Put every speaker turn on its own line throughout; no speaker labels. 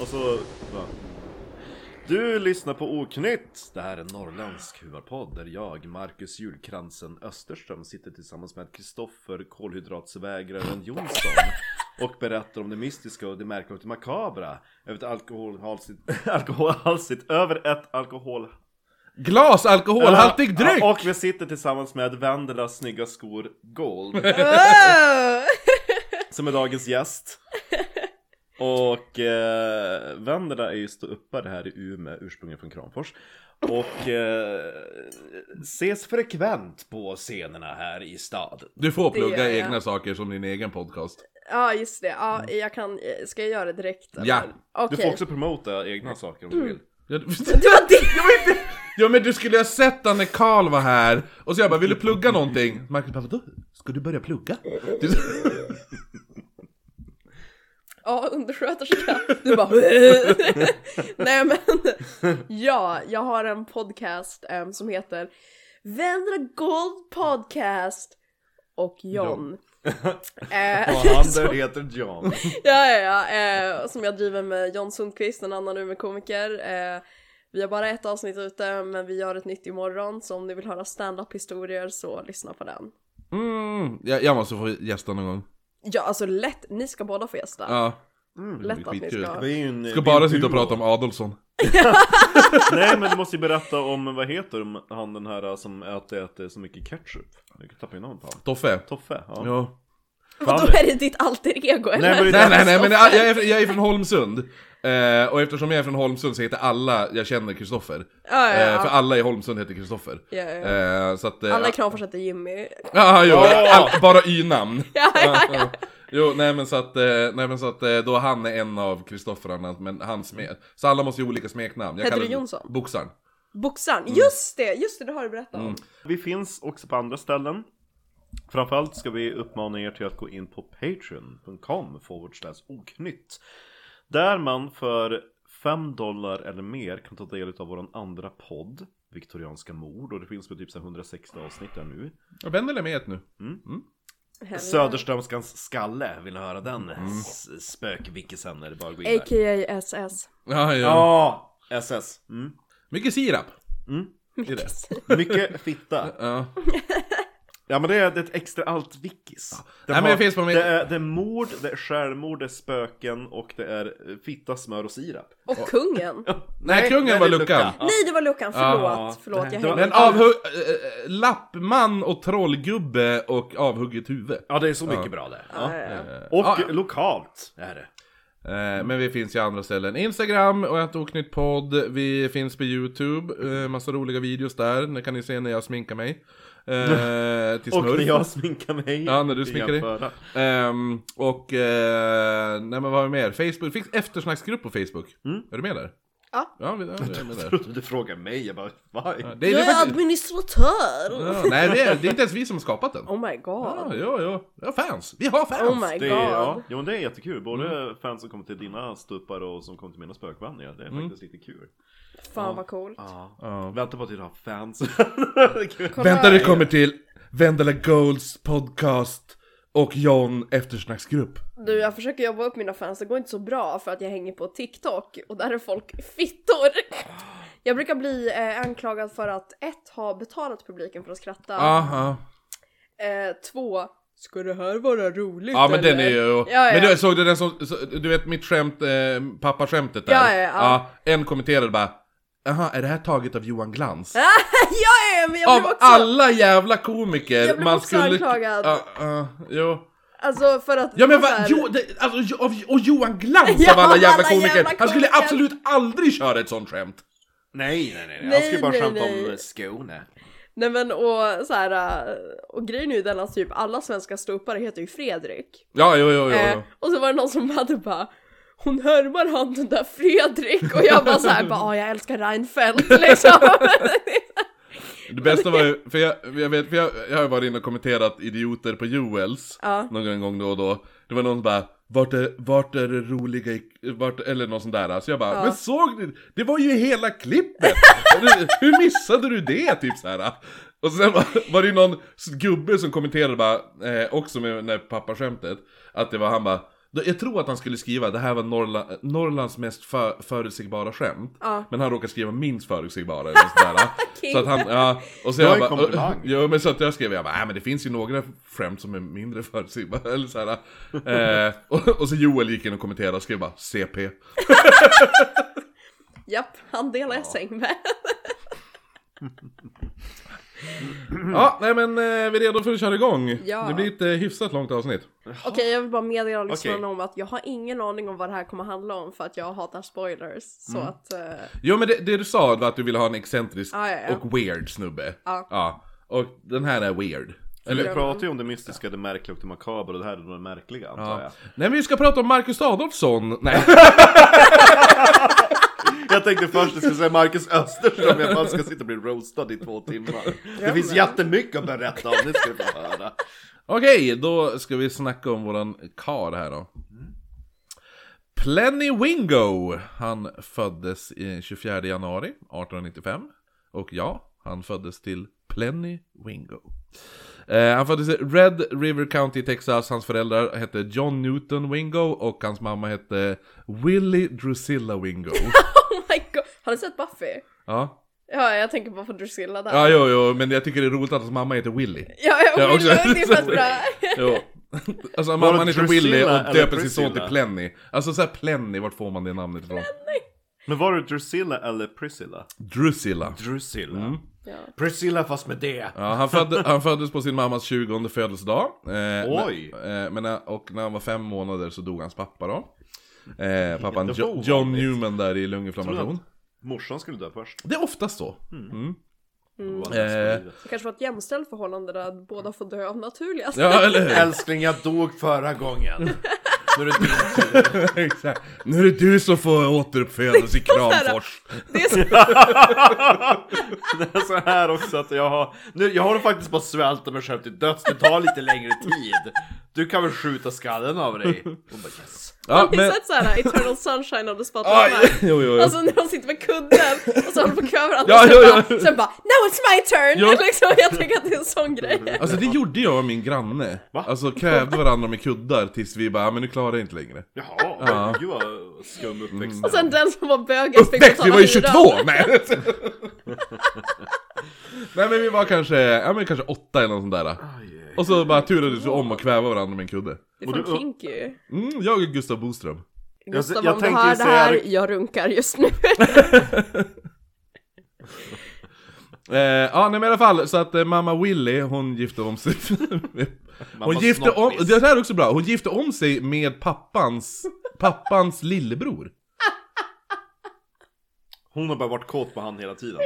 Och så... Va? Du lyssnar på Oknytt! Det här är en norrländsk huvarpodd där jag, Marcus Julkransen Österström sitter tillsammans med Kristoffer Kolhydratsvägraren Jonsson och berättar om det mystiska och det märkliga och det makabra över ett alkoholhalsigt, alkoholhalsigt över ett alkohol...
Glas alkoholhaltig dryck!
Och vi sitter tillsammans med Vendelas snygga skor Gold
Wow!
som är dagens gäst. Och eh, Vendela är ju ståuppare här i Umeå, ursprungligen från Kramfors. Och eh, ses frekvent på scenerna här i staden.
Du får plugga
Det gör jag.
egna saker som din egen podcast.
Ja just det, ja, jag kan, ska jag göra det direkt? eller?
Ja.
Mm. Du
Okej. Mm.
får också promota egna saker om du vill.
Ja,
Det var det!
Ja men du skulle ju ha sett han när Karl var här, och så jag bara 'Vill du plugga någonting?' Marcus bara 'Vadå? Ska du börja plugga?' Det är så-
Ja, undersköterska. Du bara Nej men, ja, jag har en podcast em, som heter Vändra Gold Podcast och John. Eh,
Och han där heter John.
ja, ja, ja. Eh, som jag driver med John Sundqvist, en annan Umeå-komiker. Eh, vi har bara ett avsnitt ute, men vi gör ett nytt imorgon, så om ni vill höra stand-up historier så lyssna på den.
mm, jag, jag måste få gästa någon gång.
Ja, alltså lätt, ni ska båda få gästa.
Ja.
lätt att ni
skitkul.
ska.
Det är ju en, det
Ska
är en
bara sitta och
duo.
prata om Adolfsson.
Nej men du måste ju berätta om, vad heter de- han den här eh, som äter, äter så mycket ketchup? Jag tappar ju namnet på honom.
Toffe.
Toffe? Ja.
Ja.
Vadå,
Fan.
är det ditt alter ego eller?
Nej, men det-
Nej nej nej men jag, jag, är, jag är från Holmsund. Eh, och eftersom jag är från Holmsund så heter alla jag känner Kristoffer.
Ja, ja,
Eh,
ja.
för alla i Holmsund heter Kristoffer.
Ja, ja, ja.
Eh, så att... eh,
Alla i Kramfors heter Jimmy.
Ja, jo,
Åh!
all, bara y-namn.
Ja,
Jo, nej men så att, eh, nej, men så att eh, då han är en av Kristofferarna, men han smek, så alla måste ju olika smeknamn. Jag
Heter
kallar
du
det-
Jonsson?
Boxaren.
Boxaren, just det! Just det, det har du berättat om.
Vi finns också på andra ställen. Framförallt ska vi uppmana er till att gå in på patreon.com forward slash oknytt. Där man för 5 dollar eller mer kan ta del av vår andra podd, Viktorianska mord. Och det finns väl typ så här 160 avsnitt där nu.
Ja, Wendel är med i ett nu.
Helvete.
Söderströmskans skalle, vill ni höra den? S- Spökvickisen är det bara att gå in där.
A.k.a. SS.
Ja, ja.
Ja, SS. Mm.
Mycket sirap.
Mycket
det.
sirap.
Mycket fitta.
Ja.
Ja men det är det är ett extra allt vickis. Det,
Nej, men det finns på min-
det, är, det är mord, det är självmord, det är spöken och det är eh, fitta, smör och sirap.
Och kungen.
Nej, kungen
det är
var luckan.
Ja.
Nej, det var Lukan. Förlåt.
Ja,
Förlåt, jag
det var-
hängde
Men avhugg... Äh, lappman och trollgubbe och avhugget huvud.
Ja det är så mycket bra det.
Ja, ja, ja.
Eh,
Och
ja,
eh, lokalt är det.
eh, men vi finns ju andra ställen. Instagram och ett oknytt podd. Vi finns på YouTube. Eh, massa roliga videos där. Det kan ni se när jag sminkar mig. Eh, till
Och
smurf.
när jag sminkar mig.
Ja, när du sminkar dig.
Jämföra.
Ehm, och, eh, nej men vad har vi mer? Facebook, det finns eftersnacksgrupp på Facebook. Är du med där?
Ja.
Ja, vi, ja, vi är med där.
Du frågar mig, jag bara vad?
Ja,
Ja.
det, det
Jag
är
är
faktiskt,
administratör!
ja, nej, det är, det är inte ens vi som har skapat den.
Oh my
Ja,
god.
ja, ja. Vi har fans. Vi har fans.
Oh my
Det är, ja,
god.
jo, men det är jättekul, både
Mm.
fans som kommer till dina stuppar och som kommer till mina spökvandringar, det är faktiskt lite kul
Fan vad coolt.
Mm. Ja.
Vänta på att du har fans
Kolla.
Vänta det kommer till Vendela Golds podcast och John eftersnacksgrupp.
Du, jag försöker jobba upp mina fans. Det går inte så bra för att jag hänger på TikTok och där är folk fittor. Jag brukar bli eh, anklagad för att ett, ha betalat publiken för att skratta.
Aha.
Eh, två, ska det här vara roligt
Ja men
eller?
den är ju...
ja.
Men du, såg du den som... så- Du vet mitt skämt, eh, pappaskämtet där?
Ja, ja, ja.
En kommenterade bara Jaha, är det här taget av Johan Glans?
ja, ja, men jag
Av
blev också...
alla jävla komiker
Jag blev också anklagad.
Ja, ja, jo.
Alltså för att...
Ja men va,
så här-
jo, det, alltså, jo- av, och Johan Glans
Ja,
av alla jävla
alla jävla
komiker. Han skulle
komiker.
absolut aldrig köra ett sånt skämt.
Nej nej nej,
Nej,
jag ska bara
nej,
skämta
nej.
om eh, Skåne
Nej men och så här äh, och grejen är ju den att typ alla svenska ståuppare heter ju Fredrik.
Ja, jo, jo, jo.
Eh,
jo.
och så var det någon som hade bara hon härmar han den där Fredrik och jag bara såhär bara "Ah, jag älskar Reinfeldt liksom.
Det bästa var ju, för jag, jag vet, för jag, jag har ju varit inne och kommenterat idioter på Joels
Ja.
någon gång då och då. Det var någon som bara vart är, vart är det roliga i, vart, eller något sånt där. Så jag bara,
Ja.
men såg ni? Det var ju hela klippet! Hur- Hur missade du det? Typ så här. Och sen var, var det ju någon gubbe som kommenterade bara, eh, också med det här pappaskämtet, att det var han bara Då- Jag tror att han skulle skriva det här var Norrla, Norrlands mest för, förutsägbara skämt.
Ja.
Men han råkade skriva minst förutsägbara eller sådär. så att han, ja, och så
Det var
jag
en
bara,
komplimang.
Jo men så att jag skrev, jag bara, "Äh, men det finns ju några skämt som är mindre förutsägbara eller såhär. Eh, och, och så Joel gick in och kommenterade och skrev bara CP.
Japp, han delar jag säng med.
Ja, nej men eh, vi är redo för att köra igång.
Mm. Ja.
Det blir ett eh, hyfsat långt avsnitt.
Okej, jag vill bara meddela lyssnarna
Okej.
om att jag har ingen aning om vad det här kommer handla om för att jag hatar spoilers. Så
Mm.
att, eh,
Jo men det, det du sa var att du ville ha en excentrisk
Ja, ja, ja.
och weird snubbe.
Ja. Mm.
Och den här är weird.
Eller
Eller,
vi pratar ju om det mystiska, det märkliga och det makabra och det här är det märkliga antar
ja.
jag.
Nej men vi ska prata om Marcus Adolfsson. Nej.
Jag tänkte först att jag skulle säga Marcus Österström, jag bara ska sitta och bli roastad i två timmar. Det finns jättemycket att berätta om, det ska du få höra.
Okej, då ska vi snacka om våran kar här då. Plenny Wingo! Han föddes i 24 januari 1895. Och ja, han föddes till Plenny Wingo. Eh, han föddes i Red River County, Texas. Hans föräldrar hette John Newton Wingo och hans mamma hette Willie Drusilla Wingo.
oh my god. Har du sett Buffy?
ja.
Ja, jag tänker bara på Drusilla där.
ja, jo, jo, men jag tycker det är roligt att hans mamma heter Willie.
Ja, jag
Ja,
ja,
också.
det är typ fett bra.
Jo. Alltså mamman heter
Drusilla
Willy
eller
och döper sin
Priscilla?
son till Plenny. Alltså såhär Plenny, vart får man det namnet ifrån?
Men var det Drusilla eller Priscilla? Mm.
Drusilla.
Drusilla.
Ja.
Priscilla fast med det.
Ja, han, födde, han föddes på sin mammas 20 födelsedag. Eh,
Oj.
Men, eh, men, när- och när han var fem månader så dog hans pappa då. Eh, pappan
Inte
jo,
ovanligt.
John Newman där i lunginflammation.
Morsan skulle dö först.
Det är oftast så.
Mm.
Mm.
Det var
Eh.
nästa livet.
Det kanske var ett jämställt förhållande där båda får dö av naturliga
Ja, eller hur?
Älskling, jag dog förra gången. Nu är det din
Exakt. nu är det du som får återuppfödas i Kramfors.
Det är så,
Det är så här också att jag har, nu, jag håller faktiskt på att svälta mig själv till döds, det tar lite längre tid. Du kan väl skjuta skallen av dig? Hon bara yes.
Ja,
har ni sett såhär Eternal Sunshine of the Spotless
Aj,
Mind?
jo, jo, jo.
Alltså när de sitter med kudden och så håller de på och klöver varandra
Ja,
och sen,
ja,
Bara,
ja.
sen bara Now it's my turn!
Ja.
Liksom, jag tänker att det är en sån grej.
Alltså det gjorde jag och min granne.
Va?
Alltså krävde varandra med kuddar tills vi bara, "Ja, men nu klarar jag inte längre.
Jaha, ja. gud vad skum uppväxt.
Mm.
Och sen den som var bögen fick
Uppväxt, vi var ju
hyran.
22! Nej! Nej men vi var kanske, ja men kanske åtta eller något sånt där.
Aj.
Och så bara turades vi om och kväva varandra med en kudde.
Det är
Och
fan
du-
kinky.
Mm, jag och Gustav Boström.
Gustav
jag
om du
tänkte
hör
ju
det här,
säga-
jag runkar just nu.
Eh, ja nej men i alla fall, så att eh, mamma Willy, hon gifte om sig Hon
Mamma
gifte om,
snoppis.
det här är också bra, hon gifte om sig med pappans, pappans lillebror.
Hon har bara varit kåt på han hela tiden.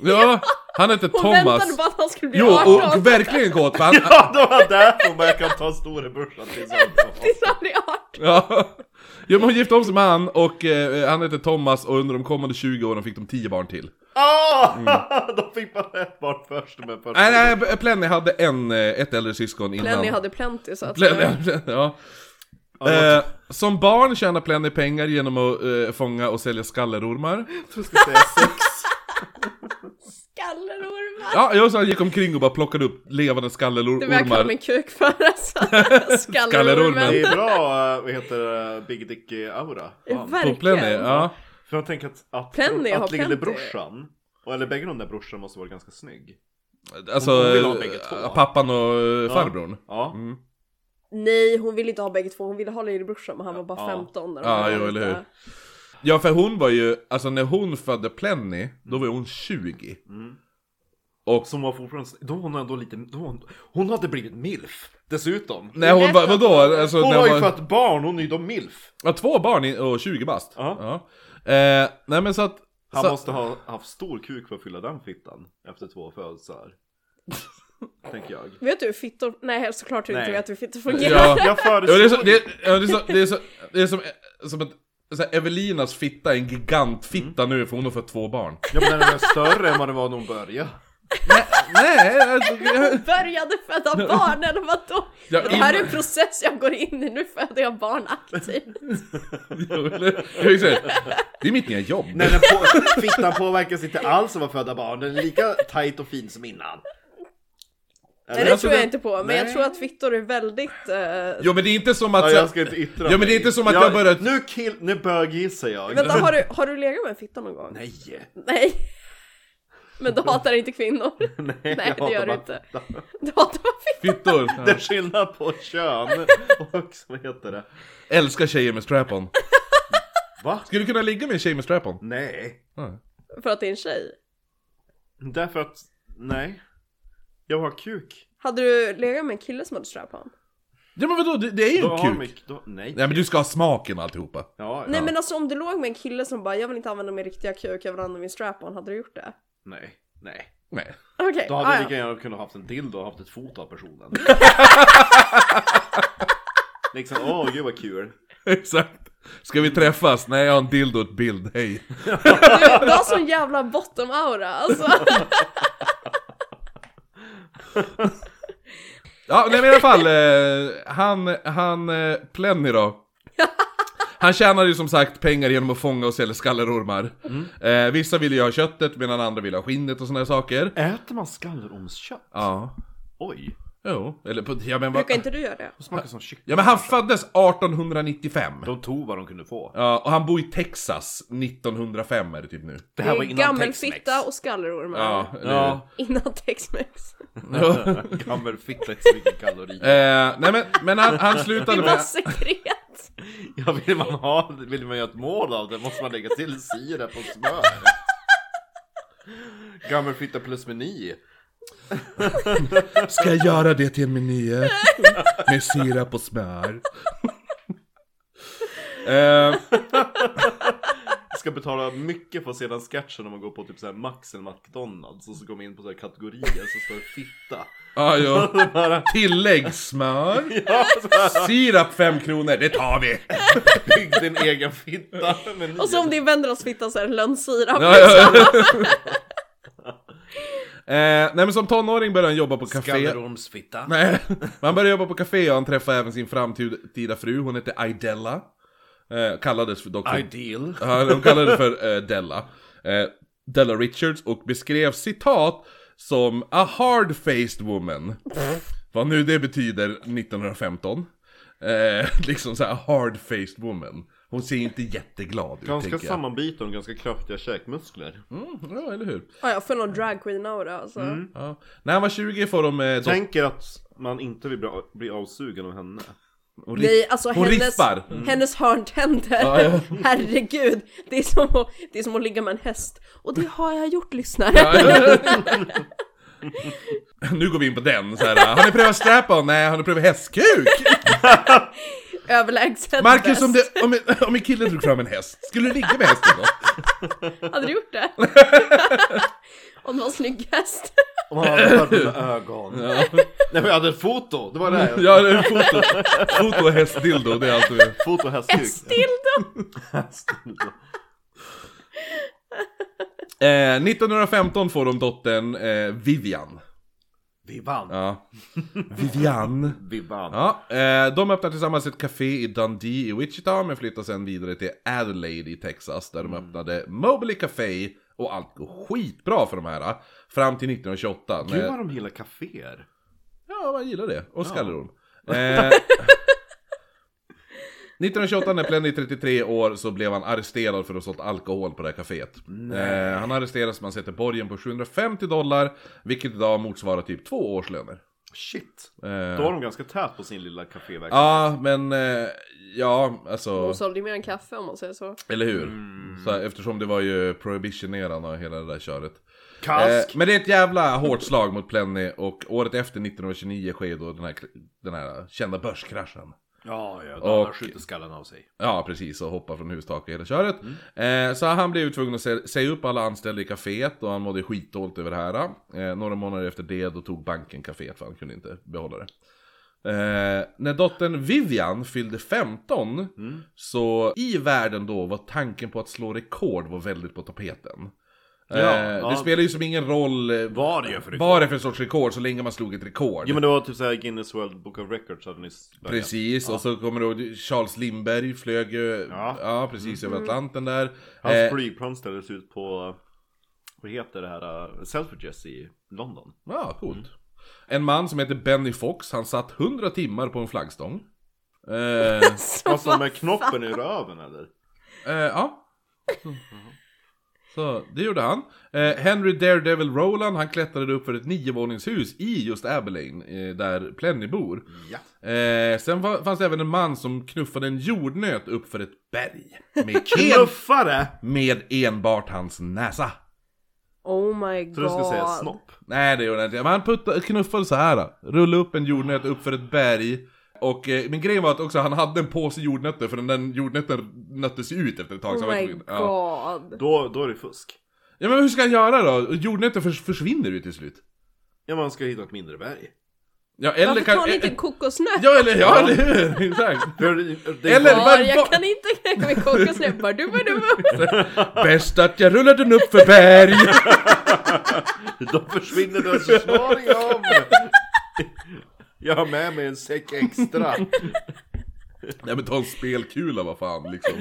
Ja, han hette
Hon
Thomas.
väntade bara att han skulle bli
Jo,
18.
och, och verkligen kåt för han,
Ja, det var därför hon bara, jag kan ta storebrorsan till exempel.
Tills han blir 18.
Ja. ja, men hon gifte om sig med han och eh, han hette Thomas och under de kommande 20 åren fick de 10 barn till.
Ah! De fick bara ett barn först med först.
Mm. Nej, nej, B- Plenny hade en, eh, ett äldre syskon innan.
Lenny hade plenty så att
Plenny, ja. Eh,
typ-
som barn tjänar Plenny pengar genom att eh, fånga och sälja skallerormar.
Jag ska säga sex.
Skallerormar!
Ja, jag så han gick omkring och bara plockade upp levande
Det verkar kalla
skallerormar.
min kuk för alltså.
Skallerormen.
Det
Skallerormen.
är bra, eh, vad heter det, Big Dick eh, Aura.
Ja,
På Plenny,
Verkligen.
ja.
För jag tänker att, att,
Plenny har
att lillebrorsan,
plenty.
och- eller bägge de där brorsan måste vara ganska snygg. Hon
Alltså,
vill ha bägge två.
eh, pappan och eh, farbrorn. Mm.
Ja.
Nej, hon ville inte ha bägge två. Hon ville ha lillebrorsan men han var bara
Ja.
15 när de
Ja,
var
jo,
ute.
eller hur. Ja, för hon var ju, alltså när hon födde Plenny, då var hon 20.
Som var fortfarande, då var hon ändå lite, då var hon, hon hade blivit milf dessutom.
Nej hon var, vadå? Alltså,
Hon
när
har ju
var-
fött barn, hon är ju då milf.
ja, två barn i- och 20 bast.
Ja.
Ja. Eh, nej men så att...
Han
så,
måste ha haft stor kuk för att fylla den fittan efter två födelser. Tänker jag.
Vet du hur fittor... Nej, såklart du inte
Nej.
vet hur fittor fungerar.
Ja.
Jag
Ja, det är så,
föreslår
det är, ja, det är så, det är så, det är som, som att så här, Evelinas fitta är en gigantfitta nu för hon har fått två barn.
Ja men den är större än vad den var när hon började.
nej, alltså, jag,
Började föda barn eller vadå?
Ja,
det här
in-
är en process jag går in i. Nu föder jag barn aktivt.
jag, jag, det är mitt nya jobb.
Nej, den på, fittan påverkas inte alls av att föda barn, den är lika tight och fin som innan.
Nej, det
alltså
tror jag
det-
inte på, men jag
Nej.
tror att fittor är väldigt... Eh...
Jo men det är inte som att...
Ja,
så-
jag ska inte yttra
Ja, men det är
mig.
inte som att jag börjar-
Nu, kill... nu böggissar jag.
Vänta, har du, har du legat med en fitta någon gång?
Nej!
Nej. Men du hatar inte kvinnor?
Nej,
Nej,
jag
det gör du
hatar
inte.
bara-
Du hatar bara fittor?
Fittor.
Det är skillnad på kön och vad heter det?
Älskar tjejer med strap-on.
Va?
Skulle du kunna ligga med en tjej med strap-on?
Nej.
Ja.
För att det är en tjej?
Därför att, nej. Jag har kuk.
Hade du legat med en kille som hade strap-on?
Ja men vadå, det, det är ju
Då
en
har
kuk.
mig, då, nej.
Nej men du ska ha smaken och alltihopa.
Ja,
Nej
ja.
men alltså om du låg med en kille som bara jag vill inte använda min riktiga kuk, jag vill använda min strap-on, hade du gjort det?
nej. Nej.
Nej.
Okej,
Då hade
ah,
jag
ja.
lika gärna kunnat haft en dildo och haft ett foto av personen. liksom, åh gud vad kul.
Exakt. Ska vi träffas? Nej jag har en dildo och ett bild, hej.
du, du har sån jävla bottom-aura alltså.
Ja nej men i alla fall, eh, han, han, eh, Plenny då. Han tjänade ju som sagt pengar genom att fånga och sälja skallerormar. Eh, vissa ville ju ha köttet medan andra ville ha skinnet och såna här saker.
Äter man skallerormskött?
Ja.
Oj.
Jo, eller på, ja men vad...
Brukar inte du göra det?
De smakar som kyckling.
Ja men han föddes 1895.
De tog vad de kunde få.
Ja, och han bor i Texas 1905 är det typ nu.
Det
är gammelfitta
Tex-Mex.
och skallerormar.
Ja, eller hur?
Ja,
Innan Tex-Mex.
gammelfitta är så mycket kalorier.
Eh, nej men, men han, han
Det
slutade
var
med...
sekret.
Ja, vill man ha, vill man göra ett mål av det måste man lägga till sirap och smör. Gammelfitta plus meny.
Ska jag göra det till en meny? Med sirap och smör. Eh,
Jag ska betala mycket för sedan sketchen om man går på typ så här Max eller McDonalds och så går man in på så här kategorier så står det fitta.
ah, ja. Tilläggssmör.
Ja, så här,
Sirap 5 kronor, det tar vi!
bygg din egen fitta. menyn.
Och så om det är Wendelas fitta så är det lönnsirap.
Ja, ja, ja. eh, nej men som tonåring började han jobba på café.
Skallerormsfitta.
Nej, man började jobba på café och han träffade även sin framtida fru, hon hette Idella. Eh, kallades för dock för...
Ideal.
Ja, de kallade det för eh, Della. Eh, Della Richards och beskrev citat som a hard-faced woman. Vad nu det betyder 1915. Eh, liksom såhär hard-faced woman. Hon ser ju inte jätteglad ut
Ganska
tänker jag.
sammanbiten och ganska kraftiga käkmuskler.
Mm, ja, eller hur.
Ah, Ja, jag får någon dragqueen-aura alltså.
Ja. När han var 20 får de... Eh, dot-
Tänker att man inte vill bli, bli avsugen av henne.
hon ri-
Nej, alltså
hon
hennes,
rispar.
hennes hörntänder,
Ja, ja.
herregud, det är, som att, det är som att ligga med en häst. Och det har jag gjort lyssnare.
nu går vi in på den så här. Har ni prövat strap-on? Nej, har ni prövat hästkuk?
Överlägset
Marcus,
bäst.
om, det, om, en- om en kille drog fram en häst, skulle du ligga med hästen då?
Hade du gjort det? om det var en snygg häst.
Om man hade hört mina ögon. Nej men jag hade ett foto, det var det.
Ja, det är foto. Foto och hästdildo, det är allt vi...
Foto och hästkuk.
Stildo!
Eh, 1915 får de dottern eh, Vivian.
Vi vann.
Ja. Vivian.
Vi vann.
Ja, eh, de öppnar tillsammans ett café i Dundee i Wichita men flyttar sen vidare till Adelaide i Texas där de öppnade Mobley Café och allt går skitbra för de här. eh, Fram till 1928.
Gud
När,
vad de gillar kaféer.
ja, man gillar det. Och skallerorm. Eh, 1928 när Plenny är 33 år så blev han arresterad för att ha sålt alkohol på det här kaféet. Eh, han arresteras man sätter borgen på 750 dollar, vilket idag motsvarar typ två årslöner.
Shit. Då
Eh,
var de ganska tät på sin lilla kaféverksamhet.
ja, men eh, ja, alltså,
Hon sålde ju mer än kaffe om man säger så.
eller hur? Så, här, eftersom det var ju prohibition-eran och hela det där köret. Eh,
Kask.
men det är ett jävla hårt slag mot Plenny och året efter 1929 sker då den här, den här kända börskraschen.
ja, ja. Då
och-
och... skjuter skallen av sig.
Ja, precis. Och hoppa från hustak och hela köret.
Mm.
Eh, så han blev ju tvungen att sä- säga upp alla anställda i kaféet och han mådde skitdåligt över det här. Eh, några månader efter det då tog banken kaféet för han kunde inte behålla det. Eh, när dottern Vivian fyllde 15
Mm.
så i världen då var tanken på att slå rekord var väldigt på tapeten. Eh,
Ja,
det
ja.
spelar ju som ingen roll eh,
Vad det gör för rekord.
vad det är för sorts rekord så länge man slog ett rekord.
Jo men det var typ såhär Guinness World Book of Records hade nyss börjat.
Precis, och så kommer då Charles Lindbergh flög ju, ja,
Ja.
precis över Atlanten där.
Hans
Eh,
flygplan ställdes ut på, vad heter det här, uh, Selfridges eh, i London.
ja, coolt. En man som heter Benny Fox, han satt 100 timmar på en flaggstång. Eh,
Så
Alltså
vad
med knoppen i röven eller?
Eh, ja. Så det gjorde han. Eh, Henry Daredevil Roland, han klättrade upp för ett niovåningshus i just Abilene, eh, där Plenny bor.
Ja.
Eh, sen va- fanns det även en man som knuffade en jordnöt upp för ett berg. Med, en,
Knuffare!
med enbart hans näsa.
Oh my
Tror jag ska säga
god.
snopp.
Nej det gjorde han inte, men han putta, knuffade så här. då. Rullade upp en jordnöt upp för ett berg. Och, eh, men grejen var att också han hade en påse jordnötter för den där jordnötten nöttes ju ut efter ett tag. så han
Oh
var
my
tvungen- ja.
god.
Då, då är det fusk.
Ja men hur ska han göra då? Jordnöten förs försvinner ju till slut.
Ja man ska hitta ett mindre berg.
Ja eller
Varför tar ni
eh,
inte
eh,
en kokosnöt?
Ja eller ja, eller hur? Exakt.
För det- det-
Eller-
Var,
men
jag
vad-
kan inte knäcka min kokosnöt. Bara du, bara du, bara.
Bäst att jag rullar den upp för berg.
Då försvinner den så småningom! Jag har med mig en säck extra.
nej men ta en spelkula vad fan liksom.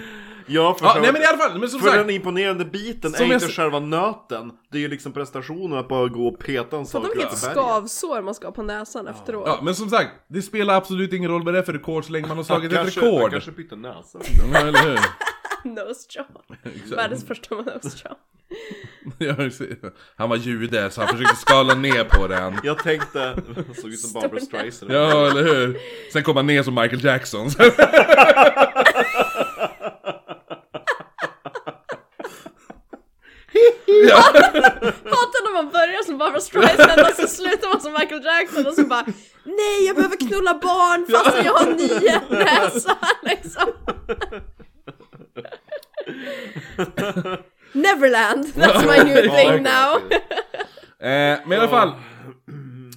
Ja, för
Ja,
själva-
nej men i alla fall, men som
För den
sagt.
imponerande biten
Som
är
jag
inte
s-
själva nöten. Det är ju liksom prestationen att bara gå och peta en sak
Fattar vilket
över berget.
skavsår man ska ha på näsan efteråt.
Ja men som sagt, det spelar absolut ingen roll vad det är för rekord så länge man har slagit ett
Kanske, han
rekord.
kanske bytte näsa.
Ja, eller hur?
Nose job. Världens första nose job.
Ja, precis. han var jude så han försökte skala ner på den.
Jag tänkte, han såg ut som Barbra Streisand.
Ja eller hur? Sen kom han ner som Michael Jackson. Eh,
Hatar när man börjar som Barbra Streisand och så slutar man som Michael Jackson och så bara Nej jag behöver knulla barn fastän jag har nio näsa liksom Neverland, that's my new thing now
Eh, men i alla fall.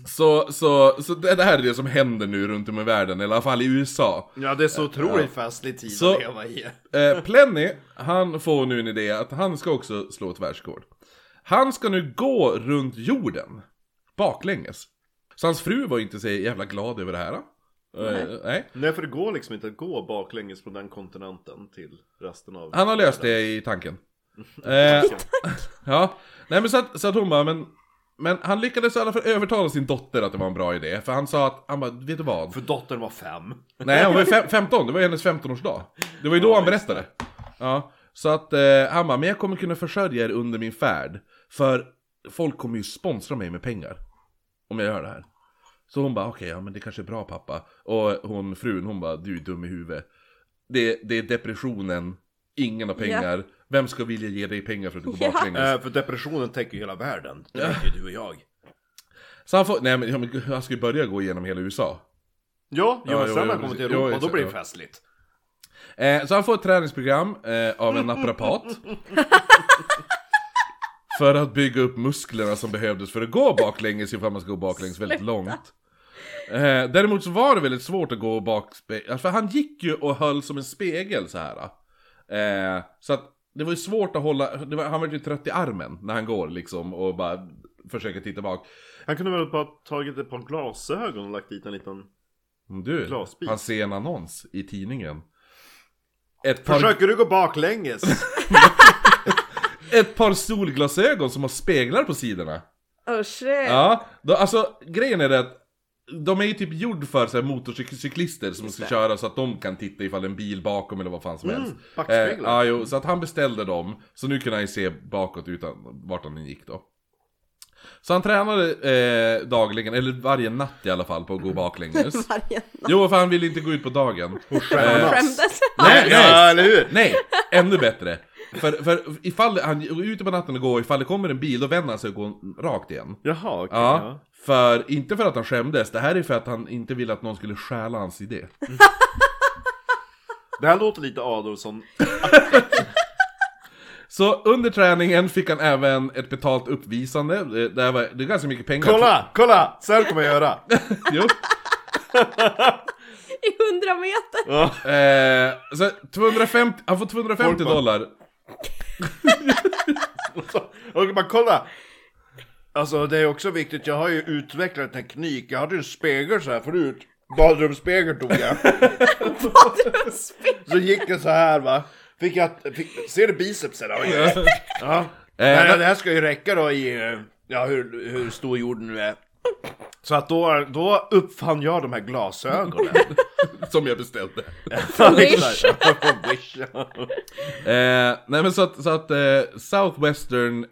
Så, så, så det, det här är det som händer nu runt om i världen, eller i alla fall i USA.
Ja, det är så otroligt festlig tid
Så-
att leva i.
Eh, Plenny, han får nu en idé att han ska också slå ett världsrekord. Han ska nu gå runt jorden, baklänges. Så hans fru var inte så jävla glad över det här. Eh, nej.
Nej, för det går liksom inte att gå baklänges från den kontinenten till resten av...
Han har löst det i tanken. Eh, ja. Nej men så att, så att hon bara, men, men han lyckades i alla fall övertala sin dotter att det var en bra idé. För han sa att, han bara, vet du vad?
För dottern var fem.
Nej, hon var ju fem- 15, det var ju hennes 15-årsdag. Det var ju då han berättade. Ja, så att eh, han bara, men jag kommer kunna försörja er under min färd. För folk kommer ju sponsra mig med pengar. Om jag gör det här. Så hon bara, okej, ja men det kanske är bra pappa. Och hon, frun, hon bara, du är dum i huvudet. Det, det är depressionen, ingen har pengar. Vem ska vilja ge dig pengar för att du går
Ja.
baklänges?
Eh, för depressionen täcker ju hela världen. Det vet ju du och jag.
Så han får, nej men, ja, men han ska ju börja gå igenom hela USA.
Ja, jo,
Ja,
men sen
jo,
när
jo,
han kommer till
precis.
Europa,
Jo,
då blir det
ja.
festligt.
Eh, så han får ett träningsprogram eh, av en naprapat. för att bygga upp musklerna som behövdes för att gå baklänges ifall man ska gå baklänges väldigt långt. Eh, däremot så var det väldigt svårt att gå bak... alltså, För han gick ju och höll som en spegel så här. Eh, så att det var ju svårt att hålla... Det var, han var ju trött i armen när han går liksom och bara försöker titta bak.
Han kunde väl bara tagit ett par glasögon och lagt dit en liten...
Mm, Du,
Glasbit.
han ser en annons i tidningen. Ett par
Försöker du gå baklänges?
ett par solglasögon som har speglar på sidorna.
Oh shit
Ja, då, alltså grejen är det att de är ju typ gjord för så här, motorcyklister som ska köra så att de kan titta ifall det är en bil bakom eller vad fan som helst.
backspeglar.
Eh, ja, jo, så att han beställde dem, så nu kunde han ju se bakåt utan vart han gick då. Så han tränade eh, dagligen, eller varje natt i alla fall, på att gå baklänges.
Varje
Jo, för han ville inte gå ut på dagen. Eh,
Skämmas.
skämdes
Nej,
Ja,
nej.
eller hur?
Nej, ännu bättre. För, för ifall han är ute på natten och går, ifall det kommer en bil, då vänder han sig och går rakt igen.
Jaha, okej.
Ja,
ja.
för inte för att han skämdes, det här är för att han inte ville att någon skulle stjäla hans idé.
Det här låter lite Adolfsson.
Så under träningen fick han även ett betalt uppvisande, det, det, här var, det är ganska mycket pengar.
Kolla, kolla! Så här kommer jag göra.
Jo.
i hundra meter
Ja.
Eh, så 250, han får 250
Folk bara-
dollar. Eh,
Och bara kolla. Alltså det är också viktigt, jag har ju utvecklat teknik. Jag hade ju en spegel så här förut. Badrumsspegel tog jag.
Badrumsspegel
Så gick jag så här va. Fick jag, fick, ser du bicepsen? Ja. ja.
Eh,
Nej, det här ska ju räcka då i, eh, ja hur, hur stor jorden nu är. Så att då, då uppfann jag de här glasögonen.
Som jag beställde.
Wish.
Wish.
Eh, nej men så att, så att eh, Southwestern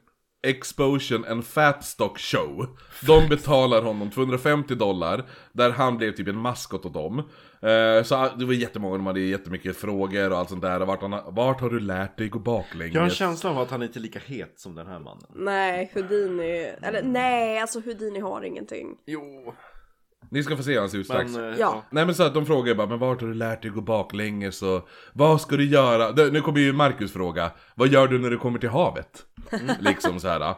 Exposition and Fatstock Show De betalar honom 250 dollar Där han blev typ en maskot åt dem eh, Så det var jättemånga, de hade jättemycket frågor och allt sånt där och vart, han, vart har du lärt dig gå baklänges?
jag har en känsla av att han inte är lika het som den här mannen.
Nej, Houdini. Eller nej, alltså Houdini har ingenting.
Jo,
Ni ska få se hans utsträck
men... eh,
Ja.
Nej men så att de frågar ju bara, men vart har du lärt dig gå baklänges och vad ska du göra? Det- Nu kommer ju Marcus fråga, vad gör du när du kommer till havet?
Mm.
Liksom så här.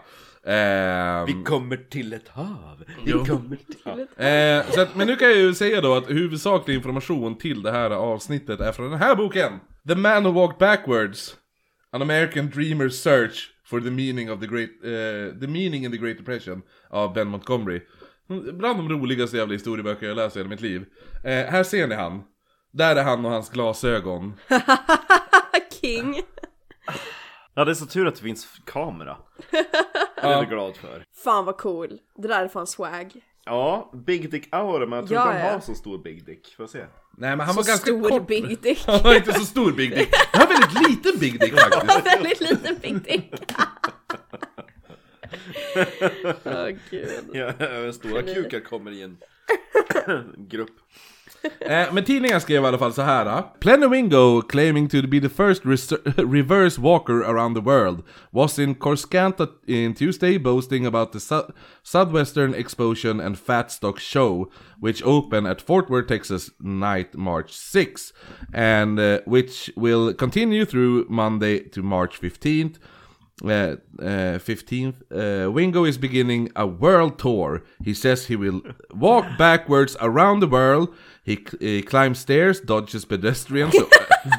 Ehm,
Vi kommer till ett hav. Vi kommer till... Ja.
Eh, så att, men nu kan jag ju säga då att huvudsaklig information till det här avsnittet är från den här boken! The Man Who Walked Backwards An American Dreamer's Search for the Meaning of the Great... Eh, the Meaning in the Great Depression av Ben Montgomery. Bland de roligaste jävla historieböcker jag läst i hela mitt liv. Eh, här ser ni han. Där är han och hans glasögon.
King.
ja, det är så tur att det finns kamera. Det är jag glad för.
Fan vad cool. Det där är fan swag.
Ja, Big Dick Aura, men jag tror
Ja,
inte han
ja.
har så stor Big Dick. Får jag se?
Nej men han
Så
var ganska
stor
kort.
big dick.
Han var inte så stor Big Dick. Han var väldigt liten Big Dick faktiskt.
Väldigt liten big dick. Åh gud.
Ja, stora
Geni.
kukar kommer i en grupp.
Eh, men tidningen skrev i alla fall så här. ah. Plenawingo claiming to be the first reser- reverse walker around the world was in Coruscant in Tuesday boasting about the Sou- Southwestern Exposition and Fatstock Show which open at Fort Worth, Texas night March 6 and uh, which will continue through Monday to March 15th uh, uh, 15th, uh, Wingo is beginning a world tour. He says he will walk backwards around the world. He, cl- he climbs stairs, dodges pedestrians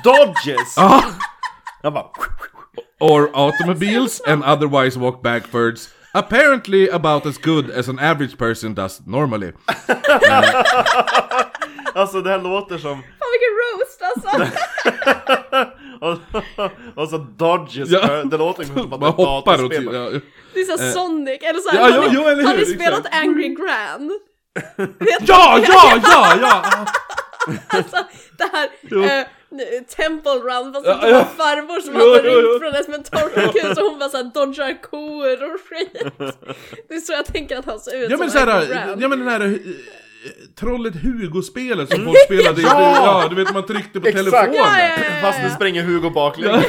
Dodges! Jag bara...
or automobiles, and otherwise walk backwards. Apparently, about as good as an average person does normally.
Alltså det här låter som...
Fan vilken roast alltså.
Och, och så alltså, Dodges,
Ja.
det låter som att
Man
ett
hoppar och...
datorspel.
Ja,
Det är såhär Sonic. Eller såhär,
Eh, ja,
har ni-
jo, eller
har
hur,
ni spelat
exakt.
Angry Grand?
ja, ja, ja! ja.
Alltså, Det här eh, nu- Temple Run fast det
Ja, ja.
var farmor som
Jo,
hade
jo, jo.
rymt från ett mentalsjukhus och hon bara såhär dodgar kor och skit. Det är så jag tänker att han ser ut
Ja
som
men såhär,
Angry Grand.
ja men den här eh, Trollet Hugo-spelet som folk spelade i,
Ja!
ja! du vet man tryckte på
Exakt.
telefonen.
Ja, ja, ja, ja.
Fast nu springer Hugo baklänges.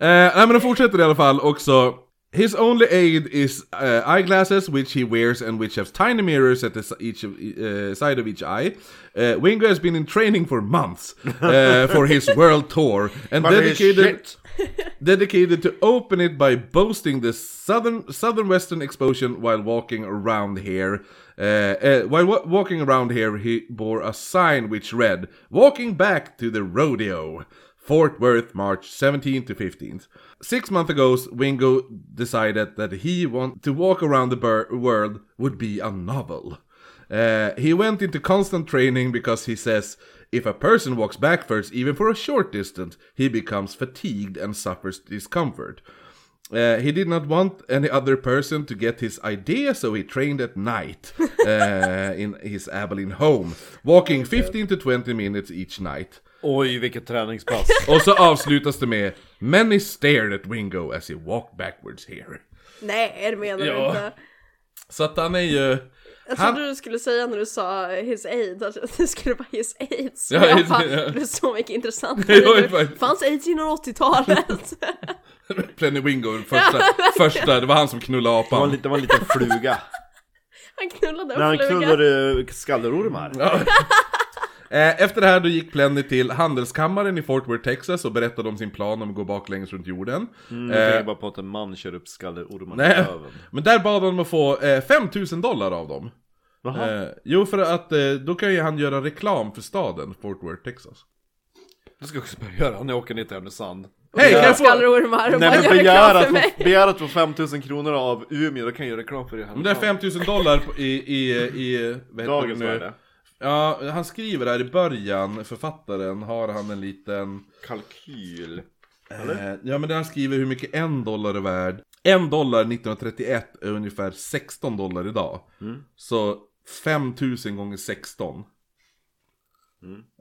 Eh, nej men de fortsätter i alla fall också. His only aid is eh, eyeglasses which he wears and which have tiny mirrors at the s- each of, eh, side of each eye. Eh, Wingo has been in training for months eh, for his world tour and
But he's
dedicated
shit.
dedicated to open it by boasting the southern southern western exposition while walking around here. Uh, uh, while wa- walking around here, he bore a sign which read "Walking back to the rodeo." Fort Worth, March 17th to 15th. Six months ago, Wingo decided that he want to walk around the bur- world would be a novel. Uh, he went into constant training because he says if a person walks backwards even for a short distance, he becomes fatigued and suffers discomfort. Uh, he did not want any other person to get his idea, so he trained at night uh, in his Abilene home, walking 15 to 20 minutes each night.
Oj, vilket träningspass.
Och så avslutas det med Many stared at Wingo as he walked backwards here.
Nej det menar du
Ja.
inte.
Så att han är ju...
Jag
Han-
trodde du skulle säga när du sa his aid, att det skulle vara his aids.
Ja,
jag
his-
bara,
ja.
Det är så mycket intressant.
Ja, det var-
Fanns aids innan 80-talet?
Plenny Wingo, första, första, det var han som knullade
Det var
apan.
en, det var en liten fluga.
Han knullade
När han
en fluga.
knullade skallerormar.
Eh, Efter det här då gick Plenny till handelskammaren i Fort Worth, Texas och berättade om sin plan om att gå baklänges runt jorden. Eh,
Jag tänker Mm, bara på att en man kör upp skallerormar i
Nej,
röven.
men där bad han om att få eh, 5000 dollar av dem.
Jaha.
Eh, jo, för att eh, då kan ju han göra reklam för staden Fort Worth, Texas.
Det ska jag också börja göra när jag åker ner till Härnösand.
Hej, kan jag få...
Skallerormar och
Nej
bara
men
gör
begär
reklam för
att,
mig.
få, begär att få 5000 kronor av Umeå, då kan jag göra reklam för det här.
Men det är 5000 dollar på- i, i, i vad heter
Dagens
det nu?
värde.
Ja, han skriver här i början, författaren, har han en liten...
Kalkyl.
Eh, ja, men där han skriver hur mycket en dollar är värd. En dollar 1931 är ungefär 16 dollar idag. Så 5000 gånger 16.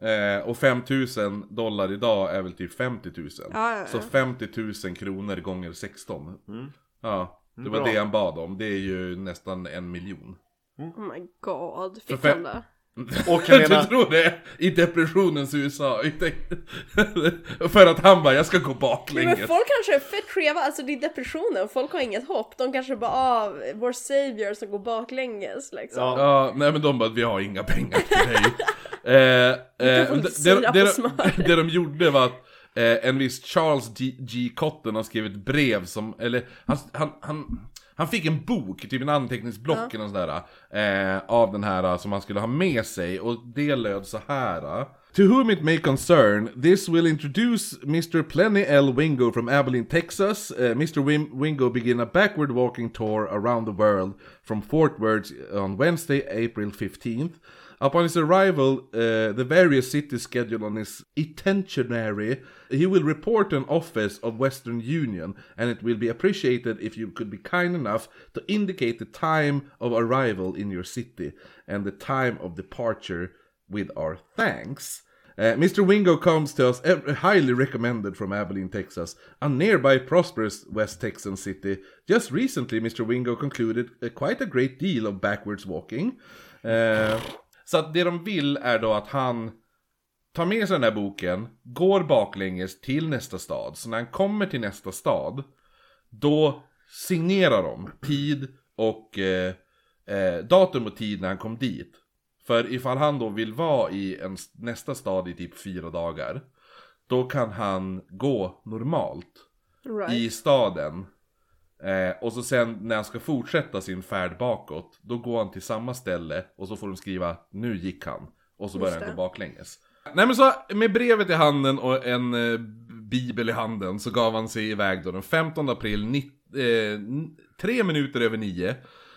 Eh, och 5000 dollar idag är väl typ 50 000.
Ja, ja,
Så
ja.
50 000 kronor gånger 16. Ja, det var
Bra.
det han bad om. Det är ju nästan en miljon.
Oh my god, fick
För fem-
han det?
Och
Du
Helena,
tror det? I depressionens USA. I te- För att han bara, jag ska gå
Men
baklänges.
folk kanske är fett skeva, alltså det är depressionen, folk har inget hopp. De kanske bara ah, vår savior som går baklänges liksom.
Ja.
Ja, nej men de bara, vi har inga pengar till dig. eh, eh,
kan få
det,
lite
det,
sirap
det, de,
och smör.
det de gjorde var att eh, en viss Charles G. G. Cotton har skrivit brev som, eller han, han, han, han fick en bok, typ en anteckningsblock eller något sådär, eh, av den här eh, som han skulle ha med sig och det löd så här. eh. To whom it may concern, this will introduce Mr. Plenty L. Wingo from Abilene, Texas. Uh, Mr. Wim- Wingo begin a backward walking tour around the world from Fort Worth on Wednesday, April 15th. Upon his arrival, uh, the various cities scheduled on his itinerary, he will report an office of Western Union, and it will be appreciated if you could be kind enough to indicate the time of arrival in your city and the time of departure with our thanks. Uh, Mr. Wingo comes to us ev- highly recommended from Abilene, Texas, a nearby prosperous West Texan city. Just recently, Mr. Wingo concluded uh, quite a great deal of backwards walking. Eh, så att det de vill är då att han tar med sig den här boken, går baklänges till nästa stad. Så när han kommer till nästa stad, då signerar de tid och eh, eh, datum och tid när han kom dit. För ifall han då vill vara i en, s- nästa stad i typ fyra dagar, då kan han gå normalt i
Right.
staden. Eh, och så sen när han ska fortsätta sin färd bakåt, då går han till samma ställe och så får de skriva nu gick han. Och så börjar han
det.
gå baklänges. Nej men så med brevet i handen och en eh, bibel i handen så gav han sig iväg då den 15 april, ni, eh, n- tre minuter över nio.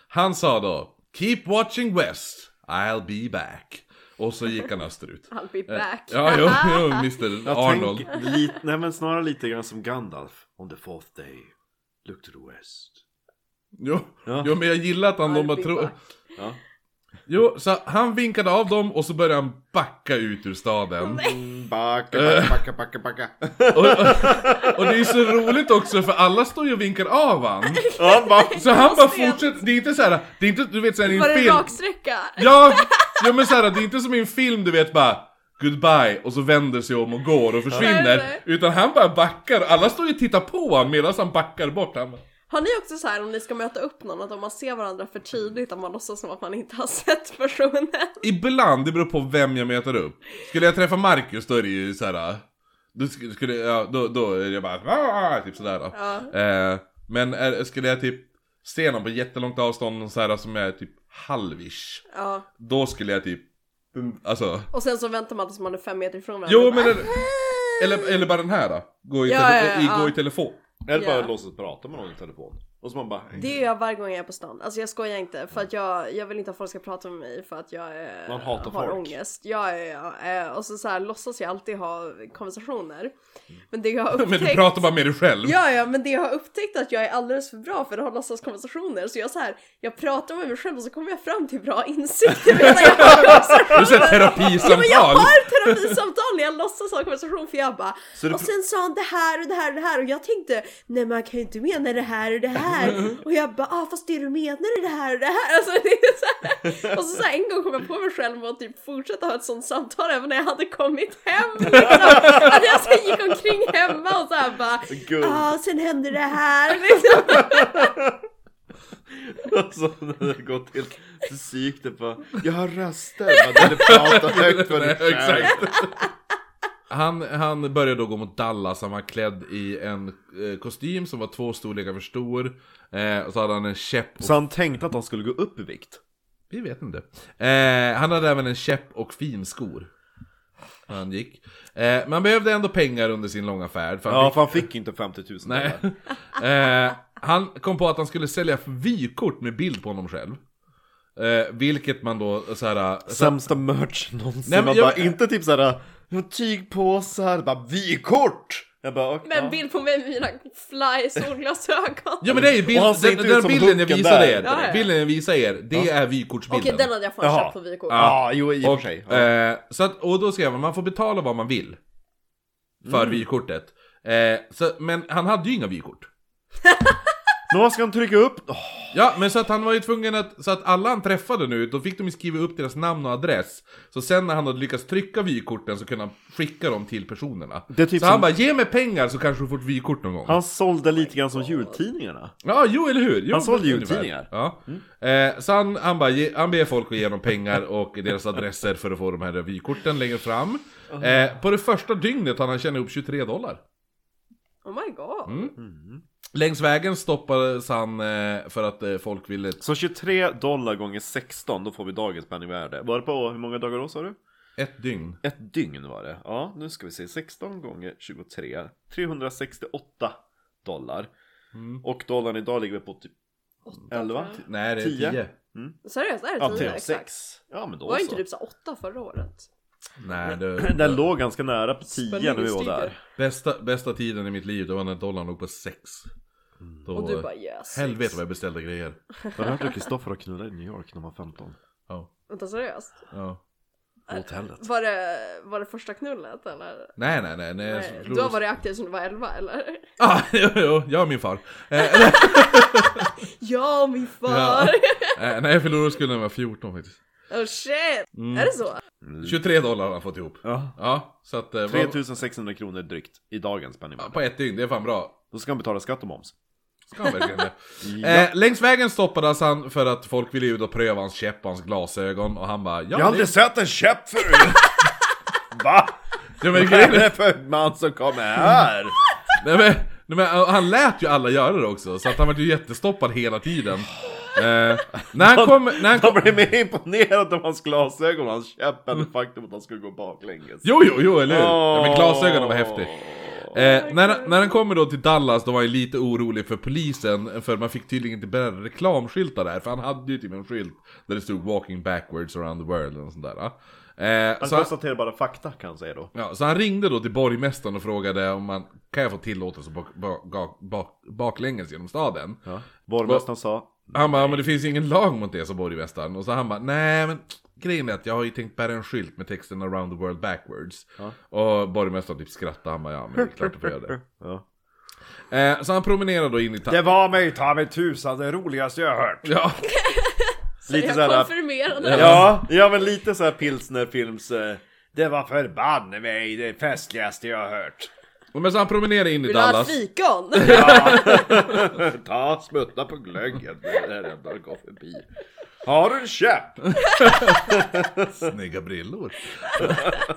Han sa då Keep watching West, I'll be back. Och så gick han österut. Eh,
I'll be back.
Ja, jo, jo, Mr.
jag
Arnold.
tänker lite, nej men snarare lite grann som Gandalf. On the fourth day, look to the west.
Jo,
Ja.
jo, men jag gillar att han
I'll
de bara
be
tror...
back.
Ja.
Jo, så han vinkade av dem och så började han backa ut ur staden.
Mm, Backa,
Eh.
backa, backa, backa, backa.
Och, och det är så roligt också för alla står ju och vinkar av han.
Ja, bara,
Så han bara
Konstigt.
fortsätter, det är inte så här, det är inte, du vet såhär i en
Var det
film.
en raksträcka?
Ja, ja men så här, det är inte som i en film du vet bara Goodbye och så vänder sig om och går och
Nej,
försvinner.
nej.
Utan han bara backar, alla står ju och tittar på honom medan han backar bort. Han bara,
Har ni också så här om ni ska möta upp någon att om man ser varandra för tidigt att man låtsas som att man inte har sett personen?
Ibland, det beror på vem jag möter upp. Skulle jag träffa Marcus då är det ju såhär... Då, sk- skulle, ja, då, då är det bara... "Ah!" Typ sådär. Då.
Ja.
Eh, men är, skulle jag typ se någon på jättelångt avstånd och såhär, som är typ halvish.
Ja.
Då skulle jag typ... Alltså...
Och sen så väntar man tills man är fem meter ifrån varandra.
Jo
och
men...
bara,
Eller, eller, eller bara den här då. Gå i,
Ja,
tele-
ja,
i,
ja.
gå i telefon.
eller bara
Ja.
låtsas prata med någon i telefon. Och så man bara...
Det gör jag varje gång jag är på stan. Alltså jag skojar inte för att jag, jag vill inte att folk ska prata med mig för att jag eh,
Man hatar
har
folk.
ångest. Ja, ja, ja. Eh, Och så, så här, låtsas jag alltid ha konversationer. Men det jag har
Men
upptäckt...
du pratar bara med dig själv.
Ja, ja, men det jag har upptäckt är att jag är alldeles för bra för att ha låtsaskonversationer. Så jag så här, jag pratar med mig själv och så kommer jag fram till bra insikter medan jag har konversationer.
Du säger
Ja, men jag
terapisamtal.
har terapisamtal när jag låtsas ha konversation för jag bara
Så det-
Och sen sa han det här och det här och det här och jag tänkte Nej man kan ju inte mena det här och det här Och jag bara ah fast det du menar är det här och det här Alltså det är så här. Och så, så här, en gång kom jag på mig själv och typ fortsätta ha ett sånt samtal även när jag hade kommit hem liksom. Att jag så gick omkring hemma och så här bara
Guld.
ah sen hände det här liksom.
Alltså när det går till fysik, det bara Jag har röster, bara när du pratar högt för dig
Nej,
själv
Han, han började då gå mot Dallas, han var klädd i en eh, kostym som var två storlekar för stor. Eh, och så hade han en käpp och...
Så han tänkte att han skulle gå upp i vikt?
Vi vet inte. Eh, han hade även en käpp och finskor. När han gick. Eh, men han behövde ändå pengar under sin långa färd. För han
Ja
fick...
för han fick inte 50 000
Nej.
dollar
eh, han kom på att han skulle sälja vykort med bild på honom själv. Eh, vilket man då eh, såhär...
Sämsta merch någonsin,
Nej, men
man
jag-
bara inte typ såhär Tygpåsar, bara vykort! Jag bara, okay,
Med en
ja.
bild på mig med mina fly solglasögon.
Ja men det är ju bild,
Och han ser
den,
inte
den,
ut som
bilden jag
Hulken
visade
där.
er,
Ja, ja.
bilden jag visade er, det är
Okej
vykortsbilden.
den hade jag fan
Jaha.
köpt på vykort.
Ja, jo i och för
och,
sig. Ja.
eh, så att, och då skrev han, man får betala vad man vill. För
Mm.
vykortet. Eh, så, men han hade ju inga vykort.
Nå ska han trycka upp. Åh,
Ja, men så att han var ju tvungen att, så att alla han träffade nu, då fick de ju skriva upp deras namn och adress. Så sen när han hade lyckats trycka vykorten så kunde han skicka dem till personerna.
Det är typ
så han
som-
bara, ge mig pengar så kanske du får ett vykort någon gång.
han sålde lite grann som jultidningarna.
Ja, jo eller hur! Jo,
Han sålde ju
ungefär.
tidningar.
Ja. Eh, så han, han, bara, ge- han ber folk att ge dem pengar och deras adresser för att få de här revykorten längre fram. Eh, på det första dygnet hann han tjäna upp 23 dollar.
Oh my god.
Längs vägen stoppades han eh, för att eh, folk ville...
Så 23 dollar gånger 16, då får vi dagens penningvärde. Var det på hur många dagar då sa du?
Ett dygn.
Ett dygn var det. Ja, nu ska vi se. 16 gånger 23. 368 dollar.
Mm.
Och dollarn idag ligger vi på typ 11?
tror
Nej, det är
Tio.
10.
Seriöst, är
Ja,
det 10
typ
exakt?
6. Ja, men då
Var
så.
inte typ så 8 förra året?
Nej, det...
Den låg ganska nära på 10 när vi var
Spänningen
där.
stiger.
Bästa, bästa tiden i mitt liv, det var när dollarn låg på 6. Då...
Mm.
eh,
Och du bara yes.
Helvete vad jag beställde grejer.
Har du hört att Kristoffer har knullat i New York när han var 15?
Ja.
Vänta seriöst?
Ja.
På hotellet.
Var det, var det första knullet eller?
Nej, nej, nej. nej. jag
Nej,
slog-
du har varit aktiv sedan du var 11 eller?
Ah, jo, jo, jag är min far. Eh,
Ja min far!
Eh, nej, jag förlorade skulden när jag var 14 faktiskt.
Oh shit!
Mm.
Är det så?
Mm.
23 dollar har han fått ihop.
Ja.
Ja, så att... Eh, vad,
3600 kronor drygt i dagens penningvärde.
på ett dygn, det är fan bra.
Då ska han betala skatt och moms.
Ska han verkligen det?
Ja.
Eh, längs vägen stoppades han för att folk ville ut och pröva hans käpp och hans glasögon och han bara
Jag har
ja,
aldrig
det,
sett en käpp förut! Va?
ja, men,
Vad
grejen
är
är-
det för man som kommer här?
nej, men, nej, men, och han lät ju alla göra det också så att han var ju jättestoppad hela tiden. Eh, när han kom... När han kom
Jag blev mer imponerad av hans glasögon och hans käpp än det faktum att han skulle gå baklänges.
Mm. jo, jo, jo, eller hur? Ja, men glasögonen var häftigt. Eh, när, när han kommer då till Dallas då var han lite orolig för polisen För man fick tydligen inte bära reklamskyltar där För han hade ju typ en skylt Där det stod 'Walking backwards around the world' eller sånt där eh,
Han
så, han,
konstaterar bara fakta kan jag säga då.
ja, så han ringde då till borgmästaren och frågade om man Kan jag få tillåtelse bak, bak, bak, bak, baklänges genom staden?
Ja. Borgmästaren sa
Han bara, "Ja, men det finns ingen lag mot det, sa borgmästaren. Och så han bara, nej men grejen är att jag har ju tänkt bära en skylt med texten 'Around the world backwards' Och borgmästaren typ skrattade, han bara, ja men det är klart du får göra det.
ja.
Eh, så han promenerade då in i ta-
var mig ta mig tusan det roligaste jag har hört.
Ja,
Lite
jag
såhär,
konfirmerade.
ja, ja men lite såhär pilsnerfilms... eh, Det var förbanne mig det festligaste jag har hört.
men så han promenerade in i
Vill du ha ett
Dallas.
fikon?
Ta, smutta på glöggen. Det är det enda du går förbi. Har du en käpp?
Snygga brillor. eh,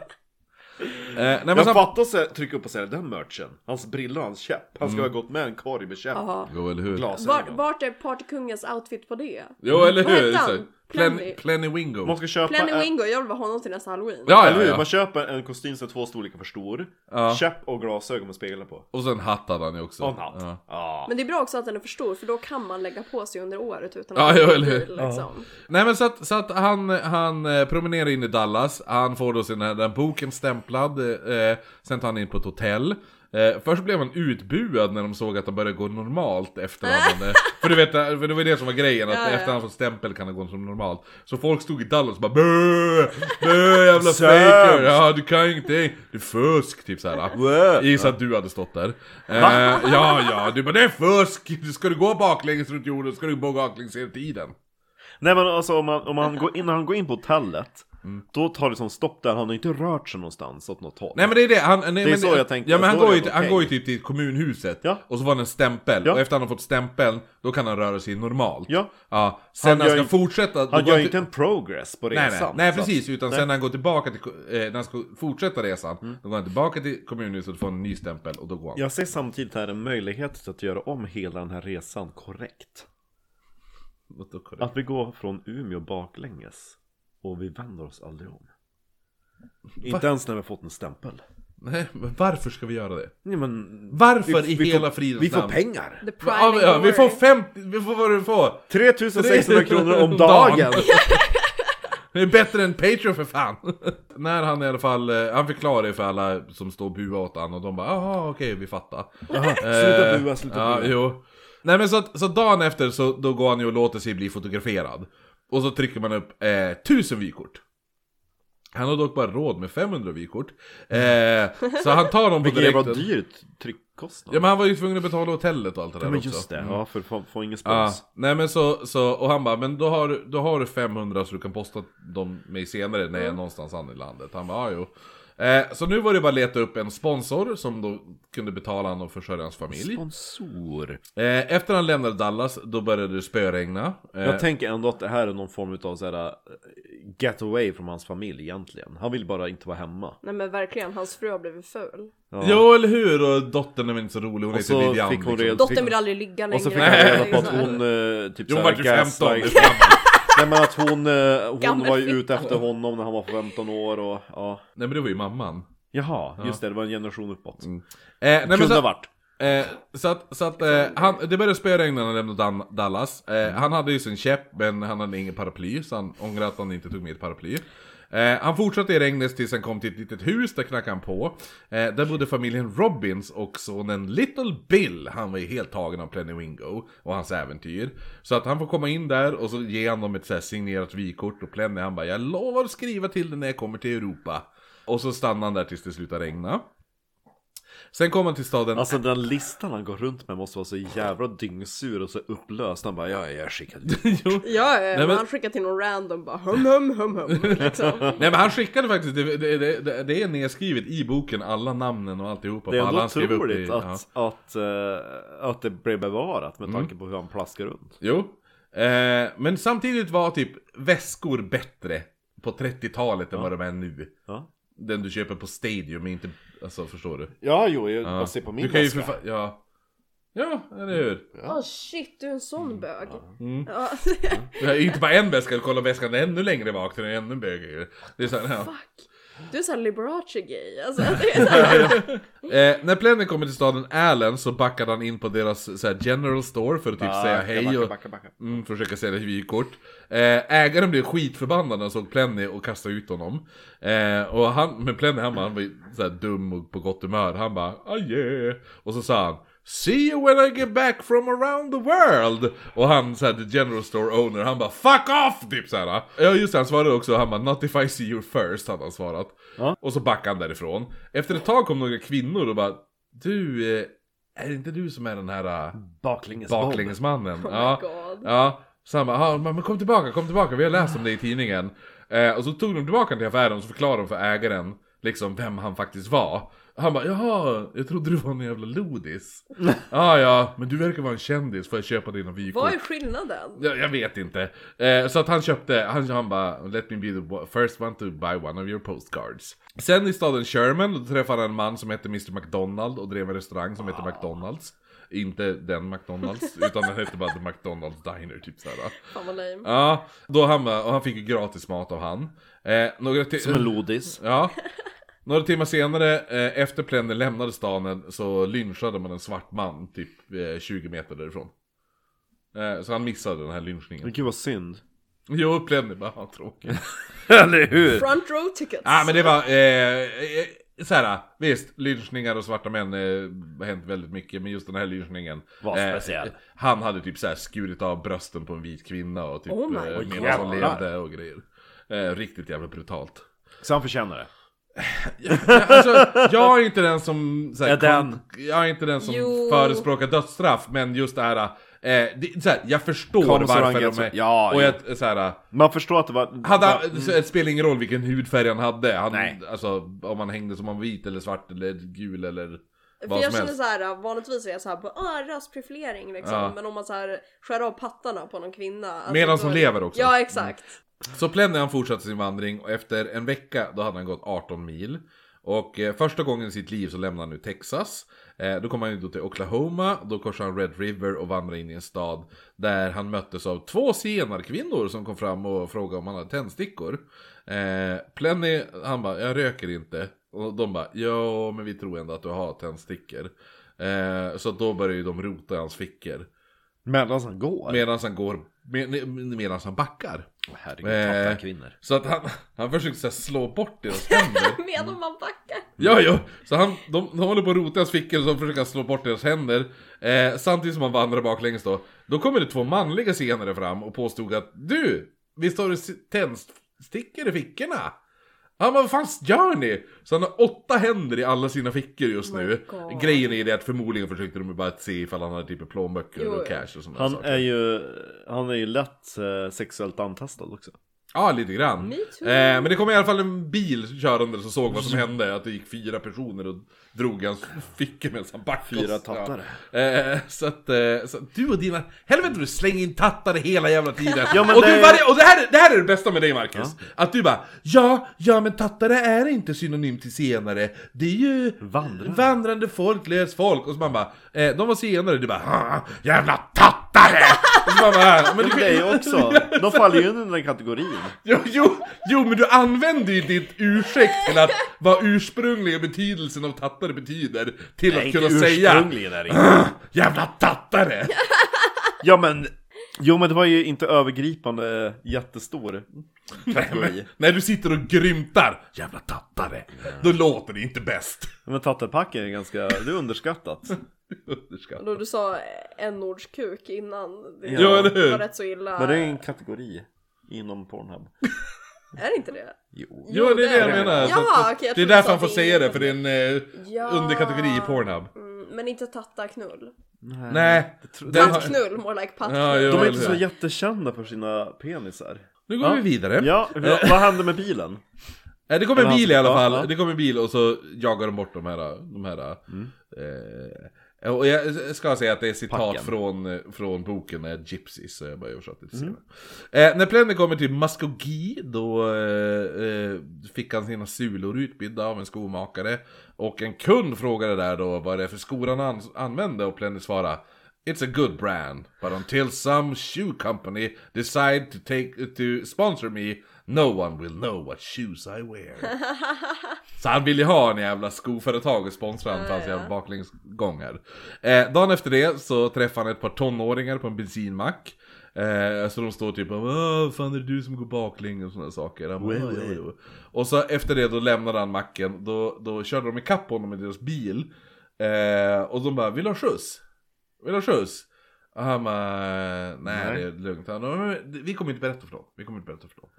nej, men
Jag
så han...
fattar så trycka upp och säga den merchen. Hans brillor och hans käpp. Han
Mm.
ska ha gått med en korg med käpp.
Jaha.
Jo, eller hur?
Vart,
Glasögon.
vart är partykungens outfit på det?
Jo, eller
Vad
hur?
hette han?
Så- Plen-
Plenny.
Plenny Wingo.
Man ska köpa
Plenny
en-
Wingo, jag vill vara honom till nästa halloween.
Ja,
Eller
ja,
hur?
ja.
Man köper en kostym som är två storlekar för stor.
Ja.
Käpp och glasögon med speglar på.
Och sen hatt hade han ju också.
Och en hatt.
Ja.
Ja.
Men det är bra också att den är för stor för då kan man lägga på sig under året utan
Ja,
att
ja,
bli
eller hur?
bil, liksom.
Nej men så att, så att han, han eh, promenerar in i Dallas, han får då sin, här- den här boken stämplad, eh, sen tar han in på ett hotell. Eh, först blev han utbuad när de såg att han började gå normalt efter han hade, För du vet, eh, för det var det som var grejen, att
Ja, ja.
efter han fått stämpel kan han gå som normalt. Så folk stod i Dallas och bara bö, bö jävla
Sämst.
faker, ja du kan ju ingenting, du fusk, typ såhär.
Wow.
Gissa att du hade stått där. Eh, ja, ja, du bara det är fusk! Ska du gå baklänges runt jorden ska du gå baklänges hela tiden.
Nej men alltså om man, om man går in, när han går in på hotellet. Då tar det som stopp där, han har inte rört sig någonstans åt något håll.
Mm. Nej men det är det, han, nej,
är
men,
så jag tänkte.
Ja men
Jag
han
såg
går, ju,
det,
han
okej.
går ju typ till kommunhuset,
Ja.
och så får han en stämpel,
Ja.
och efter han har fått stämpeln, då kan han röra sig normalt.
Ja.
ja. Sen
Han
när han
gör
ska
ju-
fortsätta...
han
då går
gör
till-
ju inte en progress på
Nej,
resan.
nej, nej
så att-
precis, utan sen när han går tillbaka till, ko- eh, när han ska fortsätta resan,
Mm.
då går han tillbaka till kommunhuset och får en ny stämpel och då går han.
Jag ser samtidigt här en möjlighet till att göra om hela den här resan korrekt.
Och då går det.
Att vi går från Umeå baklänges och vi vänder oss aldrig om. Inte ens när vi har fått en stämpel.
Nej, men varför ska vi göra det?
Nej, men
Varför i hela
får,
fridens
Vi får
namn?
pengar!
The pride
Ja,
and
ja, vi får
glory.
50, vi får vad du får!
3600 kronor om dagen!
Det är bättre än Patreon för fan! När han i alla fall, eh, han förklarar det för alla som står och buar åt han och de bara jaha okej vi fattar.
Sluta bua, sluta
Eh, ja,
bua.
Jo. Nej men så, att- så dagen efter så då går han ju och låter sig bli fotograferad. Och så trycker man upp eh, tusen vykort. Han har dock bara råd med 500 vykort. Eh, så han tar dem på
Vilket jävla
direkten.
dyrt tryckkostnad.
Ja men han var ju tvungen att betala hotellet och allt det där
Ja, men
också. Mm.
just det, ja, för att få, få ingen
Ja,
spons.
nej men så, så, och han bara, men då har, du- då har du 500 så du kan posta dem mig senare när jag
Mm.
är någonstans annan i landet. Han bara, ja, jo. Eh, så nu var det bara att leta upp en sponsor som då kunde betala honom och försörja hans familj.
Sponsor.
Eh, efter han lämnade Dallas, då började det spöregna. Eh,
Jag tänker ändå att det här är någon form av så här, eh, get away från hans familj egentligen. Han vill bara inte vara hemma.
Nej men verkligen, hans fru har blivit ful.
Ja.
Jo, eller hur? Och dottern är väl inte så rolig, hon
Och
heter
så
Vivian. liksom.
fick hon reda-
Dottern vill aldrig ligga längre.
Och så fick han reda på
Liksom.
att hon eh, typ så
Jo, hon
här
vart ju 15.
gaslight- Nej men att hon, eh, hon
Gammal
var ju ute efter honom när han var 15 år och ja
nej men det var ju mamman.
Jaha, just det, det var en generation uppåt mm.
Eh, nej, men
Kunde ha
så-
varit
Eh, så att, så att eh, han, det började spöregna när han lämnade Dan- Dallas. Eh, Han hade ju sin käpp, men han hade ingen paraply, så han ångrar att han inte tog med ett paraply. Eh, han fortsatte i regnet tills han kom till ett litet hus, där knackade han på. Eh, där bodde familjen Robbins och sonen Little Bill. Han var ju helt tagen av Plenny Wingo och hans äventyr. Så att han får komma in där och så ger han dem ett så här signerat vykort och Plenny han bara 'Jag lovar att skriva till dig när jag kommer till Europa' Och så stannar han där tills det slutar regna. Sen kommer han till staden
Alltså den listan han går runt med måste vara så jävla dyngsur och så upplöst Han bara ja, jag skickade dit
Ja, ja,
men-
men han skickar till någon random bara hum hum hum hum liksom.
Nej men han skickade faktiskt, det, det, det, det är nedskrivet i boken, alla namnen och alltihopa
Det är
på
ändå
alla han skrev upp i,
otroligt
ja. Mm.
att, att, eh, att det blev bevarat med tanke på hur han plaskar runt
Jo eh, Men samtidigt var typ väskor bättre på 30-talet än vad de är nu
Ja,
Den du köper på Stadium är inte, alltså förstår du?
ja jo, jag
Ja.
bara ser på min
du kan ju
väska. Mm,
förfa- ja Ja, Mm. eller hur?
Åh Oh, shit, du är en sån bög. Ja.
Det är inte bara en väska, kolla väskan är ännu längre bak, den är ännu bögigare Det är så här, ja.
Fuck. Du är såhär Liberace-gay. Alltså, det är så här-
Eh, när Plenny kommer till staden Allen så backade han in på deras så här, general store för att typ
Backa,
säga hej
backa,
och
backa, backa.
Mm, försöka sälja vykort. Eh, ägaren blev skitförbannad när han såg Plenny och kastade ut honom. Eh, och han, men Plenny han, bara, han var ju så här dum och på gott humör. Han bara adjö. Och så sa han See you when I get back from around the world! Och han såhär, the general store owner, han bara FUCK OFF! Typ såhär. Ja just det, han svarade också, han bara Not if I see you first, hade han svarat.
Ja.
Och så backade han därifrån. Efter ett tag kom några kvinnor och bara Du, eh, är det inte du som är den här eh,
Baklängesboll.
baklängesmannen?
Oh my
ja.
god.
Ja, så han bara, "Ah, men men kom tillbaka, kom tillbaka, vi har läst om det i tidningen. Eh, och så tog de tillbaka honom till affären och så förklarade de för ägaren liksom vem han faktiskt var. Han bara, jaha, jag trodde du var en jävla lodis. Ja, ah, ja, men du verkar vara en kändis, får jag köpa dina vykort?
Vad är skillnaden?
Jag, jag vet inte. Eh, så att han köpte, han, han bara Let me be the first one to buy one of your postcards. Sen i staden Sherman, då träffade han en man som hette Mr McDonald och drev en restaurang som hette McDonalds. Inte den McDonalds, utan den hette bara The McDonalds Diner typ såhär.
Fan vad lame.
Ja, då han bara, och han fick ju gratis mat av han. Eh, några till-
Som en lodis
Ja. Några timmar senare, eh, efter Plenner lämnade staden, så lynchade man en svart man typ eh, 20 meter därifrån. Eh, så han missade den här lynchningen.
Men gud vad synd
Jo, Plenner bara, ah, tråkigt.
Eller hur?
Front row tickets.
ah, men det var, eh, eh, såhär, visst, lynchningar och svarta män eh, har hänt väldigt mycket, men just den här lynchningen. eh,
Var speciell.
han hade typ såhär skurit av brösten på en vit kvinna och typ
Oh my
eh,
God.
medan hon
Jävlar.
levde och grejer. Eh, riktigt jävla brutalt.
Så han förtjänar det
alltså, jag är inte den som så här,
Ja, den.
kont- Jag är inte den som
Jo.
förespråkar dödsstraff Men just det här eh, det, så här jag förstår
Konserang-
varför de är
Ja,
Och
jo.
jag, så här,
Man förstår att det var...
hade,
var-
han- så Det spelar ingen roll vilken hudfärg han hade han,
Nej.
Alltså om han hängde som han var vit eller svart eller gul eller
För
vad
jag
som
känner
helst
såhär, vanligtvis är jag såhär bara ah, röstprofilering liksom.
Ja.
Men om man såhär skär av pattarna på någon kvinna. Alltså,
Medan
då-
som lever också.
Ja exakt.
Så Plenny han fortsatte sin vandring och efter en vecka då hade han gått 18 mil. Och eh, första gången i sitt liv så lämnar han nu Texas. Eh, då kom han ju då till Oklahoma, då korsade han Red River och vandrade in i en stad. Där han möttes av två zigenarkvinnor som kom fram och frågade om han hade tändstickor. Eh, Plenny han bara, jag röker inte. Och de bara, ja men vi tror ändå att du har tändstickor. Eh, så då började ju de rota i hans fickor.
Medan han går?
Medan han går, med, medan han backar.
Åh, Herregud, tappar
Eh.
kvinnor.
Så att han, han försökte så här, slå bort deras händer.
Medan man backar.
Ja, ja. Så han, de, de håller på att rota i hans fickor och så försöker han slå bort deras händer. Eh, samtidigt som han vandrar baklänges då. Då kommer det två manliga zigenare fram och påstod att du, visst har du s- tändstickor i fickorna? Ja men vad fan gör ni? Så han har åtta händer i alla sina fickor just
Oh my
nu.
God.
Grejen är det att förmodligen försökte de bara att se ifall han hade typ plånböcker
Jo,
och
jo.
cash och sådana
Han
saker.
är ju, han är ju lätt eh, sexuellt antastad också.
Ja, lite grann.
Me too.
Eh, men det kom i alla fall en bil körande som såg vad som hände. Att det gick fyra personer och drog i hans fickor medan han backade.
Fyra tattare.
Ja. Eh, så att, eh, så att du och dina... Helvete du slänger in tattare hela jävla tiden.
Ja, men
och
det-
du, varje, och det, här, det här är det bästa med dig Marcus. Att du bara ja, ja men tattare är inte synonym till senare. Det är ju
Vandrare.
vandrande folk, lös folk. Och så man bara, eh, de var senare. Du bara "Ah, jävla tattare! och så man bara, men
Men det är ju också, de faller ju under den kategorin.
Jo, jo, jo, men du använder ju ditt ursäkt till att vad ursprungliga betydelsen av tattare betyder till
Nej,
att
inte
kunna säga
ursprungligen är det inte.
Jävla tattare!
Ja men, jo men det var ju inte övergripande eh, jättestor
Nej,
kategori.
men, när du sitter och grymtar Jävla tattare! Då låter det inte bäst!
Men tattarpacken är ganska, det är underskattat.
Underskatt.
Då du sa enortskuk innan. Det
Ja,
eller hur?
var rätt så illa.
Men det är en kategori inom Pornhub.
Är det inte det?
Jo.
Jo, det är det jag
det.
menar!
Jaha,
Så att-
okej, jag
det är
trodde du
därför
sa
han får
att det
säga
är-
det, för det är en eh,
Ja.
underkategori i Pornhub.
Mm, men inte tattarknull.
Nej, den har-
Pattknull, more like
Ja,
pattknull.
jo,
De är
eller
inte så
hur.
jättekända för sina penisar.
Nu går
Ja.
vi vidare.
Ja, hur- vad hände med bilen?
Nej, det kommer en bil i alla
Ja,
fall,
ja.
det kommer en bil och så jagar de bort de här, de här
Mm.
eh, Och jag ska säga att det är citat
Packen.
från, från boken eh, Gypsies, så jag bara översatte till senare eh, När Plenny kommer till Muskogee, då eh, eh, fick han sina sulor utbydda av en skomakare Och en kund frågade där då vad det är för skor han an- använde och Plenny svarade It's a good brand, but until some shoe company decide to take to sponsor me, no one will know what shoes I wear. Så han ville ju ha en jävla skoföretag och sponsra honom för hans jävla baklängesgång här. Eh, dagen efter det så träffar han ett par tonåringar på en bensinmack. Eh, så de står typ och bara, "Åh, fan är det du som går baklänges och sådana saker. Han bara, "Ja, ja, ja." Och så efter det då lämnade han macken, då, då körde de ikapp honom med deras bil. Eh, och de bara, vill du ha skjuts? Vill du ha skjuts? Och han bara, nej
Nej.
det är lugnt. Han bara, "Men vi kommer inte berätta för dem. Vi kommer inte berätta för dem.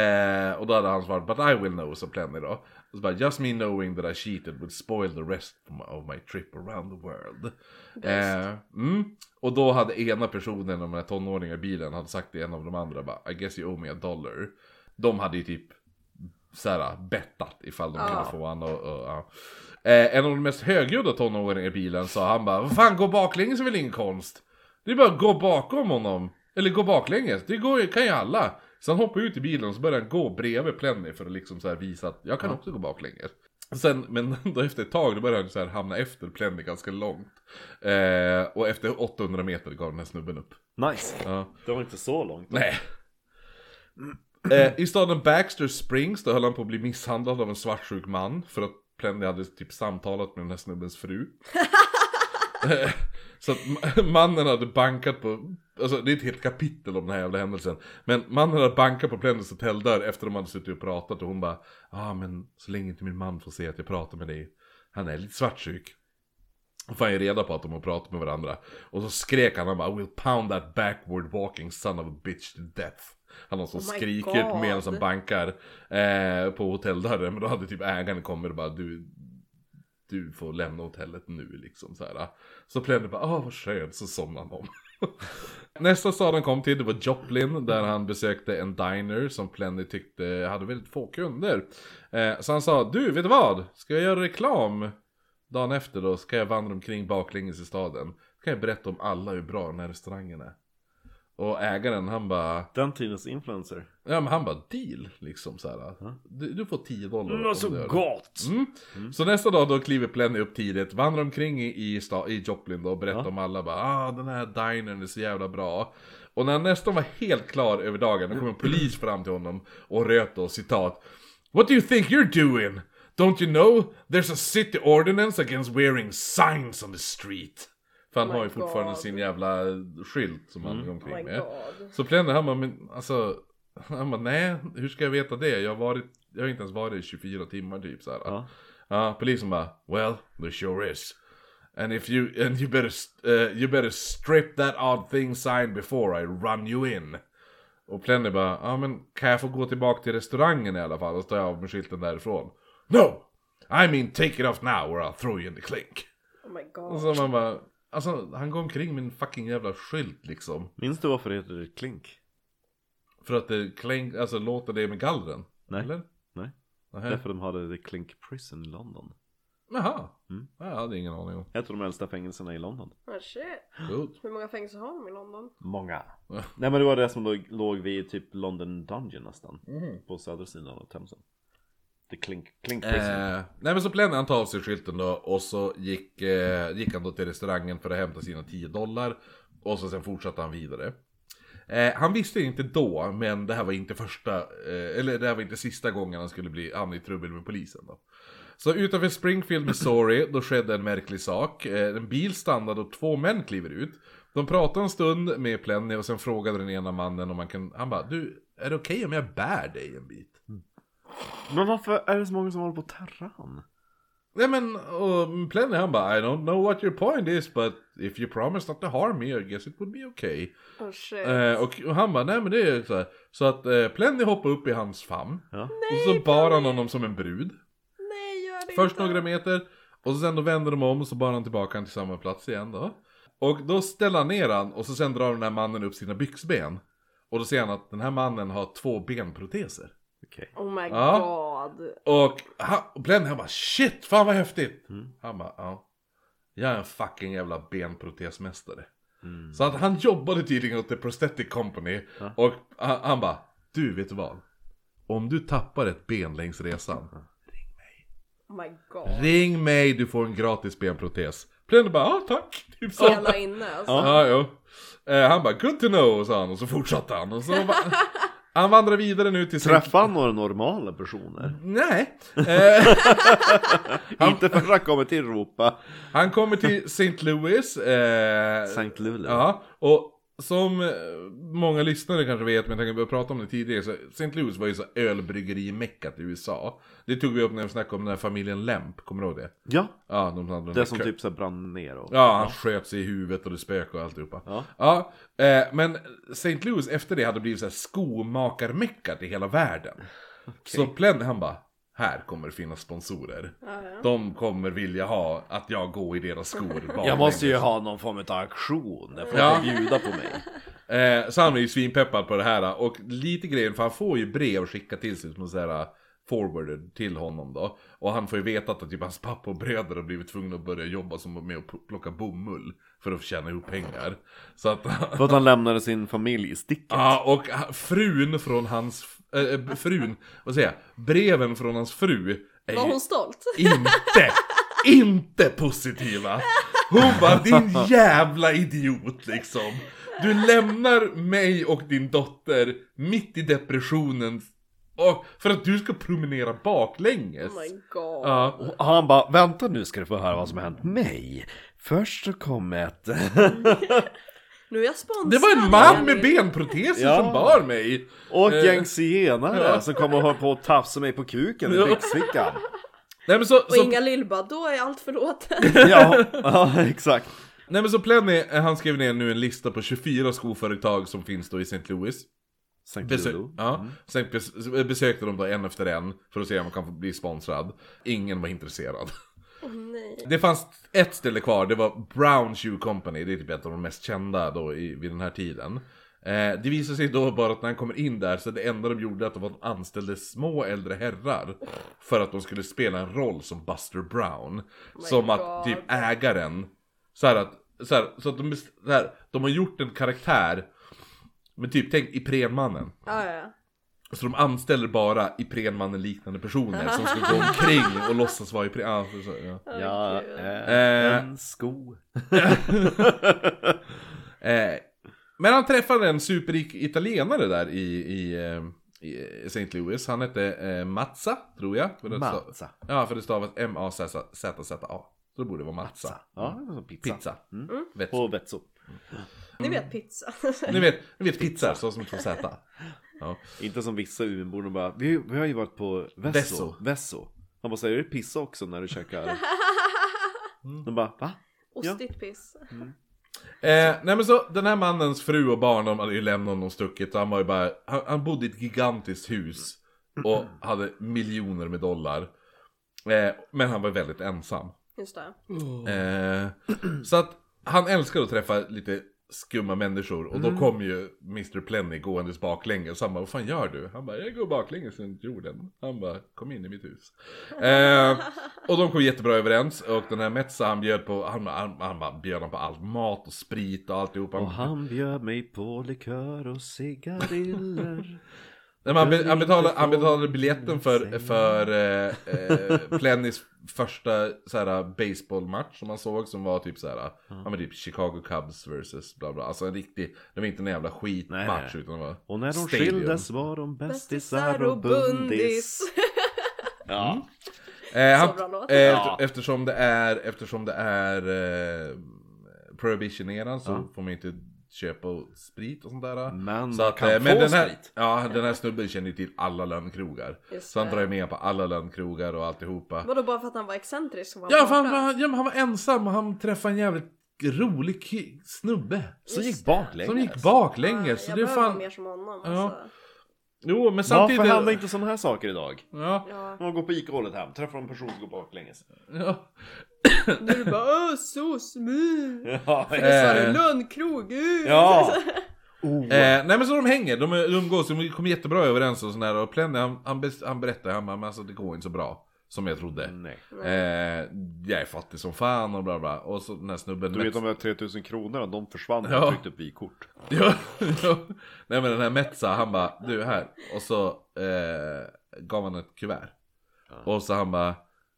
Eh, och då hade han svarat, but I will know, så Plenny då. Och så bara, just me knowing that I cheated would spoil the rest of my- of my trip around the world. Eh, mm. Och då hade ena personen, de här tonåringarna i bilen, hade sagt till en av de andra bara, I guess you owe me a dollar. De hade ju typ såhär bettat ifall de
Ja.
kunde få han och, och, ja. eh, En av de mest högljudda tonåringarna i bilen sa han bara Vad fan gå baklänges är väl ingen konst? Det är bara att gå bakom honom Eller gå baklänges, det går, ju- kan ju alla Så han hoppade ut i bilen och så började han gå bredvid Plenny för att liksom så här visa att jag kan också gå baklänges Och Sen, men då efter ett tag då började han så här hamna efter Plenny ganska långt eh, Och efter 800 meter gav den här snubben upp
Nice.
ja.
Det var inte så långt.
Nej. Eh, I staden Baxter Springs då höll han på att bli misshandlad av en svartsjuk man för att Plenty hade typ samtalat med den här snubbens fru. Eh, Så att ma- mannen hade bankat på, alltså det är ett helt kapitel om den här jävla händelsen. Men mannen hade bankat på Plennys hotelldörr efter de hade suttit och pratat och hon bara Ja ah, men så länge inte min man får se att jag pratar med dig, han är lite svartsjuk. Och får han ju reda på att de har pratat med varandra. Och så skrek han, han bara I will pound that backward walking son of a bitch to death. Han har så
Oh my
skriker
God.
medan han bankar eh, på hotelldörren. Men då hade typ ägaren kommit och bara du, du får lämna hotellet nu liksom så här. Så Plenty bara, ah vad skönt, så somnade han om. Nästa stad han kom till det var Joplin där han besökte en diner som Plenty tyckte hade väldigt få kunder. Eh, så han sa, du vet du vad? Ska jag göra reklam? Dagen efter då ska jag vandra omkring baklänges i staden. Så kan jag berätta om alla hur bra den här restaurangen är. Och ägaren han bara,
Den tidens influencer.
ja men han bara deal liksom så här. Du, du får 10 dollar
Mm,
om
alltså,
du gör det."
gott!
Mm. Så nästa dag då kliver Plenny upp tidigt, vandrar omkring i, i, sta, i Joplin då och berättar
Ja.
om alla bara ah, den här dinern är så jävla bra. Och när han nästan var helt klar över dagen, då kom en polis fram till honom och röt då citat What do you think you're doing? Don't you know? There's a city ordinance against wearing signs on the street. För han
Oh
har
my
ju fortfarande
God.
sin jävla skylt som han går
Oh my
omkring med.
god.
Så Plenny han bara, men alltså, han bara, nej, hur ska jag veta det? Jag har, varit, jag har inte ens varit i 24 timmar typ så här.
Ja.
Ja, polisen bara, well, there sure is. And if you, and you better, st- eh, you better strip that odd thing sign before I run you in. Och Plenny bara, ja men kan jag få gå tillbaka till restaurangen i alla fall? Och så tar jag av mig skylten därifrån. No! I mean take it off now or I'll throw you in the clink.
Oh my
Och
god.
så man bara, alltså han går omkring med en fucking jävla skylt liksom.
Minns du varför det heter klink?
För att det kläng, alltså låter det med gallren?
Nej.
Eller?
Nej.
Nähä.
Därför de hade The Clink Prison i London.
Jaha.
Mm.
Jag hade ingen aning om.
Ett av de äldsta fängelserna i London.
Oh shit.
Good.
Hur många fängelser har de i London?
Många.
Ja.
Nej men det var det som låg, låg vid typ London Dungeon nästan.
Mhm.
På södra sidan av Themsen. The Clink, Clink Prison.
Eh, nej men så Plenny han tar av sig skylten då och så gick, eh, gick han då till restaurangen för att hämta sina 10 dollar. Och så sen fortsatte han vidare. Eh, han visste inte då, men det här var inte första, eh, eller det här var inte sista gången han skulle bli hamna i trubbel med polisen då. Så utanför Springfield, Missouri, då skedde en märklig sak. Eh, En bil stannade och två män kliver ut. De pratade en stund med Plenny och sen frågade den ena mannen om han kan, han bara du, är det okej om jag bär dig en bit?
Men varför är det så många som håller på terran?
Nej men, och Plenny han bara I don't know what your point is but if you promise not to harm me I guess it would be okay.
Oh shit.
Eh, och, och han bara nej men det är så här. Så att eh, Plenny hoppade upp i hans famn.
Ja.
och så bar han honom som en brud.
Nej gör det
Först
inte.
några meter och så sen då vänder de om och så bar han tillbaka han till samma plats igen då. Och då ställer han ner han och så sen drar den här mannen upp sina byxben. Och då ser han att den här mannen har två benproteser.
Okej.
Oh my
Ja.
god.
Och han, och Glenn han bara shit, fan vad häftigt!
Mm.
Han bara ja. Jag är en fucking jävla benprotesmästare.
Mm.
Så att han jobbade tydligen åt The Prosthetic Company
Ja.
och han, han bara du vet du vad? Om du tappar ett ben längs resan
Oh my god.
Ring mig, du får en gratis benprotes. Plenny bara ja tack! Typ så.
Jävla inne alltså.
Ja.
Ja, jo. Eh, han bara good to know sa han och så fortsatte han. Och så va- han vandrar vidare nu till sin-
Träffar han några normala personer?
Nej. Eh,
Inte förrän han kommer till Europa.
Han kommer till St. Louis. Eh,
Sankt Luleå.
ja, och som eh, många lyssnare kanske vet, men jag tänker vi har pratat om det tidigare, så St. Louis var ju så ölbryggeri-meckat i USA. Det tog vi upp när vi snackade om den här familjen Lemp, kommer du ihåg det?
Ja,
Ja, de hade den
det
där
som
kö-
typ så här brann ner och...
Ja, han sköt sig i huvudet och det spök och alltihopa.
Ja.
Ja, eh, men St. Louis efter det hade blivit så här skomakarmeckat i hela världen. Så Plenny han bara, här kommer det finnas sponsorer.
Ja, ja.
De kommer vilja ha att jag går i deras skor.
Jag måste ju ha någon form av aktion. Det får
Ja.
liksom. ja. bjuda på mig.
Eh, så han är ju svinpeppad på det här och lite grejen för han får ju brev skickat till sig som så här forwarded till honom då. Och han får ju veta att typ hans pappa och bröder har blivit tvungna att börja jobba som med att plocka bomull för att tjäna ihop pengar. Så att...
För att han lämnade sin familj i sticket.
Ja, och frun från hans... Äh, frun, vad säger jag? Breven från hans fru är
Var
ju
hon stolt?
inte, inte positiva. Hon bara din jävla idiot liksom. Du lämnar mig och din dotter mitt i depressionen och, för att du ska promenera baklänges.
Oh my god.
Ja.
Och han bara, vänta nu ska du få höra vad som har hänt mig. Först så kom ett...
Nu är jag sponsrad.
Det var en man med benproteser
Ja.
som bar mig.
Och
Eh.
ett gäng zigenare som kom och höll på att tafsa mig på kuken i
Ja.
byxfickan.
Nej men så,
Och
så
Inga Lill bara, då är allt förlåtet.
Mm.
Ja, ja, exakt.
Nej men så Plenny, eh, han skrev ner nu en lista på 24 skoföretag som finns då i St. Louis.
Sankt
Besö-
Luleå.
ja. Sen bes- eh, besökte de då en efter en för att se om man kan få bli sponsrad. Ingen var intresserad.
Åh nej.
Det fanns ett ställe kvar, det var Brown Shoe Company, det är typ ett av de mest kända då i, vid den här tiden. Eh, det visar sig då bara att när han kommer in där så det enda de gjorde att de anställde små äldre herrar för att de skulle spela en roll som Buster Brown.
Oh my
som att
God.
typ ägaren, så här att, så, här, så att de, så här, de har gjort en karaktär, men typ tänk Iprenmannen.
Ja, ja, ja.
Så de anställer bara Iprenmannen liknande personer som ska gå omkring och låtsas vara Ipren... Ja, så- ja.
Ja,
gud.
eh,
Eh.
en sko.
Eh, men han träffade en superrik italienare där i, i, eh, i St. Louis. Han hette eh, Mazza, tror jag. För det sta-
Mazza.
Ja, för det stavas M-A-Z-Z-A. Så det borde vara matza.
Ja, alltså pizza.
Pizza.
Mm.
Mm.
Vetsu.
På Vetso.
Ni vet pizza.
Ni vet, ni vet pizza, så som två Z. Ja.
Inte som vissa Umeåbor, de bara vi, vi har ju varit på Vesso.
Vesso.
Vesso. Man bara säger är det pissa också när du käkar? De bara va?
Ostigt piss.
Eh, nej men så den här mannens fru och barn de hade ju lämnat honom och stuckit och han var ju bara han, han bodde i ett gigantiskt hus och hade miljoner med dollar. Eh, men han var väldigt ensam.
Just det.
Eh, så att han älskar att träffa lite skumma människor och
Mm.
då kom ju Mr Plenny gåendes baklänges så han bara vad fan gör du? Han bara jag går baklänges runt jorden. Han bara kom in i mitt hus. Eh, och de kom jättebra överens och den här Metsa han bjöd på, han, han, han bara bjöd honom på allt, mat och sprit och alltihopa.
Och han bjöd mig på likör och cigariller.
Nej, men han, be, han, betalade, han betalade biljetten för, för eh, eh, Plennys första såhär, baseballmatch som han såg som var typ såhär, ja men typ Chicago Cubs versus bla bla. Alltså en riktig, det var inte en jävla
Nej,
skitmatch
nej.
utan det var
Och när de
stadium.
skildes var de bästisar och bundis. Ja.
Eh, han,
Så bra låt.
eh,
Ja.
efter, eftersom det är, eftersom det är eh, prohibition-eran så får man ju inte köpa sprit och sånt där.
Men
så att,
kan
eh, men
få
den här,
sprit.
Ja, den här snubben känner ju till alla lönnkrogar.
Just
Så han
det.
drar ju med på alla lönnkrogar och alltihopa.
Vadå bara för att han var excentrisk som var
Ja, för han,
borta?
var- ja, men han var ensam och han träffade en jävligt rolig ki- snubbe.
Som
Just
gick baklänges.
Som gick
Ja,
baklänges. Så
jag
det är
behöver
fan...
mer som honom.
Ja.
Alltså.
Jo, men
Varför
samtidigt...
händer inte sådana här saker idag?
Ja,
Ja.
Man går på Ica-hållet hem, träffar en person som går baklänges.
ja.
Nu är det bara öh, så smooth.
Ja,
Eh.
Äh. Lönnkrog, uh.
ja. Oh,
Eh, nej men så de hänger, de är- de umgås, de kommer jättebra överens och sådär. Och Plenny han, han, bes- han berättar, han bara, men alltså det går inte så bra. Som jag trodde.
Mm.
Nej.
Eh, jag är fattig som fan och bla bla. Och så den här snubben...
Du vet de här 3000 kronorna, de försvann när
Ja.
jag tryckte upp vykort.
Ja, ja. Nej men den här Metsa, han bara du här. Och så eh, gav han ett kuvert. Och så han bara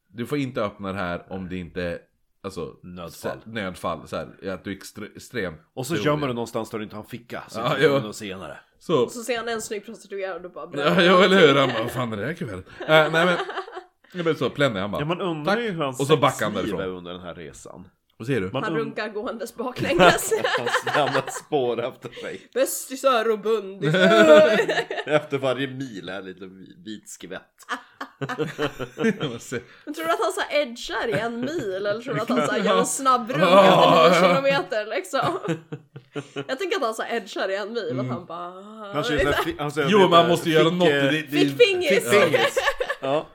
du får inte öppna det här om det inte är, alltså,
Nödfall.
Så, nödfall så här, att du är extre, extrem.
Och så
trolig.
gömmer du någonstans där du inte har en ficka. Så
Ja,
ja,
jo.
jag och senare.
Så,
Och så ser han en snygg prostituerad och bara typ."
ja, ja eller hur. Han bara vad fan är det här kuvertet? Eh, nej men. Jag blev så plännig han bara.
Ja man undrar
tack.
ju hur hans
Och så backar han
sexliv
därifrån.
är under den här resan.
Vad säger du?
Man
Han
und-
runkar gåendes baklänges.
Hans gamla spår efter sig.
Bästisar och bundis.
Efter varje mil här lite vit skvätt.
Men tror du att han så här edgar i en mil eller tror du att han så här gör en snabb runk efter nio kilometer liksom? Jag tänker att han så här edgar i en
Mm.
mil, att han bara... "Ah,
Han kör såhär, fi- han säger
jo
att det
man
heter
måste ju göra
fick,
något.
eh,
Det- det-
Fick fingers!
Fingers. Ja.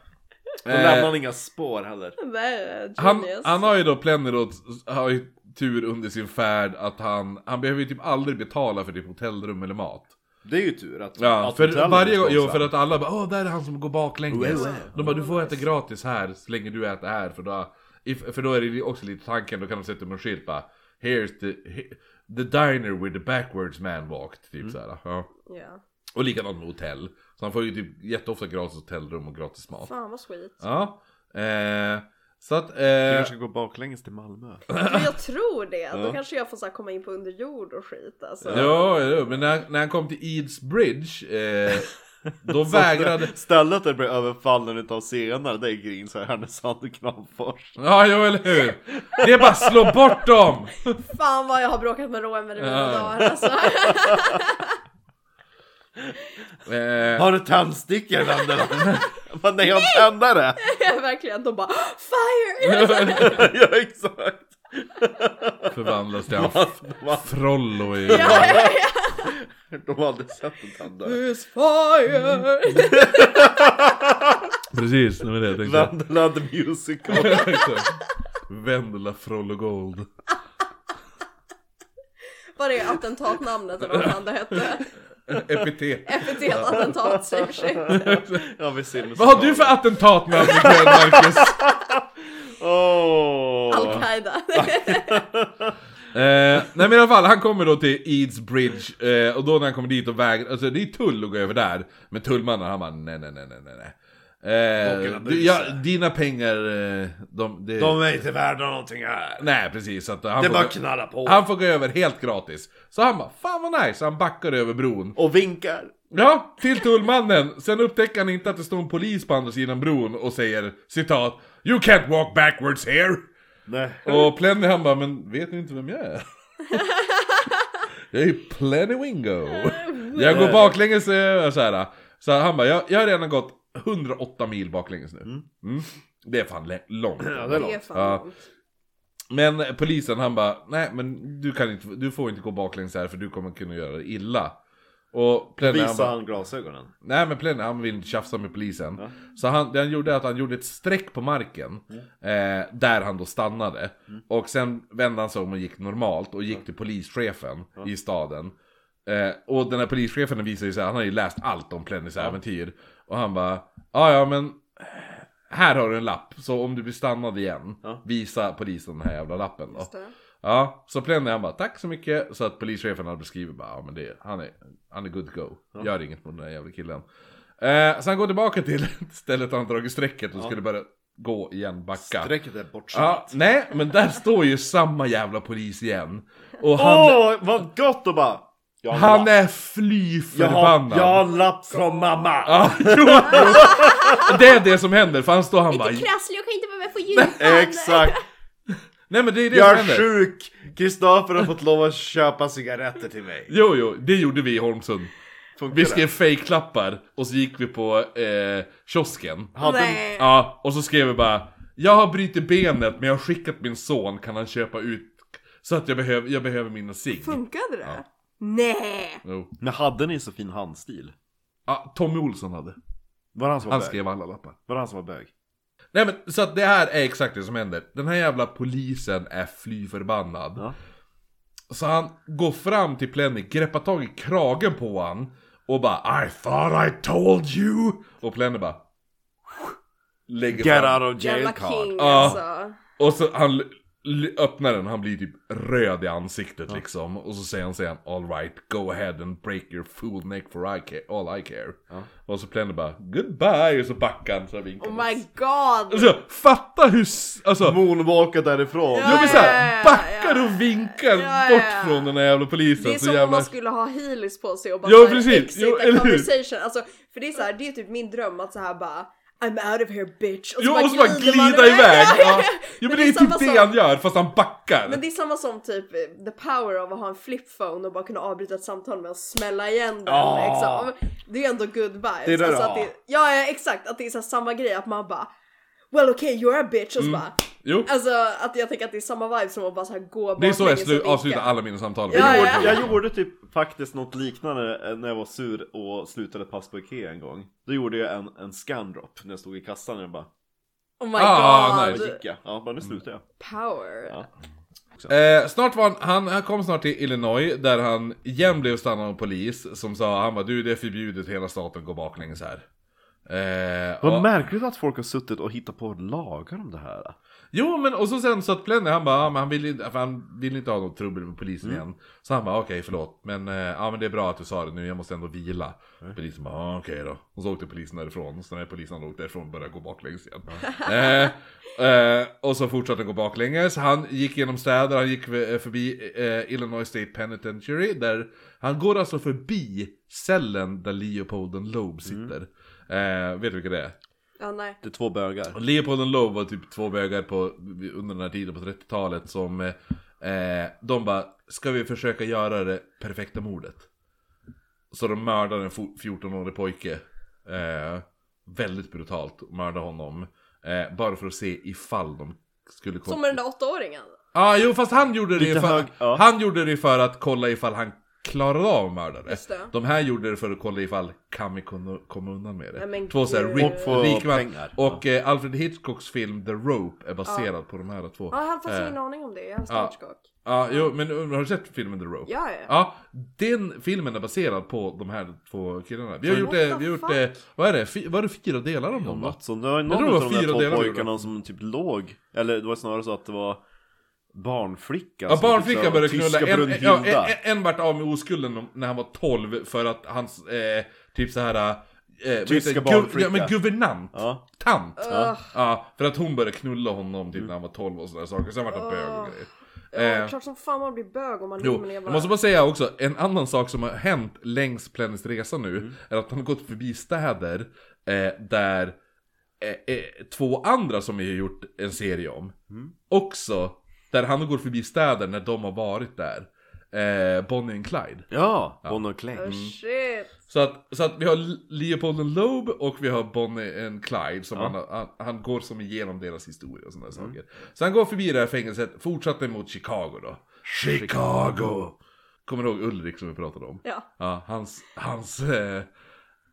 Då
Eh.
lämnar han inga spår heller.
Nej,
Han,
genius.
han har ju då Plenner då har ju tur under sin färd att han, han behöver ju typ aldrig betala för typ hotellrum eller mat.
Det är ju tur att...
Ja,
att
för
hotellet Oh,
varje gång, jo
sponsrar.
för att alla bara åh där är han som går baklänges.
Wow.
De bara du får äta gratis här så länge du äter här för då, if, för då är det ju också lite tanken, då kan de sätta upp en skylt bara Here's the, he- the diner with the backwards man walked, typ
Mm.
såhär. Ja.
Ja.
Och likadant med hotell. Så han får ju typ jätteofta gratis hotellrum och gratis mat.
Fan vad sweet.
Ja. Eh, så att...
Du
Eh,
kanske går baklänges till Malmö.
Men jag tror det. Då kanske jag får så här komma in på underjord och skit alltså.
Ja, ja, men när, när han kom till Eads Bridge, eh, då vägrade...
Stället där det blir överfallen utav senare, det är Grins här, Härnösand och Kramfors.
Ja, jo, eller hur? Det är bara att slå bort dem!
Fan vad jag har bråkat med Roemer i mina
Ja.
dagar alltså.
Eh,
Har du tändstickor Vendela? Men nej, jag har tändare!
Verkligen. De bara FIRE!
ja, exakt!
förvandlas till en f- frollo i...
De har aldrig sett en tändare.
This fire!
Precis, det var det jag tänkte.
Vendela the musical.
Exakt. Vendela Frollo Gold.
Vad är attentatnamnet eller vad fan det hette?
Epitet.
Epitet, attentat, same shit.
ja, vi ser
Vad har du för attentatnamn ikväll, Marcus?
Åh!
Al-Qaida.
Eh, nej men i alla fall, han kommer då till Eads Bridge eh, och då när han kommer dit och vägrar, alltså det är tull att gå över där. Men tullmannen han bara nej nej nej nej nej, nej. Eh,
kunna
du, ja,
busa.
dina pengar, eh, de, det,
De är inte värda någonting här.
Nej precis, så att han,
Det är
får
bara
gå-
att knalla på.
han får gå över helt gratis. Så han bara, fan vad nice, han backar över bron.
Och vinkar.
Ja, till tullmannen. Sen upptäcker han inte att det står en polis på andra sidan bron och säger citat You can't walk backwards here.
Nej.
Och Plenny han bara, men vet ni inte vem jag är? jag är ju Plenny Wingo. Jag går baklänges eh, så här. Så han bara, jag, jag har redan gått 108 mil baklänges nu. Mm. Det är fan lä- långt.
Ja, det är
Det är
långt.
fan
Ja.
långt.
Men polisen han bara, nej men du, kan inte, du får inte gå baklänges här för du kommer kunna göra dig illa. Och Plenny han
Visa
bara,
han glasögonen.
nej men Plenny han vill inte tjafsa med polisen.
Ja. Mm.
Så han, det han gjorde är att han gjorde ett streck på marken, eh, där han då stannade. Och sen vände han sig om och gick normalt och gick till polischefen i staden. Eh, och den här polischefen visade ju sig, han har ju läst allt om Plennys äventyr. Och han bara, ja ja men eh, här har du en lapp, så om du blir stannad igen,
Ja.
visa polisen den här jävla lappen då.
Just det.
Ja, så Plenny han bara tack så mycket Så att polischefen hade beskrivit bara, ja men det, han är, han är good to go Gör inget mot den där jävla killen eh, Så han går tillbaka till stället han dragit strecket och skulle börja gå igen, backa
Strecket är bortskämt.
Ja, nej men där står ju samma jävla polis igen Och han,
Åh, vad gott att bara... Jag har en
han
lapp.
är fly
jag har,
förbannad
jag har en lapp från mamma!
Ja, jo, jo. Det är det som händer för han står han bara
Lite krasslig, jag kan inte vara med på julafton.
Exakt!
Nej men det är det som
Jag
händer
är sjuk! Kristoffer har fått lov att köpa cigaretter till mig.
Jo, jo, det gjorde vi i Holmsund.
Funkar
Vi
det?
skrev fake-lappar och så gick vi på eh, kiosken.
Hade-
Nej.
Ja, och så skrev vi bara Jag har brutit benet men jag har skickat min son, kan han köpa ut så att jag behöver, jag behöver mina cigg?
Funkade det? Nej.
Jo.
Men hade ni så fin handstil?
Ja, Tommy Olsson hade.
Var det han som var
Han
bög?
skrev alla lappar.
Var det han som var bög?
Nej men så att det här är exakt det som händer. Den här jävla polisen är fly förbannad.
Ja.
Så han går fram till Plenny, greppar tag i kragen på han och bara I thought I told you! Och Plenny bara Lägger
Get
fram.
out of jail
Jävla
card.
king
Ja.
alltså.
Och så han l- l- öppnar den, han blir typ röd i ansiktet liksom. Och så säger han sen All right, go ahead and break your fool neck for I care, all I care. Och så Plenny bara Goodbye! Och så backar han så här vinkar
Oh
han.
my god.
Alltså fatta hur... s- Alltså,
Moonwalka därifrån.
Ja men såhär,
ja,
backar
ja.
och vinkar
Ja,
bort
ja.
från den här jävla polisen
Det är
så
som om
jävla...
man skulle ha heelys på sig och bara
Ja,
såhär,
precis.
exit
Jo,
a
eller hur?
conversation. Alltså, för det är såhär, det är typ min dröm att såhär bara I'm out of here bitch.
Jo och så bara
man
glida iväg! Ja. Jo men det är
samma
typ det
som-
han gör fast han backar!
Men det är samma som typ eh, the power av att ha en flipphone och bara kunna avbryta ett samtal med att smälla igen den.
Ja.
Liksom. Det är ändå good vibes. Alltså
Det är det du
att
har.
det, ja, ja exakt, att det är så här samma grej att man bara Well okay you're a bitch och
Mm.
så bara
Jo,
Alltså att jag tänker att det är samma vibe som att bara så här gå
det är så jag
baklänges och
slu-
vinka.
avslutar alla mina samtal.
Ja,
Jag
ja,
gjorde- Jag gjorde typ faktiskt något liknande eh, när jag var sur och slutade ett pass på Ikea en gång. Då gjorde jag en, en scandrop när jag stod i kassan och jag bara,
Oh my
Ah,
god!
då
nice.
gick jag. Ja, bara nu slutar jag.
Power!
Ja.
Eh, snart var han, han, han kom snart till Illinois där han igen blev stannad av polis som sa han bara du det är förbjudet hela staten går baklänges här. Eh,
Vad
och-
märkligt att folk har suttit och hittat på lagar om det här.
Jo men och så sen så att Plenny han bara, ja, men han vill inte, för han vill inte ha något trubbel med polisen igen. Så han bara okej förlåt men eh, ja men det är bra att du sa det nu jag måste ändå vila. Polisen bara ah, okej då. Och så åkte polisen därifrån. Så när polisen hade åkt därifrån och började gå baklänges igen. eh, eh, och så fortsatte han gå baklänges. Han gick genom städer, han gick eh, förbi eh, Illinois State Penitentiary. Där han går alltså förbi cellen där Leopolden Loeb sitter. Eh, vet du vilka det är?
Ja, nej.
Det är två bögar.
Och Leopold och Love var typ två bögar på, under den här tiden på 30-talet som eh, De bara, ska vi försöka göra det perfekta mordet? Så de mördade en fo- 14-årig pojke eh, Väldigt brutalt, mördade honom eh, Bara för att se ifall de skulle komma
Som med den där åttaåringen.
Ja, ah, jo fast han gjorde det
Lite
för,
hög, ja.
Han gjorde det för att kolla ifall han klarade av att mörda det.
Just det.
De här gjorde det för att kolla ifall kan vi kunna komma undan med det.
Nej, men
två såhär
gud.
Och
rik,
få
rikman
pengar.
och eh, Alfred Hitchcocks film The Rope är baserad på de här två.
Ja, jag hade faktiskt
Eh.
ingen aning om det. Jag
Ja.
älskar Hitchcock.
Ja, jo men uh, har du sett filmen The Rope?
Ja, ja.
Ja, den filmen är baserad på de här två killarna. Vi har
Mm.
gjort, eh,
What
vi har
the
gjort
fuck?
eh, vad är det, Fy, var det fyra delar om dem va?
Något som, det var
tror
någon
det var
av de där
fyra
två
delar vi
pojkarna som typ låg. Eller det var snarare så att det var barnflickan.
Ja,
som
barnflickan
typ
började
så-
knulla.
Tyska
En, ja,
Brunhilda.
en, en vart av med oskulden om- när han var 12 för att hans, eh, typ så här eh, vad
Tyska
heter det?
barnflicka.
ja, men guvernant.
Ja.
Tant.
Ja.
Ja, för att hon började knulla honom typ när han var 12 och sådana saker. Sen vart han bög och grejer.
Ja,
Eh.
klart som fan man blir bög om man
Jo,
lever
Mm, jag måste bara säga också, en annan sak som har hänt längs Plennys resa nu är att han har gått förbi städer eh, där eh, eh, två andra som jag har gjort en serie om. Också, där han går förbi städer när de har varit där. Eh, Bonnie och Clyde.
Ja, Bonnie och Mm. Clyde.
Mm.
Oh shit.
Så att, så att vi har Leopold and Loeb och vi har Bonnie and Clyde som han, han, han går som igenom deras historia och sådana saker. Så han går förbi det här fängelset, fortsätter mot Chicago då. Chicago! Kommer du ihåg Ulrik som vi pratade om?
Ja.
Ja, hans, hans, eh,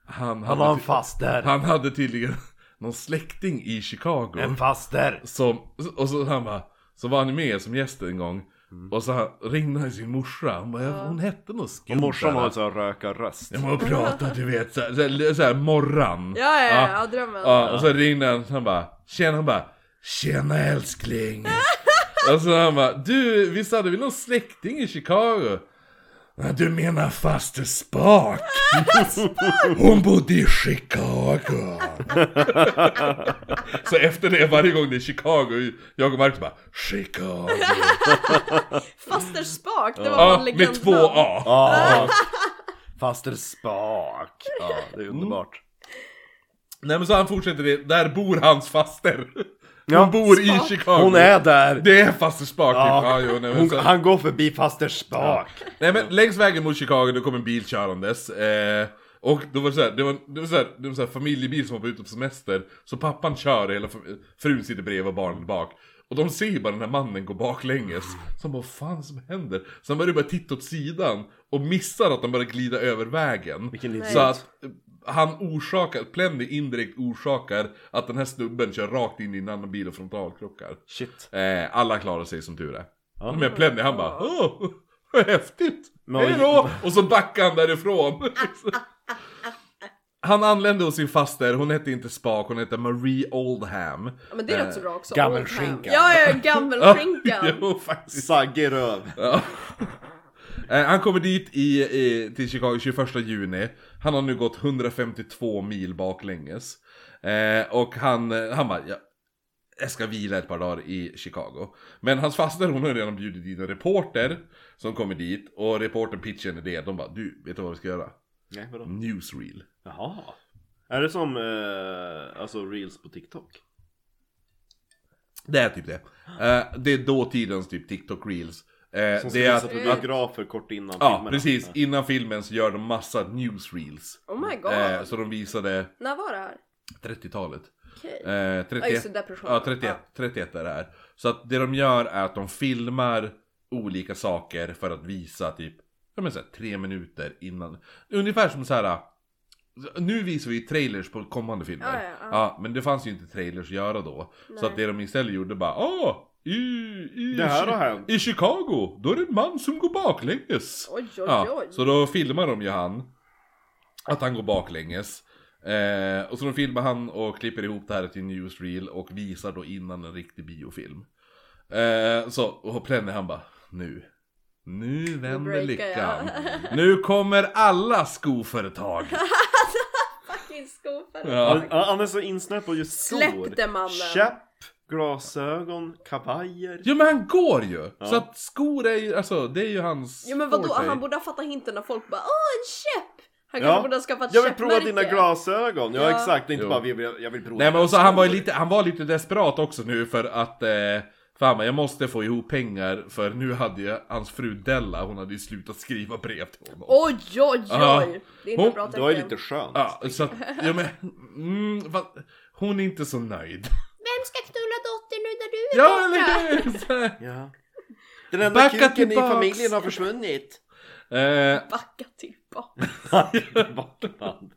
han,
Han har en faster.
han hade tydligen någon släkting i Chicago.
En faster.
Som, och så han bara, så var han med som gäst en gång.
Mm.
Och så han- ringde han sin morsa, hon bara, hon hette något skumt.
Och morsan
där."
har en sån här rökarröst.
Ja, man pratar du vet, såhär, såhär, såhär morran.
Ja, ja, ja, ja, drömmen.
Ja, och så ringde han, han bara, tjena, han bara, tjena älskling. och så han bara, du, visst hade vi någon släkting i Chicago? "Ja, Du menar faster Spak? Hon bodde i Chicago. så efter det, varje gång det är Chicago, jag och Marcus bara, Chicago.
Faster Spak, det var
Ja,
en
med
liksom
legendnamn.
två A.
Ja. Faster Spak. Ja, det
Mm.
är underbart.
Nej men så han fortsätter det, där bor hans faster. Hon
Ja.
bor
Spak.
i Chicago.
Hon är där.
Det är faster Spak
Ja.
typ. Ja, jo, nej, men
Hon,
så...
han går förbi faster Spak.
nej men längs vägen mot Chicago, då kom en bil körandes. Eh, och då var det såhär, det var, det var, så här, det var så här familjebil som var ute på semester. Så pappan kör, hela fam- frun sitter bredvid och barnen bak. Och de ser ju bara den här mannen gå baklänges. Så de bara, vad fan som händer? Sen börjar de bara titta åt sidan och missar att de börjar glida över vägen.
Vilken idiot.
Så att eh, han orsakar, Plendy indirekt orsakar att den här snubben kör rakt in i en annan bil och frontalkrockar.
Shit.
Eh, alla klarar sig som tur är.
Ja.
Men Plenny han bara Åh, vad häftigt!
Men-
Hejdå! Och så backar han därifrån. han anlände hos sin faster, hon hette inte Spak, hon hette Marie Oldham.
Ja, men det låter så bra också.
gammelskinkan.
Oldham. Ja, ja, gammelskinkan.
jo, faktiskt.
Sagge röv.
Ja. Eh, Han kommer dit i, i, till Chicago 21 juni. Han har nu gått 152 mil baklänges. Eh, och han, eh, han bara, ja, jag ska vila ett par dagar i Chicago. Men hans faster hon har redan bjudit dit en reporter som kommer dit. Och reportern pitchar en idé. De bara, du, vet du vad vi ska göra?
Nej, vadå?
Newsreel.
Jaha. Är det som eh, alltså reels på TikTok?
Det är typ det. Eh, det är dåtidens typ TikTok reels. Eh,
Som
det
ska
är
visa
att,
på
att,
biografer kort innan
ja
filmerna.
precis,
Ja.
innan filmen så gör de massa newsreels.
Oh my god.
Eh, så de visade
När var det här?
30-talet.
Okej.
Eh, 31,
Ja, just det, depression.
ja, 31, 31 är det här. Så att det de gör är att de filmar olika saker för att visa typ, ja men så här, tre minuter innan. Ungefär som så här. Nu visar vi trailers på kommande filmer.
Ja, ja, ja.
men det fanns ju inte trailers att göra då.
Nej.
Så att det de istället gjorde bara, åh! I, i,
Det här
Chi-
har hänt."
I Chicago, då är det en man som går baklänges.
Oj, oj,
Ja,
oj.
så då filmar de ju han. Att han går baklänges. Eh, och så de filmar han och klipper ihop det här till en newsreel och visar då innan en riktig biofilm. Eh, så, och Plenny han bara, nu. Nu vänder
breakar
lyckan. Nu kommer alla skoföretag.
Fucking skopare.
Ja.
Han, han är så insnöad på just skor.
Släpp det, mannen.
Käpp, glasögon, kavajer.
Jo men han går ju! Så
Ja.
att skor är ju, alltså det är ju hans
Jo men vadå,
forte.
han borde ha fattat hinten när folk bara åh en käpp! Han
Ja.
kanske borde ha skaffat
Jag vill prova
käppmärke.
dina glasögon. Ja,
Ja.
exakt, det är inte
Jo.
bara vi vill, jag vill prova.
Nej men
dina
och så han var ju
skor.
lite, han var lite desperat också nu för att eh, För han bara, jag måste få ihop pengar för nu hade ju hans fru Della, hon hade ju slutat skriva brev till honom
Oj oj oj!
Ja.
Det är inte
Hon-
bra
Det var ju
tecken.
lite skönt.
Ja, så att, ja men, mm, va, hon är inte så nöjd
Vem ska knulla dottern nu när du är
Ja eller hur! Så här.
Ja. Den enda
Backa
kuken
tillbaks.
i familjen har försvunnit.
Eh,
Backa tillbaka.
Bakband.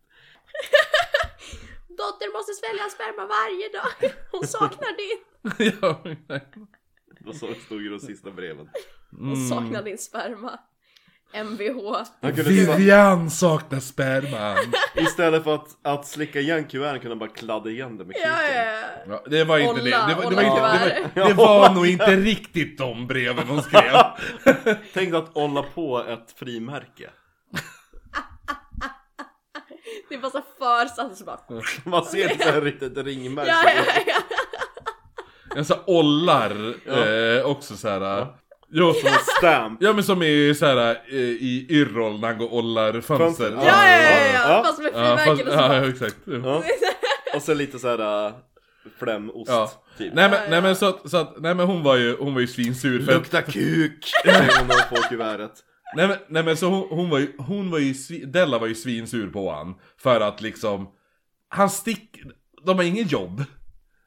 Dottern måste svälja sperma varje dag. Hon saknar din.
ja, nej.
Då så stod ju de sista breven.
Hon saknar din sperma. Mvh.
Han kunde bara,
Vivian saknar sperman!
istället för att, att slicka igen kuverten kunde han bara kladda igen det med kuken.
Ja, ja, ja.
Ja, det var inte det,
Olla-
det var, det
Olla
var, inte, det var,
kuvert.
det var nog inte riktigt de breven hon skrev
Tänk dig att olla på ett frimärke.
Det är bara så försats bara. Ja,
Man ser inte så här riktigt ett ringmärke.
ja, ja.
Jag så här ollar eh, också så här. Jo, som,
Stamp.
ja men som är så här eh, i Yrrol när han går och ollar fönster.
Fönster,
Ja, ja, ja,
Ja.
ja. Fast med
Ja,
frimärken och så
ja,
bara.
exakt.
Ja. Och sen lite såhär uh, flämost
Ja.
typ.
Nej men,
Ja,
nej,
ja.
men, så att, så att, nej, men hon var ju, hon var ju svinsur för att,
Lukta kuk! säger hon och får kuvertet.
nej, men, nej men så hon, hon var ju, hon var ju, svi- Della var ju svinsur på han För att liksom, han stick, de har ingen jobb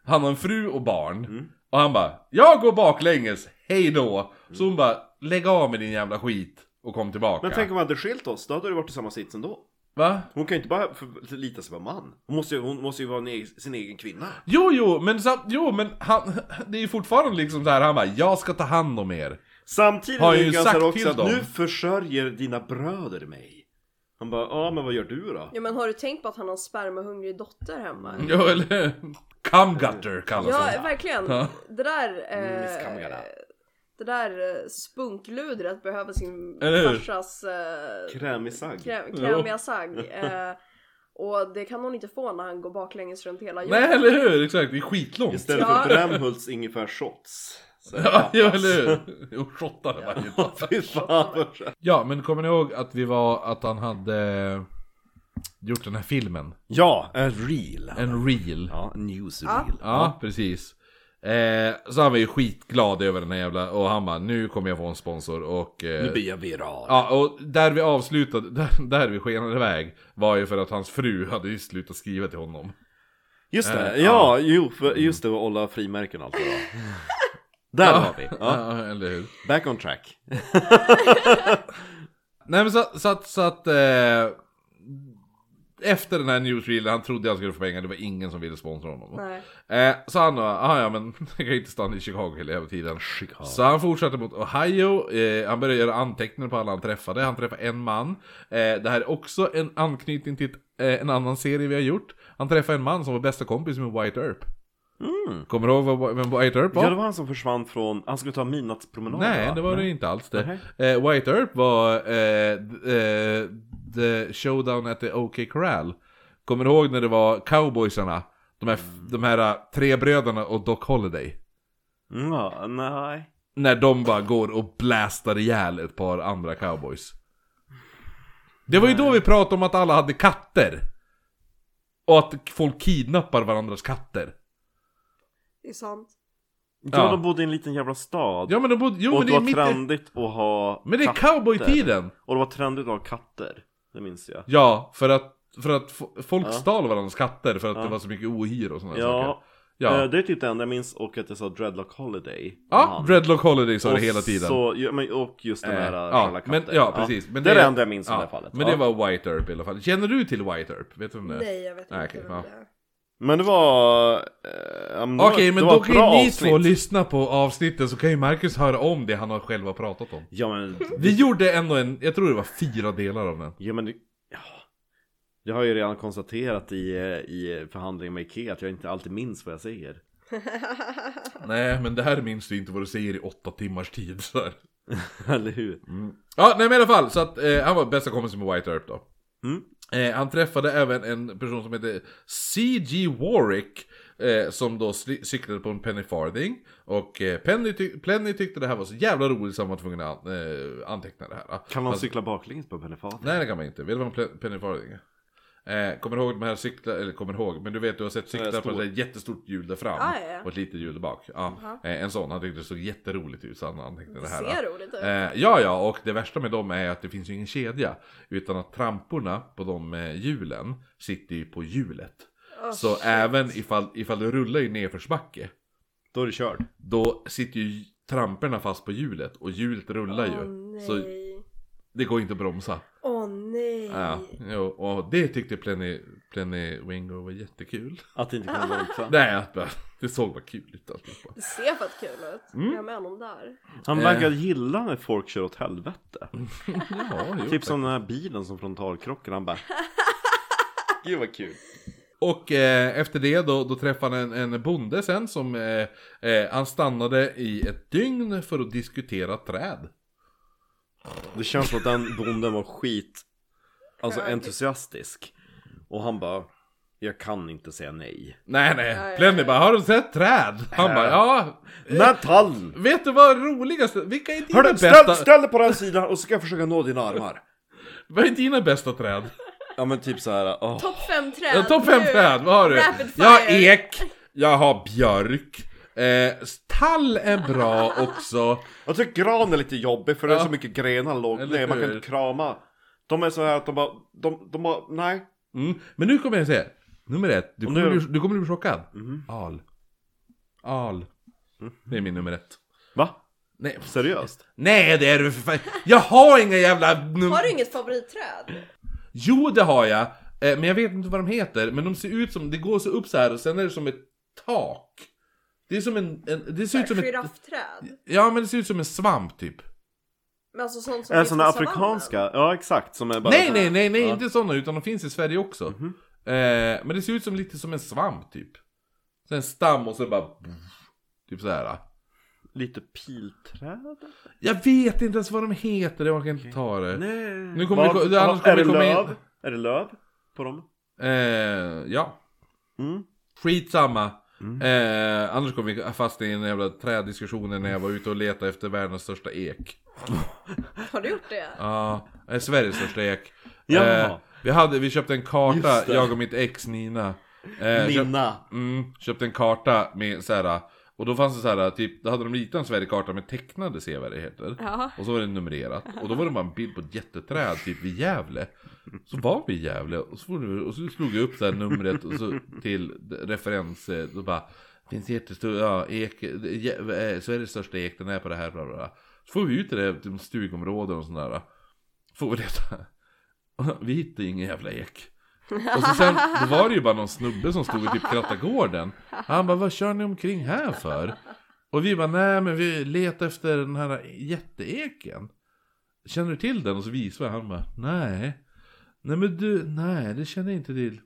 Han har en fru och barn
Mm.
Och han bara, jag går baklänges, hej då Så hon bara, lägg av med din jävla skit och kom tillbaka
Men tänk om vi hade skilt oss, då hade det varit i samma sits ändå.
Va?
Hon kan ju inte bara förlita sig på en man. Hon måste ju, hon måste ju vara en egen, sin egen kvinna.
Jo, jo, men, sam- jo, men han, det är ju fortfarande liksom så här, han bara, jag ska ta hand om er
Samtidigt
Har ju
ligger han
sagt
så här
till
också att
dem.
nu försörjer dina bröder mig. Han bara, ja men vad gör du då?
Ja men har du tänkt på att han har en spermahungrig dotter hemma?
Jo, eller Cumgutter kallas
Ja,
hon
verkligen.
Ja.
Det där...
Miss
Eh,
Kamgara.
det där eh, spunkludret behöver sin
Eller hur?
farsas eh,
Krämig sagg.
krä, krämiga sagg. Eh, och det kan hon inte få när han går baklänges runt hela jorden.
Nej, eller hur? Exakt, det är skitlångt
Istället
Ja.
för Brämhults ingefärshots. Så här,
Ja, ja,
pappas.
eller hur? Jo, shottade varje dag.
Fy fan vad skönt.
Ja, men kommer ni ihåg att vi var, att han hade gjort den här filmen?
Ja, en reel.
En reel.
Ja, en newsreel.
Ja, precis. Eh, så han var ju skitglad över den här jävla, och han bara nu kommer jag få en sponsor och... eh,
Nu blir jag viral.
Ja, och där vi avslutade, där, där vi skenade iväg var ju för att hans fru hade ju slutat skriva till honom.
Just det,
Eh,
ja, jo, för, just det, och alla frimärken och allt det där. Där var vi. Ja.
Ja, eller hur?
Back on track.
Nej men så, så att, så att eh, efter den här newsreelen, han trodde han skulle få pengar, det var ingen som ville sponsra honom.
Nej.
Eh, så han bara, "Ah, ja men jag kan ju inte stanna i Chicago hela jävla tiden.
Chicago.
Så han fortsatte mot Ohio, eh, han började göra anteckningar på alla han träffade, han träffade en man. Eh, det här är också en anknytning till ett, eh, en annan serie vi har gjort. Han träffade en man som var bästa kompis med White Earp. Kommer du ihåg vad- vem White Earp Mm. var?
Ja, det var han som försvann från, han skulle ta midnattspromenaden
Nej,
va?
det var det inte alls det.
Nej.
Eh, White Earp var eh, d- eh, The Showdown at the OK Corral. Kommer du ihåg när det var cowboysarna? De här, de här eh, tre bröderna och Doc Holiday.
Ja, nej.
När de bara går och blastar ihjäl ett par andra cowboys. Det var ju då vi pratade om att alla hade katter. Och att folk kidnappar varandras katter.
Det är sant.
Ja,
Ja.
de bodde i en liten jävla stad.
Ja men de bodde... Jo
och
men
det
det är
var
mitt... i-
trendigt att ha
Men det är
katter.
cowboytiden!
Och det var trendigt att ha katter. Det minns jag.
Ja, för att, för att fo- folk
Ja.
stal varandras katter för att
Ja.
det var så mycket ohyra och sådana här saker.
Ja,
Ja,
eh, det är typ det enda jag minns och att jag sa Dreadlock Holiday.
ja Dreadlock Holiday sa
Och
det hela tiden.
Så, ja, men, och just den
Eh,
här
ja,
kalla
men,
katter.
ja, precis. Men
det är det enda jag minns i det här fallet.
Men
ja.
det var White Earp i alla fall. Känner du till White Earp? Vet du vem det är?
Nej jag vet
Nej,
inte
okej,
vem
ja.
det är.
Men det var... Eh, ja, det
Okej,
var- det
men
var
då
ett
kan
bra
ju ni
avsnitt.
två lyssna på avsnitten så kan ju Marcus höra om det han har själva pratat om.
Ja men,
Vi gjorde ändå en, jag tror det var fyra delar av den.
ja, men det, ja. det har jag ju redan konstaterat i, eh, i förhandlingen med Ikea att jag inte alltid minns vad jag säger.
Nej, men det här minns du inte vad du säger i åtta timmars tid. Så här.
Eller hur?
Ja, nej men i alla fall, så att eh, han var bästa kompis med White Earp då.
Mm.
Eh, han träffade även en person som hette C.G. Warwick, eh, som då sli- cyklade på en Penny Farthing. Och eh, Penny, tyck- Penny tyckte det här var så jävla roligt så han var tvungen att an- eh, anteckna det här. Alltså, va?
Kan man
Fast-
cykla baklänges på Pennefaten?
Nej det kan man inte, vet du vad en ple- Penny Farthing är? Eh, kommer du ihåg de här cyklar, eller kommer du ihåg, men du vet du har sett
Eh,
cyklar
stor.
på ett jättestort hjul där fram
Ah, ja, ja.
och ett litet hjul där bak. Ja, eh, en sån, han tyckte det såg jätteroligt ut så han antecknade det
Det
här.
ser
va?
roligt ut.
Eh, ja, ja, och det värsta med dem är att det finns ju ingen kedja. Utan att tramporna på de eh, hjulen sitter ju på hjulet. så även ifall, ifall du rullar i nedförsbacke,
Då är det körd.
då sitter ju tramporna fast på hjulet. Och hjulet rullar
Åh
ju.
nej.
Så det går inte att bromsa.
Åh nej.
Ja, jo, och det tyckte Plenny, Plenny Wingo var jättekul.
Att det inte kan bromsa.
Nej, att bara- det såg bara kul ut alltihopa.
Det ser fett kul ut.
Mm.
Jag är med honom där.
Han
Eh.
verkar gilla när folk kör åt helvete.
Ja, jo,
Typ som den här bilen som frontalkrockar. Han bara... Gud vad kul.
Och eh, efter det då, då träffade han en, en bonde sen som eh, eh, han stannade i ett dygn för att diskutera träd.
Det känns som att den bonden var skit Alltså entusiastisk Och han bara Jag kan inte säga nej
Nej
Nej.
nej, Plenny bara har du sett träd? Han bara ja,
Natal!
vet du vad roligaste, vilka Eh. är dina
Hörru,
bästa,
ställ, ställ dig på den sidan och så ska jag försöka nå dina armar
vad är dina bästa träd?
Ja men typ så här. åh.
Topp fem träd.
Ja, Topp 5
nu.
träd, vad har du?
Rapid
Jag har
fire.
ek, jag har björk, eh, tall är bra också.
Jag tycker gran är lite jobbig för det är
Ja.
så mycket grenar lågt
Eller
ner, man kan
hur?
inte krama. De är så här att de bara, de, de bara, nej.
Mm. Men nu kommer jag säga, nummer ett, du
Och
kommer,
nu- Mhm.
bli, du kommer bli chockad. Al. Al. Det är min nummer ett.
Va?
Nej,
Seriöst?
Nej det är du för fan. Jag har inga jävla... Num-
Har du inget favoritträd?
Jo det har jag, eh, men jag vet inte vad de heter. Men de ser ut som, det går så upp så här och sen är det som ett tak. Det är som en, en det ser ut Typ som ett,
Giraffträd?
ja men det ser ut som en svamp typ.
Men alltså sånt som
Är det
finns
såna
på savannen.
afrikanska? Ja exakt, som är bara
Nej nej nej nej
Ja. Mhm.
inte sådana utan de finns i Sverige också. eh, men det ser ut som lite som en svamp typ. Så en stam och så bara... Typ så här.
Lite pilträd?
Jag vet inte ens vad de heter, jag orkar inte ta det.
Nej.
Nu kommer vi ko- annars kommer
är det
vi komma in-
löv? Är det löv på dem?
Eh, ja.
Mm.
Skitsamma. Eh, annars kom vi fast i en jävla träddiskussionen när jag var ute och letade efter världens största ek.
Har du gjort det?
Ja, eh, Sveriges största ek. Eh,
Jaha.
vi, hade, vi köpte en karta,
Just det.
jag och mitt ex Nina. Eh, köp-
Minna.
Mm, köpte en karta med så här. Och då fanns det så här, typ, då hade de ritat en Sverigekarta med tecknade sevärdheter.
Ja.
Och så var det numrerat. Och då var det bara en bild på ett jätteträd, typ vid Gävle. Så var vi i Gävle och så, var det, och så slog jag upp det här numret och så till referens. eh, Då bara, finns jättestor, ja, ek, Gä- eh, Sveriges största ek, den är på det här, bla bla bla. Så får vi ut i det, till stugområden och sådär. Får vi det Vi hittade ingen jävla ek. Och så sen, då var det ju bara någon snubbe som stod i typ Krattagården. Han bara, vad kör ni omkring här för? Och vi bara, nej men vi letar efter den här jätteeken. Känner du till den? Och så visar jag, han bara, nej. Nej men du, nej det känner jag inte till.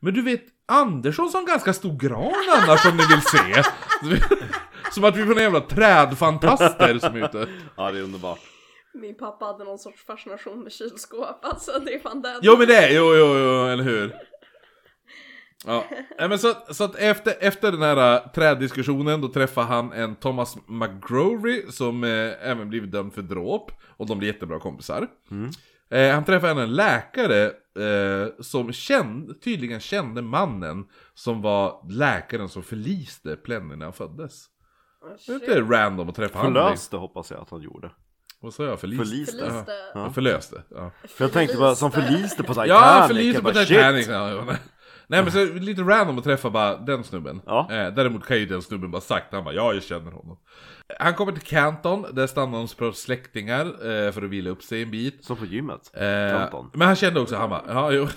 Men du vet, Andersson som ganska stor gran annars om ni vill se. Som att vi är några jävla trädfantaster som är ute.
Ja det är underbart.
Min pappa hade någon sorts fascination med kylskåp. Alltså det är fan den.
Jo men det, är- jo jo jo, eller hur? Ja, Nej, men så, så att efter, efter den här äh, träddiskussionen då träffar han en Thomas McGrory som eh, även blivit dömd för dråp och de blir jättebra kompisar. Eh, han träffar även en läkare eh, som känd, tydligen kände mannen som var läkaren som förliste Plenny när han föddes.
Oh,
Det är
shit.
inte random att träffa honom.
Förlöste hoppas jag att han gjorde.
Vad sa jag? Förliste?
Förliste.
Förliste.
Ja, förlöste. Ja.
För jag tänkte bara, som förliste på Titanic.
Ja,
Jag
förliste på
bara,
Titanic.
shit.
Ja, ja, nej. nej men så lite random att träffa bara den snubben.
Ja.
Eh, däremot kan ju den snubben bara sagt, han bara ja jag känner honom. Han kommer till Canton, där stannar han hos släktingar eh, för att vila upp sig en bit.
Som på gymmet.
Eh,
Kanton.
men han kände också, han bara, ja jo.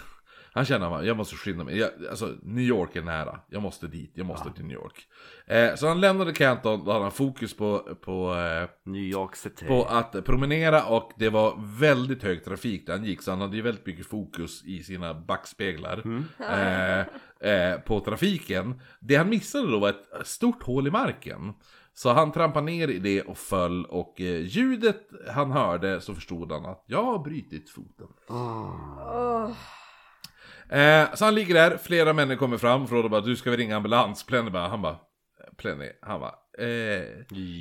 Han kände, han bara, jag måste skynda mig. Jag, alltså, New York är nära. Jag måste dit, jag måste till New York. Eh, så han lämnade Canton, då hade han fokus på, på eh,
New York City.
på att promenera och det var väldigt hög trafik där han gick så han hade ju väldigt mycket fokus i sina backspeglar eh, eh, på trafiken. Det han missade då var ett stort hål i marken. Så han trampade ner i det och föll och eh, ljudet han hörde så förstod han att jag har brutit foten.
Åh.
Eh, så han ligger där, flera människor kommer fram och frågar bara du ska vi ringa ambulans? Plenny bara, han bara, Plenny, han bara, eh,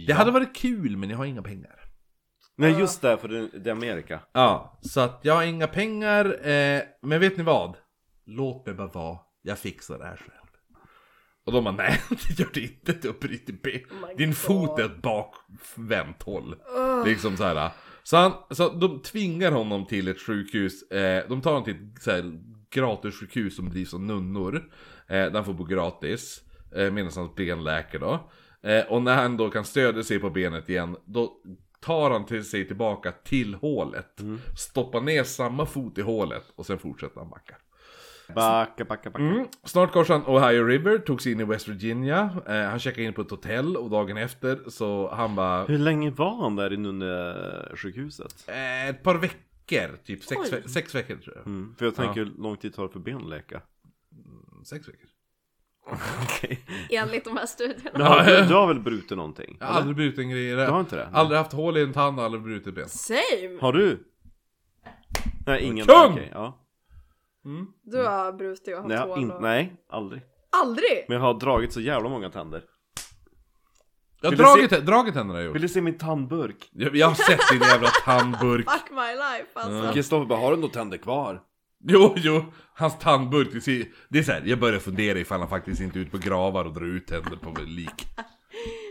det hade varit kul men jag har inga pengar.
Nej just det, för det, det är Amerika.
Ja, så att jag har inga pengar, eh, men vet ni vad? Låt mig bara vara, jag fixar det här själv. Och de bara nej, det gör det inte, du har brutit ben.
Oh my
Din
God.
fot är ett bakvänt håll. Liksom så här. Så, han, så de tvingar honom till ett sjukhus, eh, de tar honom till ett så här, gratis sjukhus som drivs av nunnor. Eh, där han får bo gratis, eh, medan hans ben läker då. Eh, och när han då kan stödja sig på benet igen, då tar han till sig tillbaka till hålet.
Mm.
Stoppar ner samma fot i hålet och sen fortsätter han backa.
Backa, backa, backa.
Mm. Snart korsade han Ohio River, tog sig in i West Virginia. Eh, han checkade in på ett hotell och dagen efter så han bara...
Hur länge var han där i nunnesjukhuset?
Eh, ett par veckor, typ sex,
Oj.
ve- sex veckor tror jag.
Mm. För jag tänker hur lång tid tar det för ben att läka?
Sex veckor.
Okej.
Enligt de här studierna.
Du, har- du, du har väl brutit någonting?
Jag har aldrig brutit en grej i
Du har
det.
inte det?
Aldrig haft hål i en tand och aldrig brutit ben.
Same!
Har du? Nej, ingen.
Kung!
Okej, ja.
Mm.
Du har brutit och haft
Nej, jag har
hål
in,
och...
nej, aldrig.
Aldrig!
Men jag har dragit så jävla många tänder.
Jag har
Vill du
dragit, dragit händerna jag gjort.
Vill du se min tandburk?
Jag, jag har sett din jävla tandburk.
Fuck my life alltså.
Kristoffer bara, har du några tänder kvar?
Jo, jo, hans tandburk, det ser- det är så här, jag börjar fundera ifall han faktiskt inte är ute på gravar och drar ut tänder på lik.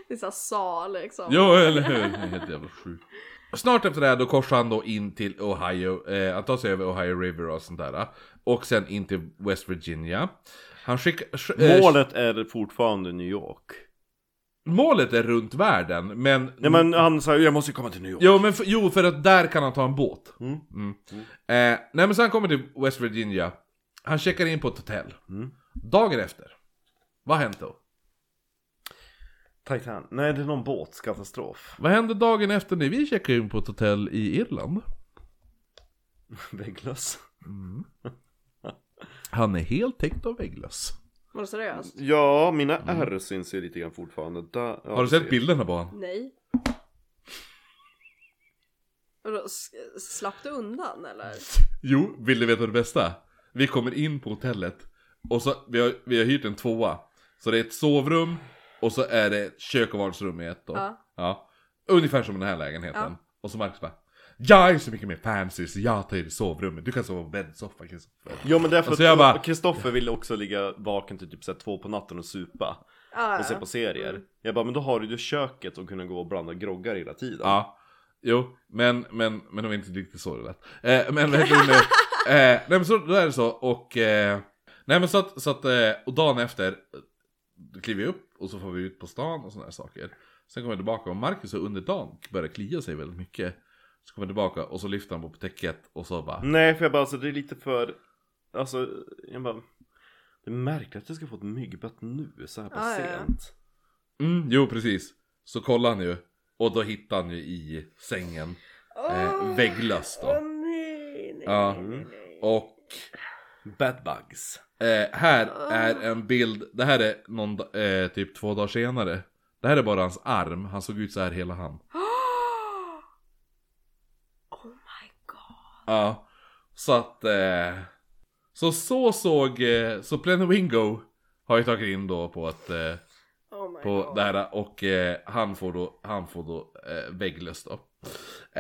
Det är såhär sa liksom.
Jo, eller hur? Det är helt jävla sjukt. Snart efter det här då korsar han då in till Ohio, eh, han tar sig över Ohio River och sånt där. Och sen in till West Virginia. Han skickar... sk- eh,
Målet är fortfarande New York.
målet är runt världen, men...
Nej men han sa Mm. jag måste komma till New York.
Jo, men f- jo, för att där kan han ta en båt. Mm. Eh, nej, men sen kommer till West Virginia. Han checkar in på ett hotell.
Mm.
Dagen efter. Vad har hänt då?
Titan. Nej det är någon båtkatastrof.
Vad hände dagen efter när vi checkade in på ett hotell i Irland?
Vägglöss.
Han är helt täckt av vägglöss.
Var du seriös?
Ja, mina ärr syns ju lite grann fortfarande. Där, ja,
Har du
Mm. du
sett
ser.
bilderna på honom?
Nej. Och då s- Slapp du undan eller? Ah,
Jo, vill du veta det bästa? Vi kommer in på hotellet och så, vi har, vi har hyrt en tvåa. Så det är ett sovrum och så är det ett kök och vardagsrum i ett då.
Ja.
Ungefär som den här lägenheten.
Ja.
Och så Marcus bara Jag är så mycket mer fancy så jag tar er i sovrummet, du kan sova på bäddsoffa Kristoffer.
Jo men därför
Alltså, jag bara-
att Kristoffer ville också ligga vaken till typ såhär två på natten och supa.
Ah,
Och se på serier. Jag bara, men då har du ju köket och kunna gå och blanda groggar hela tiden.
Ja, jo, men, men, men det var inte riktigt så det lät. Eh, men vad heter det nu? Eh, nej men så, då är det så och... Eh, nej men så att, så att eh, och dagen efter eh, då kliver vi upp och så får vi ut på stan och sådana här saker. Sen kommer jag tillbaka och Marcus har under dagen börjar klia sig väldigt mycket. Så kommer jag tillbaka och så lyfter han på täcket och så bara...
Nej för jag bara, alltså det är lite för, alltså jag bara, det är märkligt att jag ska få ett myggbett nu så här på
Ja, ja, ja.
sent.
Mm, jo precis. Så kollar han ju. Och då hittar han ju i sängen. Eh, vägglöss
Åh
då.
nej, nej,
Ja.
nej, nej.
Och
Badbugs.
Eh, här
Ah.
är en bild, det här är någon, da- eh, typ två dagar senare. Det här är bara hans arm, han såg ut så här hela han.
Oh my god.
Ja. Så att, eh, så så såg, eh, så Plenowingo har ju tagit in då på att, eh,
Oh my
på
god.
det här och eh, han får då, han får då eh, vägglöss då.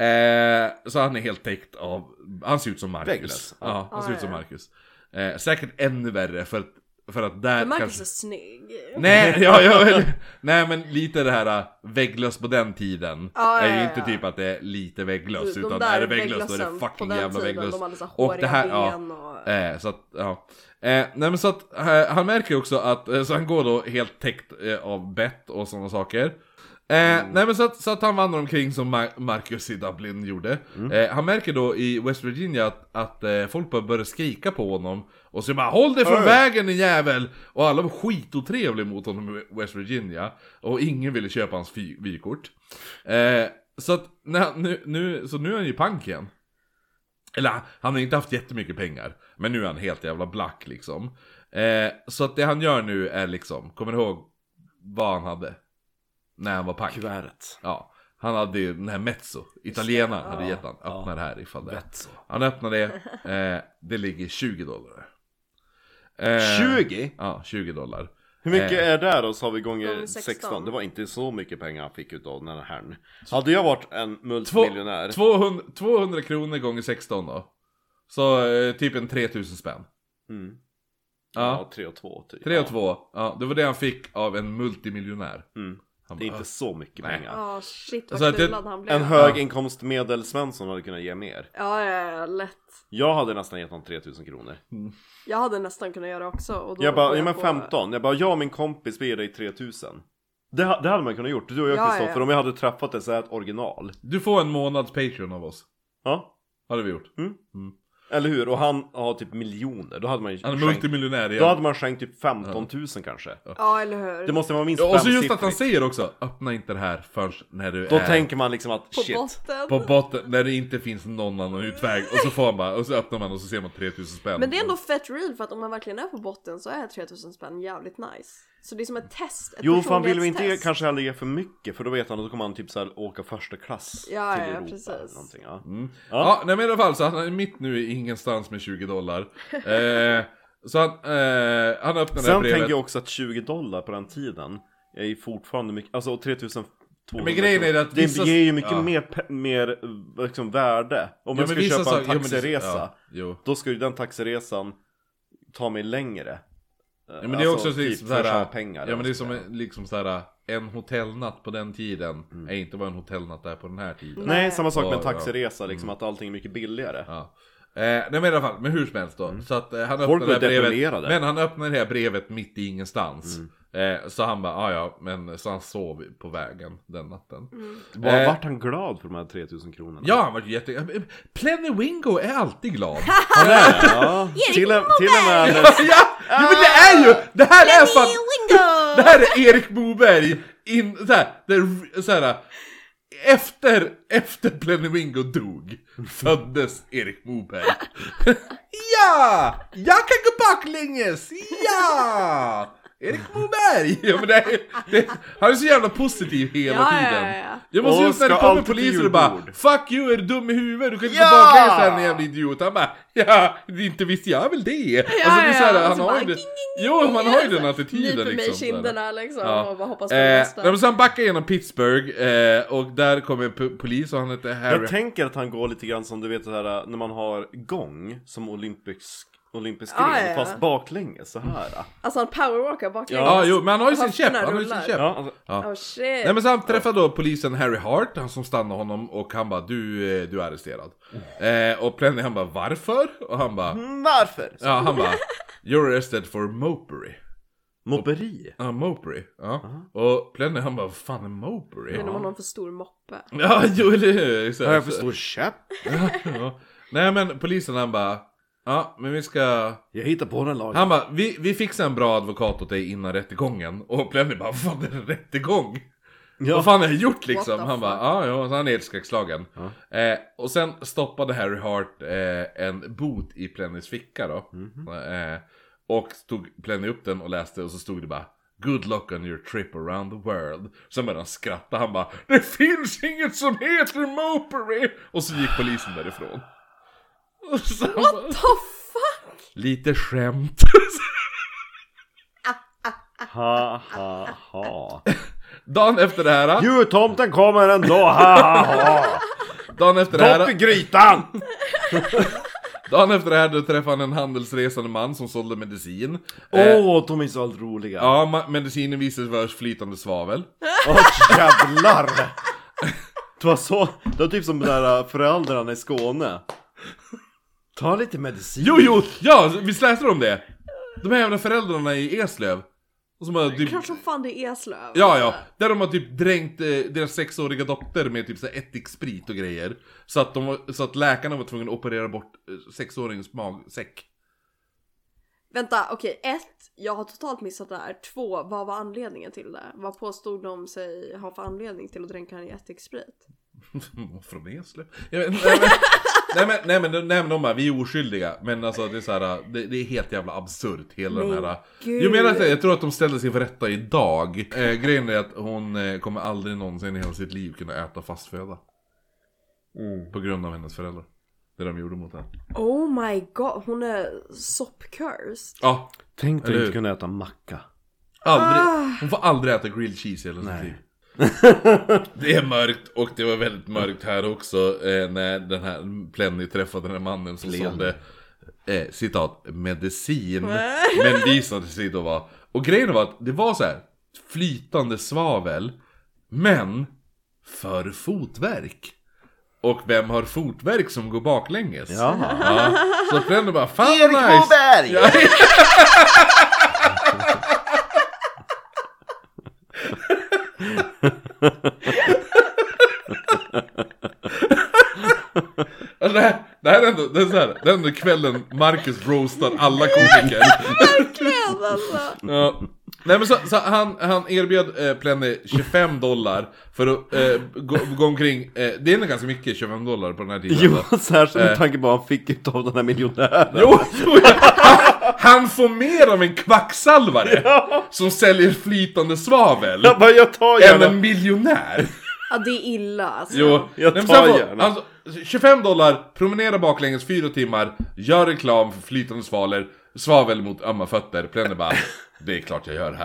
Eh, så han är helt täckt av, han ser ut som Marcus.
Vägglöss, ja.
Ja, han ser
Ja,
ut som
Ah, ja.
Marcus. Eh, säkert ännu värre för att, för att där
Men Marcus
kanske...
är snygg.
Nej, ja, ja, eller- nej men lite det här äh, vägglöss på den tiden
Ja,
är
ja,
ju
ja,
inte
ja.
typ att det är lite vägglöss
De
utan
där
är det vägglöss då är
vägglössen
det fucking
på den
jävla
tiden,
vägglöss.
de hade så här
och det här,
håriga ben
ja,
och-
eh, så att, ja. Eh, nej men så att eh, han märker också att, eh, så han går då helt täckt eh, av bett och sådana saker. Eh, Nej men så att, så att han vandrar omkring som Ma- Marcus i Dublin gjorde. Eh, han märker då i West Virginia att, att eh, folk bara börjar skrika på honom. Och så bara 'Håll dig från
Hör.
vägen din jävel!' Och alla var skitotrevliga mot honom i West Virginia. Och ingen ville köpa hans fy- vykort. Eh, så att när han, nu, nu, så nu är han ju pank igen. Eller han har inte haft jättemycket pengar. Men nu är han helt jävla black liksom. Eh, så att det han gör nu är liksom, kommer ni ihåg vad han hade? När han var pank?
Kuvertet.
Ja, han hade ju den här mezzo, italienaren hade
Ja,
gett han, öppna
ja.
det här ifall det är.
Bett så.
Han öppnade det, eh, det ligger 20 dollar. Eh,
20?
Ja, 20 dollar.
Hur mycket
Eh.
är det då så har vi gånger
Gånger
16.
16.
Det var inte så mycket pengar han fick utav den här herrn. Hade jag varit en
Två,
multimiljonär.
200, 200 kronor gånger 16 då. Så eh, typ en 3000 spänn.
Mm.
Ja,
Ja, 3 och 2 typ.
3 och
Ja.
2. Ja, det var det han fick av en multimiljonär.
Mm.
Han
Det är
bara,
inte så mycket
Nej.
pengar.
Ja, Ah, shit
Så
vad
att det-
kulad han blev.
En höginkomstmedel Svensson hade kunnat ge mer.
Ja, ja, ja, lätt.
Jag hade nästan gett honom 3000 kronor.
Jag hade nästan kunnat göra också. Och då
Jag bara,
går
ja men
på-
15. Jag bara, jag och min kompis vi ger dig 3000. Det, ha- det hade man kunnat gjort, du och jag
Ja, ja,
Kristoffer,
ja.
om jag hade träffat ett sådant original.
Du får en månads Patreon av oss.
Ja,
Hade vi gjort.
eller hur? Och han har typ miljoner, då hade man ju
Han är
skänkt,
multimiljonär
då
igen.
hade man skänkt typ 15 000 kanske.
Ja, eller hur.
Det måste vara minst
Ja, Och så just att
femsiffrigt.
han säger också, öppna inte det här förrän när du
Då
är
tänker man liksom att
på
shit.
botten.
på botten, när det inte finns någon annan utväg. Och så får han bara, och så öppnar man och så ser man 3000 spänn.
Men det är ändå fett real för att om man verkligen är på botten så är 3000 spänn jävligt nice. Så det är som ett test, ett
Jo, för han vill väl inte ge,
personlighetstest.
kanske heller ge för mycket för då vet han att då kommer han typ så här åka första klass
Ja,
till
ja,
Europa
precis.
eller någonting. Ja.
Mm. Ja, nej men i alla fall så han är mitt nu i ingenstans med 20 dollar. Eh, så han, eh, han öppnar det här
Sen
brevet.
tänker jag också att 20 dollar på den tiden är ju fortfarande mycket, alltså och 3000 200
Men grejen är
kronor.
att vissa-
Det ger ju mycket
ja.
mer, pe- mer liksom, värde Om man
men
ska
vissa
köpa
saker- ja,
en
men det-
taxiresa
ja, jo.
Då ska ju den taxiresan ta mig längre Ja,
Ja, men det är också liksom
Alltså, typ för
såhär,
samma pengar alltså.
ja men det är
eller
som
vad
en- liksom såhär, en hotellnatt på den tiden är inte vad en hotellnatt är på den här tiden.
ska jag säga. Nej, samma sak med en
Ja, ja.
taxiresa liksom, att allting är mycket billigare
Ja. Eh, nej men i alla fall, men hur som helst då. Så att eh, han
Folk
öppnar det
blir
här brevet.
deprimerade.
Men han öppnar det här brevet mitt i ingenstans. Eh, så han bara, "Ah, ja men så han sov på vägen den natten.
Var,
Eh.
Vart han glad för de här 3000 kronorna?
Ja han var ju jätte... Plenny Wingo är alltid glad.
han är ja. till, och- till och med när-
ja! Jo, men det är ju! Det här är fan... Det
Wingo!
här är Erik Moberg in, så här, där, så här, efter, efter Plenemingo dog föddes Erik Moberg. ja! Jag kan gå baklänges! Ja! Erik Moberg! Ja, men det, är- det, han är så jävla positiv hela
Ja, ja,
tiden.
ja, ja.
Jag måste
Och
just när det
ska
kommer
alltid till
poliser och bara
julbord.
'Fuck you, är du dum i huvudet? Du kan inte
Ja!
gå baklänges här din jävla idiot' Han bara 'Ja, inte visste jag väl det'
Ja,
Alltså det är så här,
ja, och
han
så
har
bara,
ju det,
"Ging,
Jo, man har ju
Alltså,
den attityden
Nyper mig i
liksom. så här.
kinderna liksom
Ja.
och bara hoppas på det
Eh, nej,
bästa.
men så han backar genom Pittsburgh eh, och där kommer p- polis och han heter Harry.
Jag tänker att han går lite grann som du vet så här när man har gång som olympisk, olympisk gren
Ah, ja, ja.
fast baklänges så här.
Alltså han powerwalkar baklänges.
Ja ah, jo, men han har ju sin
Höfterna
käpp. Han har ju sin
rullar.
käpp.
Ja, alltså,
Ja.
Oh shit.
Nej men så han träffar då polisen Harry Hart, han som stannar honom och han bara du, eh, du är arresterad. Eh, och Plenny han bara varför? Och han bara,
varför?
ja han bara You're arrested for mopery.
Mobberi?
Ja, mopery. Ja. Och Plenny han bara, vad fan är mopery?
Men om man har en för stor moppe.
Ja, jo eller hur? Exakt.
Ja, jag förstår käpp.
Ja. Nej men polisen han bara, ja men vi ska
Jag hittar på den lagen.
Han bara, vi, vi fixar en bra advokat åt dig innan rättegången. Och Plenny bara, vad fan är det rättegång?
Ja.
Vad fan har jag gjort liksom?
What the
Han bara, ja, ja, så han är helt skräckslagen. Eh, och sen stoppade Harry Hart eh, en bot i Plennys ficka då. Eh, och tog Plenny upp den och läste och så stod det bara Good luck on your trip around the world. Sen började han skratta, han bara Det finns inget som heter Mopery! Och så gick polisen därifrån. Och så han bara,
The fuck?
Lite skämt.
Ha, ha, ha.
Dagen efter det här.
Jultomten kommer ändå, ha, ha, ha.
Dagen efter, det
Dopp i
här,
grytan!
dagen efter det här då träffade han en handelsresande man som sålde medicin.
Åh, oh, de är så allt roliga. Åh,
Eh. Ja, ma- medicinen visade sig vara flytande svavel.
jävlar! Det var så, det var typ som de där äh, föräldrarna i Skåne. Ta lite medicin.
Jo, jo, ja, visst läste du om det? De här jävla föräldrarna i Eslöv. Och som har typ,
Klart som fan det är Eslöv.
ja, ja, där de har typ dränkt eh, deras sexåriga dotter med typ så här ättiksprit och grejer. Så att, de var, så att läkarna var tvungna att operera bort eh, sexåringens magsäck.
Vänta, okej. Ett, jag har totalt missat det här. Två, vad var anledningen till det? Vad påstod de sig ha för anledning till att dränka den i ättiksprit?
Mm, Från Eslöv? Jag vet- Nej men, nej, men, nej, men, de- nej men de bara, vi är oskyldiga. Men alltså det är så här, det, det är helt jävla absurt hela den här...
gud.
Jag menar att jag tror att de ställde sig för rätta idag. Eh, grejen är att hon eh, kommer aldrig någonsin i hela sitt liv kunna äta fast föda. På grund av hennes föräldrar. Det de gjorde mot henne.
Oh my god, hon är soppcursed.
Ja,
Tänk dig
Eller
inte
hur?
kunna äta macka.
aldrig. Hon får aldrig äta grilled cheese i hela sitt liv. Det är mörkt och det var väldigt mörkt här också eh, när den här Plenny träffade den här mannen som sålde eh, citat medicin men visade sig då vara och grejen var att det var så här flytande svavel men för fotvärk. Och vem har fotvärk som går baklänges?
Jaha.
Ja, så Plenny bara fan vad nice!
Moberg!
Ja. Alltså det, här, det här är ändå, det är så här, det är ändå kvällen Marcus roastar alla komiker.
Verkligen alltså.
Ja. Nej men så, så han, han erbjöd eh, Plenny 25 dollar för att eh, gå, gå omkring, eh, det är ändå ganska mycket 25 dollar på den här tiden.
Jo,
alltså.
särskilt med tanke på vad han fick utav den här miljonären.
Jo, jo ja. han, han får mer av en kvacksalvare som säljer flytande svavel
Jag bara, jag tar
än
gärna.
en miljonär.
Ja det är illa alltså.
Jo,
Jag
nej, men
tar
sen får-
gärna.
Alltså, 25 dollar, promenera baklänges fyra timmar, gör reklam för flytande svaler, svavel mot ömma fötter. Plenny bara, Det är klart jag gör det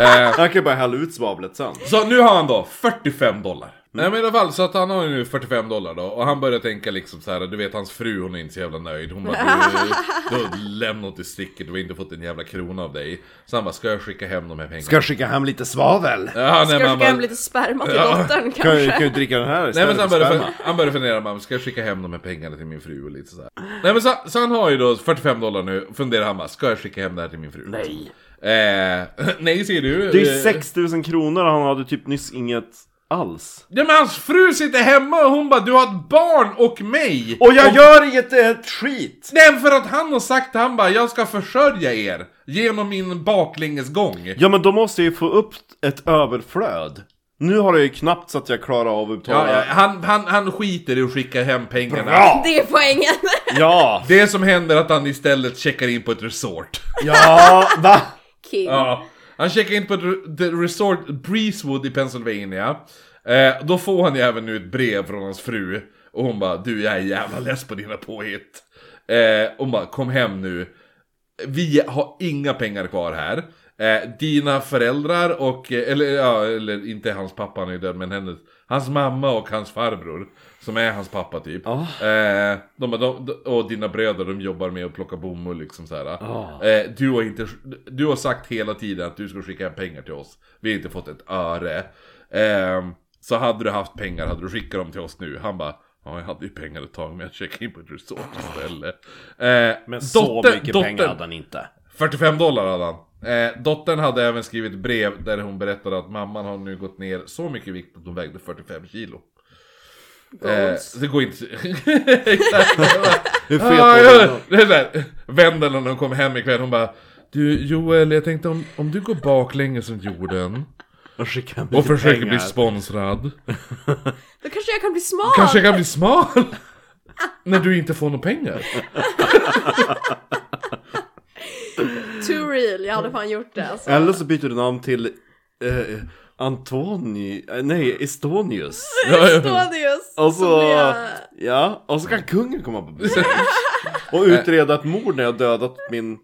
här. Eh,
Han kan bara hälla ut svavlet sen.
så nu har han då 45 dollar. Nej men i alla fall, så att han har ju nu 45 dollar då och han börjar tänka liksom så här, du vet hans fru hon är inte så jävla nöjd. Hon bara du, du har lämnat i sticket, du har inte fått en jävla krona av dig. Så han bara, ska jag skicka hem de här pengarna?
Ska skicka hem lite svavel.
ja, nej,
Ska
men
jag
han
skicka hem
bara,
lite sperma till
Ja.
dottern
Kan ju,
kanske?
kan ju dricka den här
Nej
istället
men så han
för
började,
sperma.
han började fundera, man ska jag skicka hem de här pengarna till min fru och lite sådär. Nej men så, så han har ju då 45 dollar nu, funderar han bara, ska jag skicka hem det här till min fru? Liksom.
Nej.
Eh, nej ser du.
Det är
Eh,
ju 6000 kronor han hade typ nyss inget alls.
Ja men hans fru sitter hemma och hon bara, du har ett barn och mig!
Och jag gör inget ett skit!
Nej men för att han har sagt, han bara, jag ska försörja er genom min baklängesgång.
Ja men då måste jag ju få upp ett överflöd. Nu har jag ju knappt så att jag klarar av att
Ja,
betala.
ja, han, han, han skiter i att skicka hem pengarna.
Bra!
Det är poängen!
Ja!
Det som händer är att han istället checkar in på ett resort.
Ja! Va?
King.
Ja. Han checkar in på ett re- the resort Breezewood i Pennsylvania. Eh, då får han ju även nu ett brev från hans fru. Och hon bara, du jag är jävla less på dina påhitt. Eh, hon bara, kom hem nu. Vi har inga pengar kvar här. Eh, dina föräldrar och, eh, eller, ja, eller inte hans pappa, han är ju död, men hennes, hans mamma och hans farbror. Som är hans pappa typ.
Ja.
Eh, de, bara, de, de, och dina bröder, de jobbar med att plocka bomull liksom så här.
Ja.
Eh, du, har inte, du har sagt hela tiden att du ska skicka hem pengar till oss. Vi har inte fått ett öre. Ehm, så hade du haft pengar hade du skickat dem till oss nu. Han bara, ja jag hade ju pengar ett tag men jag checkade in på ett resort istället. Eh,
Men så
dotter-
mycket pengar
dotter-
hade han inte.
45 dollar hade han. Eh, dottern hade även skrivit brev där hon berättade att mamman har nu gått ner så mycket i vikt att hon vägde 45 kilo. Eh,
Goals.
så det går inte... Exakt.
Hur fet
Ja,
var
ja,
den?
det är där. Vänder när hon kommer hem ikväll, hon bara Du Joel, jag tänkte om, om du går baklänges som jorden
Och skicka
och
mycket
försöker
pengar.
bli sponsrad
Då kanske jag kan bli smal!
Kanske jag kan bli smal? När du inte får några pengar?
Too real, jag hade fan gjort det alltså.
Eller så byter du namn till eh, Antoni... eh, Nej, Estonius.
Ja, Alltså, ja.
Stadius!
Och
Så
så...
blir jag...
Ja, och så kan kungen komma på besök. Och utreda ett mord när jag dödat min...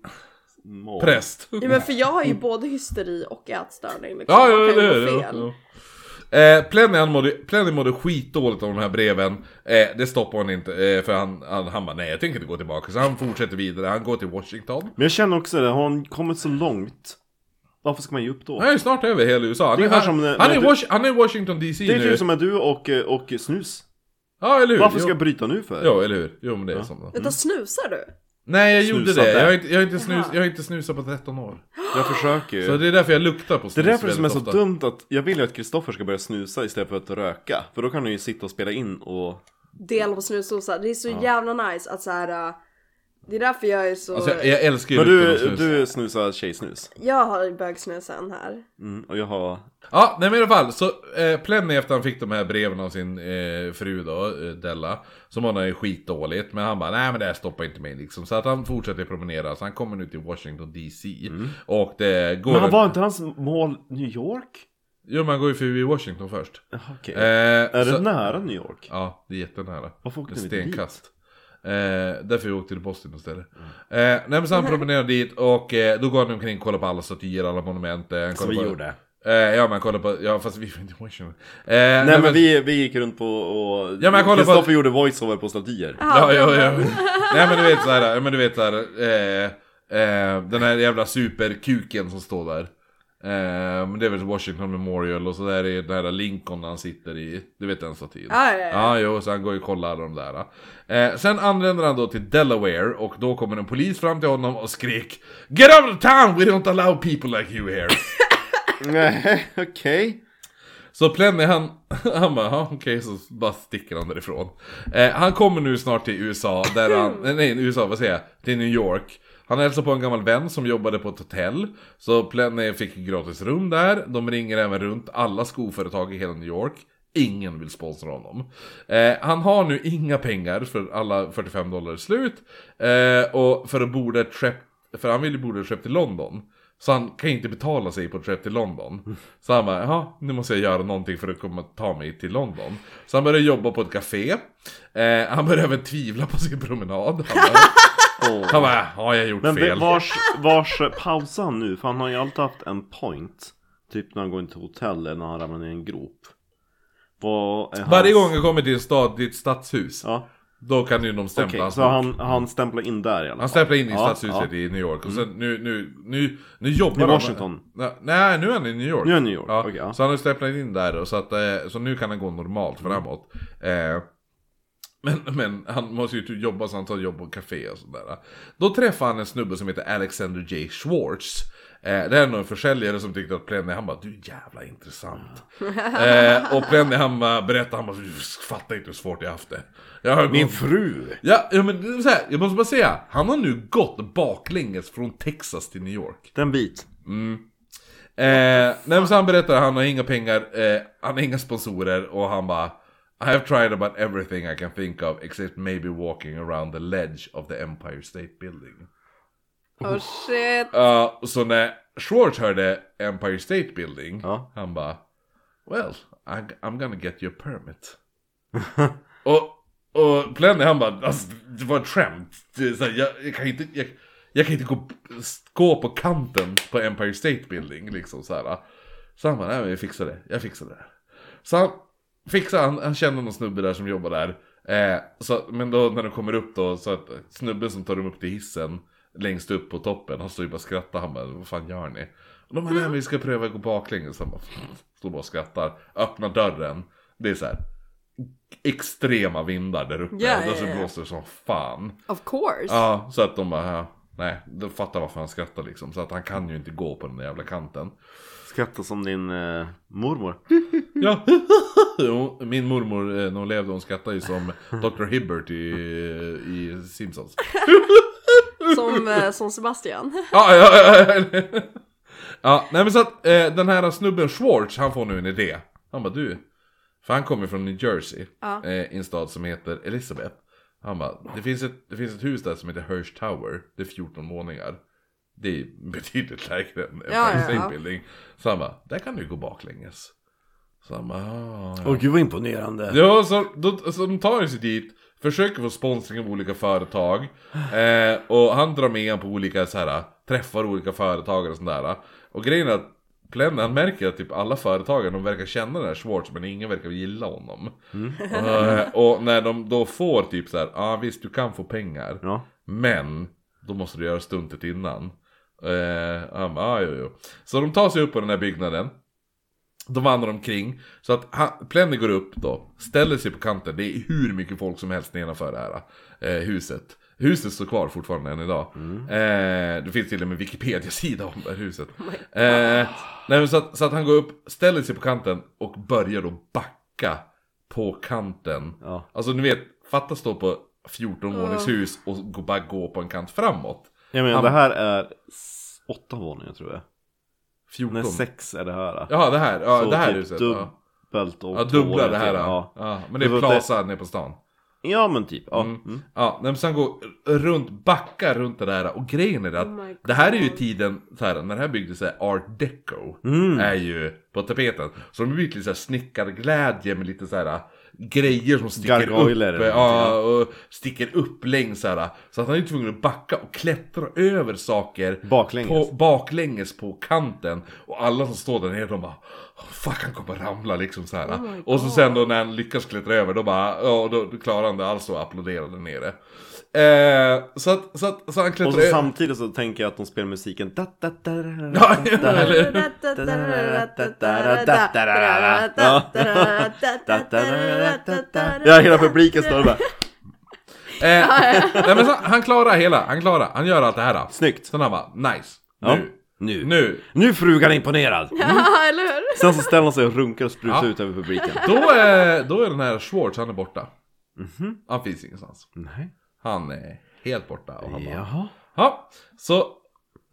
mor.
Präst
Ja, men för jag har ju både hysteri och ätstörning liksom.
Ja, ja,
Man
det
kan ju
är
gå
det.
fel.
Ja. Eh, Plenny, han mådde, Plenny mådde skitdåligt av de här breven. Eh, det stoppar hon inte, eh, för han, han, han bara nej jag tänker inte gå tillbaka. Så han fortsätter vidare, han går till Washington.
Men jag känner också det, har han kommit så långt? Varför ska man ge upp då?
Han är snart över hela USA. Han
Det
är,
är ungefär
han,
som när-
han är,
när
i
du-
Wash, han är i Washington DC
Det är
nu.
typ som med du och, eh, och snus.
Ja, eller hur?
Varför ska
Jo.
jag bryta nu för?
Ja, eller hur? Jo, men det är som det.
Vänta, snusar du?
Nej, jag gjorde
Snusade.
det. Jag har, inte, jag, har inte snus,
Jaha.
jag har inte snusat på 13 år.
Jag försöker ju.
Så det är därför jag luktar på snus
Det är därför det
väldigt
som är så
ofta.
dumt att jag vill ju att Kristoffer ska börja snusa istället för att röka. För då kan han ju sitta och spela in och...
Dela på snusdosa. Det är så jävla nice att så här. äh, Det är därför jag är så...
Alltså, jag, jag älskar ju
Men
lukten
du,
av snus.
du snusar tjejsnus.
Jag har bögsnusen här.
Mm, och jag har...
Ja, nej men i alla fall. Så eh, Plenny efter han fick de här breven av sin eh, fru då, eh, Della. Så mådde han ju skitdåligt. Men han bara, nej men det här stoppar inte mig liksom. Så att han fortsätter promenera. Så han kommer nu till Washington DC. Och det går...
Men han
en-
var inte hans mål New York?
Jo, man går ju förbi Washington först.
Jaha, Okej.
Eh,
är
så-
det nära New York?
Ja, det är jättenära.
Varför åkte
Ett
ni inte dit?
Stenkast. Eh, därför jag åkte till Boston istället.
Mm.
Eh, nej men så han promenerade dit och eh, då går han omkring och kollar på alla statyer, alla monument. Eh, han
Som
kollar
vi
på,
gjorde.
Eh, ja men kollar på, ja fast vi var inte i Washington. Eh, nej,
Nej men vi, vi gick runt på och...
Ja, men jag kollar på-
Kristoffer gjorde voiceover på statyer.
Ja, ja, ja. nej men du vet såhär, ja, men du vet såhär. Eh, eh, den här jävla superkuken som står där. Eh, men det är väl Washington Memorial och så där är den här Lincoln när han sitter i, du vet den statyn.
Ja, ja, ja.
Ja, jo, så han går ju och kollar de där. Eh, sen anländer han då till Delaware och då kommer en polis fram till honom och skrek Get out of town! We don't allow people like you here!
Nej, okej.
så Plenny han, han bara, "Ja, okej, så bara sticker han därifrån. Eh, han kommer nu snart till USA, där han, nej, nej USA, vad säger jag, till New York. Han hälsar på en gammal vän som jobbade på ett hotell. Så Plenny fick gratis rum där. De ringer även runt alla skoföretag i hela New York. Ingen vill sponsra honom. Eh, han har nu inga pengar för alla 45 dollar är slut. Eh, och för att borda trip, för han vill ju borda trip till London. Så han kan inte betala sig på trip till London. Så han bara, jaha, nu måste jag göra någonting för att komma ta mig till London. Så han börjar jobba på ett café. Eh, han börjar även tvivla på sin promenad. Han bara,
Åh.
Han bara, har jag gjort
Men
fel?
ve- vars, vars pausar han nu? För han har ju alltid haft en point Typ när han går in till hotell eller när han ramlar ner i en grop Vad är
Varje
hans-
gång jag kommer till en stad, till ett stadshus,
Ja,
då kan ju de stämpla
okej
hans
Så
bok.
han, han stämplar in där i alla
Han
fall
stämplade in i
Ja,
stadshuset
ja.
i New York och sen nu, nu, nu, nu jobbar
I
han
Washington.
Nej, Nej, nu är han i New York
Nu är han i New York,
ja.
okej, ja. Mm.
Så han har stämplat in där och så, att, eh, så nu kan han gå normalt framåt eh, men, men han måste ju typ jobba så han tar jobb på café och sådär Då träffar han en snubbe som heter Alexander J. Schwartz Eh, det här är nog en försäljare som tyckte att Plenny, han bara du är jävla intressant. eh, och Plenny han bara berättar, han bara du fattar inte hur svårt jag haft det. Jag har
Min
gått-
fru!
Ja, ja men det är så här, jag måste bara säga, han har nu gått baklänges från Texas till New York.
Den bit
Eh, nej, men så han berättar, han har inga pengar, eh, han har inga sponsorer och han bara I have tried about everything I can think of except maybe walking around the ledge of the Empire State Building.
Oh shit.
Ja, och så när Schwartz hörde Empire State Building,
Ja.
han bara Well, I'm, I'm gonna get you a permit. och och Plenny han bara alltså, det var ett skämt. Det är så här, jag, jag kan inte, jag, jag kan inte gå, gå på kanten på Empire State Building liksom så här. Så han bara, nej men jag fixar det, jag fixar det. här." Så han fixar, han, han känner någon snubbe där som jobbar där. Eh, så, men då när de kommer upp då, så att snubben som tar dem upp till hissen längst upp på toppen, han står ju bara och skrattar. Han bara, vad fan gör ni? Och de bara, nej men vi ska pröva att gå baklänges. Han bara, står bara och skrattar. Öppnar dörren. Det är så här extrema vindar där uppe.
Ja,
och
ja,
så
ja.
blåser det som fan.
Of course.
Ja, så att de bara, ja, nej, de fattar varför han skrattar liksom. Så att han kan ju inte gå på den där jävla kanten.
Skrattar som din eh, mormor
Ja, Jo, min mormor eh, när hon levde hon skrattade ju som Dr. Hibbert i, i Simpsons.
Som, eh, som Sebastian.
Ja, ja, ja, ja. ja, nej men så att eh, den här snubben Schwartz, han får nu en idé. Han bara du, för han kommer från New Jersey,
Ja.
eh, i en stad som heter Elizabeth. Han bara, det finns, ett, det finns ett hus där som heter Hirsch Tower, det är 14 våningar. Det är betydligt lägre än en
Ja, ja,
ja,
ja.
building. Så han bara, där kan du gå baklänges. Så han bara, "Ah, ja.
Åh gud vad imponerande
Ja, så, då, så de tar sig dit, försöker få sponsring av olika företag eh, Och han drar med en på olika så här, träffar olika företagare och sådär Och grejen är att Plenn, han märker att typ alla företagare, de verkar känna den här Schwartz men ingen verkar gilla honom Eh, Och när de då får typ så här, ja ah, visst du kan få pengar
Ja,
men då måste du göra stuntet innan. Eh, han bara, ah, jo, jo. Så de tar sig upp på den här byggnaden. De vandrar omkring. Så att han, Plenny går upp då, ställer sig på kanten. Det är hur mycket folk som helst nedanför det här eh, huset. Huset står kvar fortfarande än idag. Eh, det finns till och med en Wikipedia-sida om det här huset. eh, nej, men så, att, så att han går upp, ställer sig på kanten och börjar då backa på kanten.
ja
Alltså ni vet, fatta stå på 14 våningshus och gå- bara gå på en kant framåt.
Jag menar
Han-
det här är s- åtta våningar tror jag
14.
Nej sex är det här
Ja, det här, ja,
Så
det här
typ
huset. Ja.
Dubbelt och
Ja,
två
dubbla
våningar
det här.
till.
Ja.
Ja.
Ja, men det
Det var
är Plaza nere på stan.
ja men typ, ja
Mm.
mm.
Ja, nej, men sen går runt, backar runt det där och grejen är att
Oh my
det här är ju
God.
tiden, så här, när det här byggdes så här, art deco
Mm.
är ju på tapeten. Så de har bytt lite så här snickarglädje med lite så här grejer som sticker
Gargoyler
upp.
eller
Ja, och sticker upp längs så här. Så att han är ju tvungen att backa och klättra över saker
Baklänges.
På, baklänges på kanten. Och alla som står där nere de bara "Åh, Fuck han kommer ramla liksom så här.
Oh my
och så
God.
sen då när han lyckas klättra över då bara, ja då klarar han det alls och applåderar där nere. Eh, så, att, så, att, så han klättrar
Och så
över.
samtidigt så tänker jag att de spelar musiken da, da, da, da, da,
Ja,
da,
ja,
da.
eller-
Ja, hela publiken står där
Eh, nej, men så, han klarar hela, han klarar, han gör allt det här.
Snyggt!
Sen han bara, nice,
Ja.
nu,
Nu! Nu,
nu.
nu frugan är imponerad!
Ja, eller hur?
Sen så ställer han sig och runkar och sprutar
Ja.
ut över publiken
Då är, då är den här Schwartz, han är borta.
Mhm.
Han finns ingenstans.
Nej.
Han är helt borta. Och han bara, ja.
Jaha
så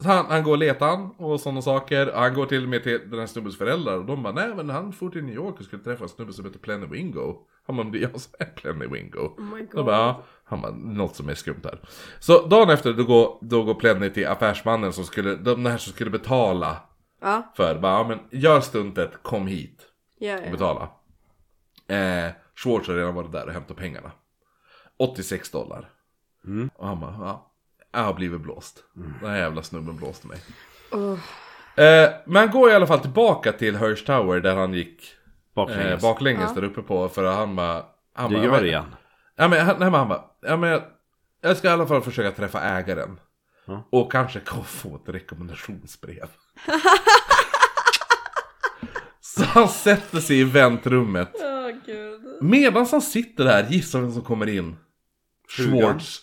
så han, han går och letar han och sådana saker. Och Han går till och med till den här snubbens föräldrar och de bara, nej men han for till New York och skulle träffa en snubbe som heter Plenny Wingo. Han bara, "Men det är jag som är Plenny Wingo.
Oh my
Då
god.
bara, ja. han bara, något som är skumt här. Så dagen efter då går, då går Plenny till affärsmannen som skulle, de här som skulle betala
Ja,
för, bara, ja men gör stuntet, kom hit
ja,
och
ja.
betala. Eh, Schwartz har redan varit där och hämtat pengarna. 86 dollar.
Mm.
Och han bara, ja, Jag har blivit blåst. Den här jävla snubben blåste mig.
Åh.
Eh, men går i alla fall tillbaka till Hirsch Tower där han gick
Baklänges.
eh, baklänges där uppe på. För han bara... Han
Du
bara,
gör
"Men-
det igen.
Ja, men, han- nej, men han bara, ja, men jag, jag ska i alla fall försöka träffa ägaren.
Ja.
Och kanske k- få ett rekommendationsbrev. så han sätter sig i väntrummet.
Åh gud.
Medan han sitter där, gissa vem som kommer in?
Frugan.
Schwartz.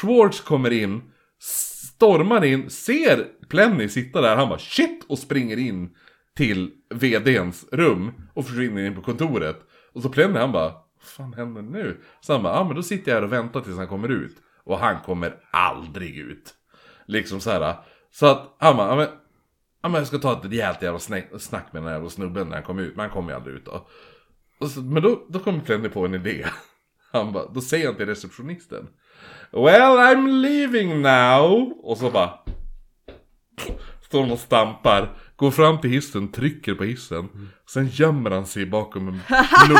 Schwartz kommer in, stormar in, ser Plenny sitta där, han bara shit och springer in till VDns rum och försvinner in på kontoret. Och så Plenny han bara, vad fan händer nu? Så han bara, ja ah, men då sitter jag här och väntar tills han kommer ut. Och han kommer aldrig ut. Liksom så här. Så att han bara, ja men Ja men jag ska ta ett rejält jävla snack, snack med den här jävla snubben när han kom ut, men han kom ju aldrig ut då. Och så, men då, då kom Plenny på en idé. Han bara, då säger han till receptionisten. Well I'm leaving now. Och så bara. Står hon och stampar. Går fram till hissen, trycker på hissen. Sen gömmer han sig bakom en, blo-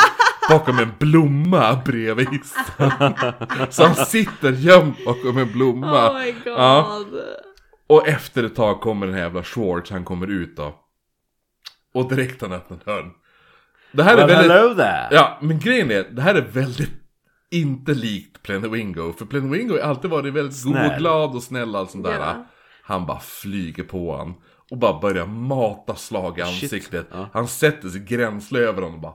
bakom en blomma bredvid hissen. Så han sitter gömd bakom en blomma.
Oh my god.
Ja. Och efter ett tag kommer den här jävla Schwartz, han kommer ut då. Och direkt han öppnar dörren. Det här är
Well,
väldigt...
hello there!
Ja, men grejen är, det här är väldigt inte likt Plenowingo. För Plenowingo har alltid varit väldigt god och
Snäll.
glad och snäll och allt sånt där.
Ja.
Han bara flyger på han Och bara börjar mata slag i
Shit.
ansiktet.
Ja.
Han sätter sig gränsle över honom och bara...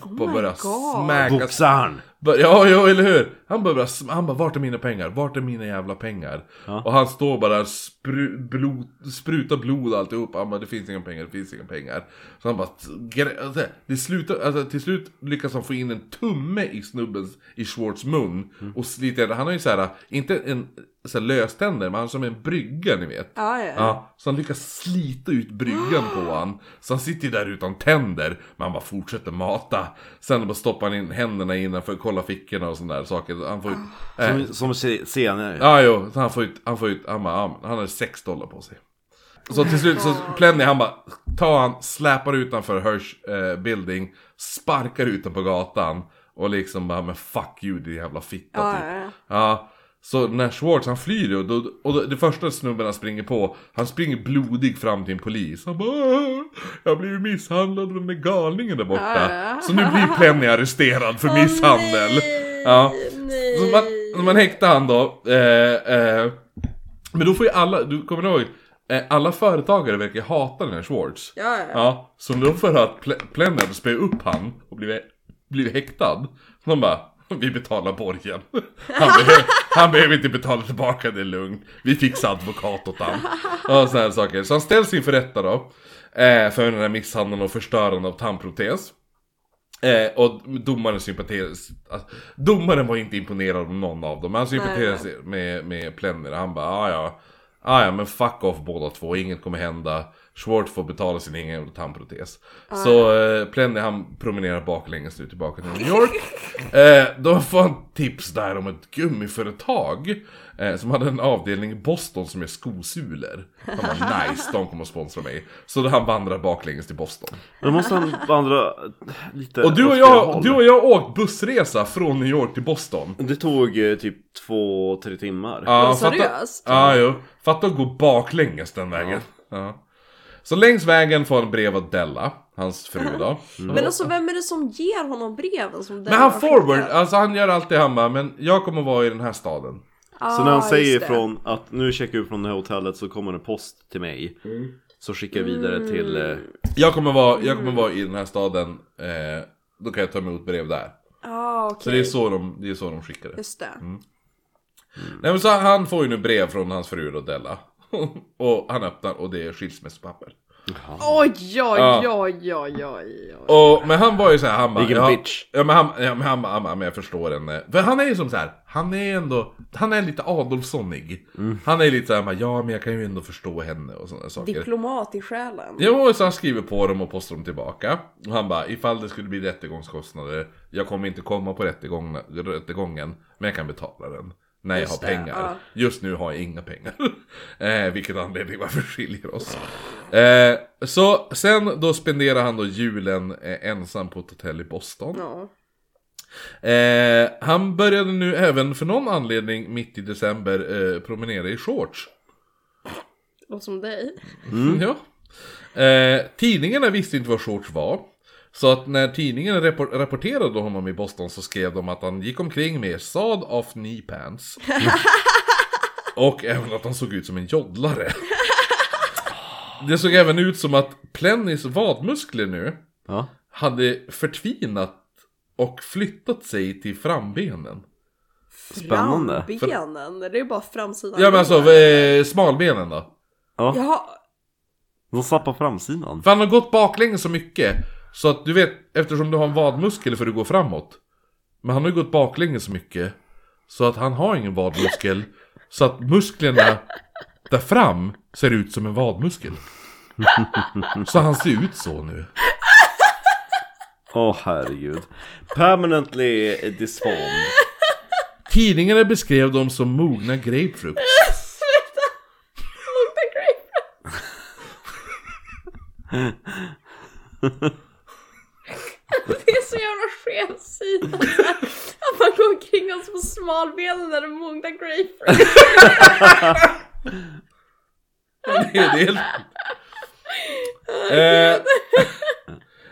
Oh bara
my
börjar
God.
smäka
Boxaren!
Bara, Ja, ja, eller hur? Han bara, börjar sm- han bara, vart är mina pengar? Vart är mina jävla pengar?
Ja.
Och han står bara där, spru, blod, sprutar blod och alltihop. Han bara, det finns inga pengar, det finns inga pengar. Så han bara, gre- alltså, det slutar, alltså, till slut lyckas han få in en tumme i snubbens, i Schwartz mun. Och sliter, han har ju så här, inte en så här, löständer, men han har som en brygga ni vet.
Ja, ja.
Ja, så han lyckas slita ut bryggan på han. Så han sitter ju där utan tänder. Men han bara fortsätter mata. Sen bara stoppar han in händerna innanför, kollar fickorna och sådana där saker. Han får ut...
Ah.
eh,
Som, som se- senare.
Ja, jo. Så han får ut... Han får ut... Han, bara, ja, han har 6 dollar på sig. Så till slut så Plenny han bara tar han, släpar utanför Hirsch eh, building, sparkar ut den på gatan och liksom bara men fuck you din jävla fitta
Ja,
typ.
ja, ja.
Ja, så när Schwartz han flyr och, då, och då, det första snubben han springer på, han springer blodig fram till en polis. Han bara "Åh, jag har blivit misshandlad av den där galningen där borta.
Ja.
Så nu blir Plenny arresterad för
Åh,
misshandel.
nej,
Ja.
nej.
Så man, så man häktar han då. Eh, eh, men då får ju alla, du kommer ihåg, eh, alla företagare verkar hata den här Schwartz.
Ja, ja.
Ja, så när de får höra att Pl- Plenny hade spöat upp han och blivit, blivit häktad. Så de bara, vi betalar borgen. Han, behöver- han behöver inte betala tillbaka, det är lugnt. Vi fixar advokat åt han. Och sådana här saker. Så han ställs inför rätta då. Eh, för den här misshandeln och förstörande av tandprotes. Eh, och domaren sympatiserade... Alltså, domaren var inte imponerad av någon av dem. Han sympatiserade sig med, med Plenner. Han bara, "Ah, ja ah, ja, men fuck off båda två. Inget kommer hända. Schwartz får betala sin egen jävla tandprotes. Så eh, Plenner han promenerar baklänges nu tillbaka till New York. eh, då får han tips där om ett gummiföretag. Eh, som hade en avdelning i Boston som är skosulor. Han bara nice, de kommer att sponsra mig. Så då han vandrar baklänges till Boston.
Då måste han vandra lite
Och du och,
åt fel
jag,
håll.
du och jag har åkt bussresa från New York till Boston.
Det tog eh, typ två, tre timmar.
Ja,
Vad seriöst?
Fatta, ja, jo. Fatta att gå baklänges den vägen. Ja. Så längs vägen får han brev av Della, hans fru då.
Men alltså vem är det som ger honom breven? Som
Men han forward, alltså han gör alltid han bara, men jag kommer vara i den här staden.
Ah,
Så när han säger ifrån att nu checkar jag ut från det här hotellet så kommer det post till mig. Så skickar jag vidare till... eh,
Jag kommer vara, jag kommer vara i den här staden, eh, då kan jag ta emot brev där.
Ja, Ah, okej.
Så det är så de, det är så de skickar det.
Just det.
Mm.
Nej men så han får ju nu brev från hans fru då, Della. och han öppnar och det är skilsmässopapper.
Oj, oj,
Ja.
oj, oj, oj, oj.
Och, men han var ju så här, han bara,
Vilken
ja,
bitch.
Ja men han, ja, men han, bara, han, bara, men jag förstår henne. För han är ju som så här, han är ändå, han är lite Adolfssonig. Han är lite så här, bara, ja men jag kan ju ändå förstå henne och sådana saker.
Diplomat i själen.
Jo, så han skriver på dem och postar dem tillbaka. Och han bara, ifall det skulle bli rättegångskostnader, jag kommer inte komma på rättegång, rättegången, men jag kan betala den. När jag har
Just det,
pengar.
ja.
Just nu har jag inga pengar. eh, vilket anledning varför vi skiljer oss. Eh, så sen då spenderar han då julen eh, ensam på ett hotell i Boston.
Ja.
Eh, han började nu även för någon anledning mitt i december eh, promenera i shorts.
Låter som dig.
Ja. Eh, tidningarna visste inte vad shorts var. Så att när tidningen rappor- rapporterade om honom i Boston så skrev de att han gick omkring med sad off knee pants. Och även att han såg ut som en joddlare. Det såg även ut som att Plennys vadmuskler nu
Ja.
hade förtvinat och flyttat sig till frambenen.
Spännande.
Frambenen, det är bara framsidan.
Ja men alltså eh, smalbenen då.
Ja.
Jaha,
De satt på framsidan.
För han har gått baklänges så mycket Så att du vet, eftersom du har en vadmuskel för du går framåt Men han har ju gått baklänges så mycket Så att han har ingen vadmuskel Så att musklerna där fram ser ut som en vadmuskel Så han ser ut så nu
Åh herregud. Permanently disformed.
Tidningarna beskrev dem som mogna grapefrukt
sluta! Luktar grapefrukt. Det är så jävla skev syn alltså. att man går omkring oss på smalbenen när det mognar grapefrukt.
Det är det. Eh,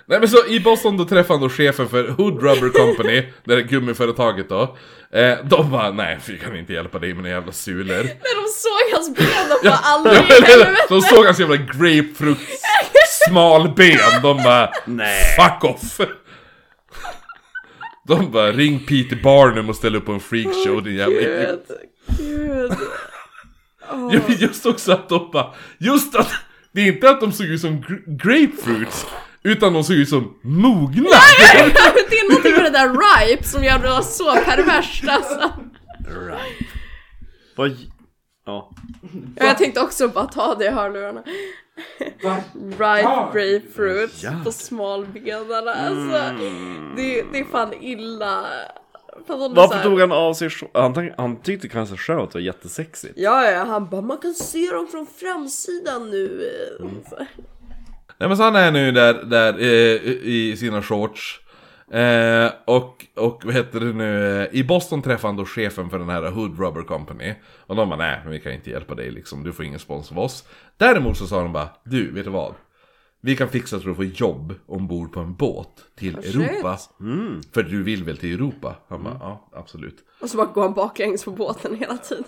Nej men så i Boston då träffade han då chefen för Hood Rubber Company, det där gummiföretaget då. Eh, de bara, nej vi kan inte hjälpa dig med dina jävla sulor.
När de såg hans ben och bara aldrig i
Så
helvete.
de såg hans jävla grapefrukt smalben, de bara,
Nej.
fuck off. De bara, ring Peter Barnum och ställ upp på en freakshow din jävla idiot.
Gud, gud.
Ja, men just också att de bara, just att det är inte att de såg ut som gr- grapefruits, utan de såg ut som mogna!
Det är någonting med det där ripe som gör det så perverst alltså.
Right. Vad... Ja.
Ja, jag tänkte också bara ta det i hörlurarna. Ripe grapefruit på smalbenarna alltså. Det, det är fan illa. Fan, hon är så
Varför
här-
tog han av sig shorts? han, tänk- han tyckte kanske själv att det var jättesexigt.
Ja, ja, han bara man kan se dem från framsidan nu. Så.
Nej men så han är nu där, där eh, i sina shorts. Eh, och, och vad heter det nu, eh, i Boston träffade han då chefen för den här Hood Rubber Company. Och de bara nej, men vi kan inte hjälpa dig liksom, du får ingen spons av oss. Däremot så sa de bara, du vet du vad? Vi kan fixa så du får jobb ombord på en båt till Europa. För du vill väl till Europa? Han bara, ja absolut.
Och så bara går han baklänges på båten hela tiden.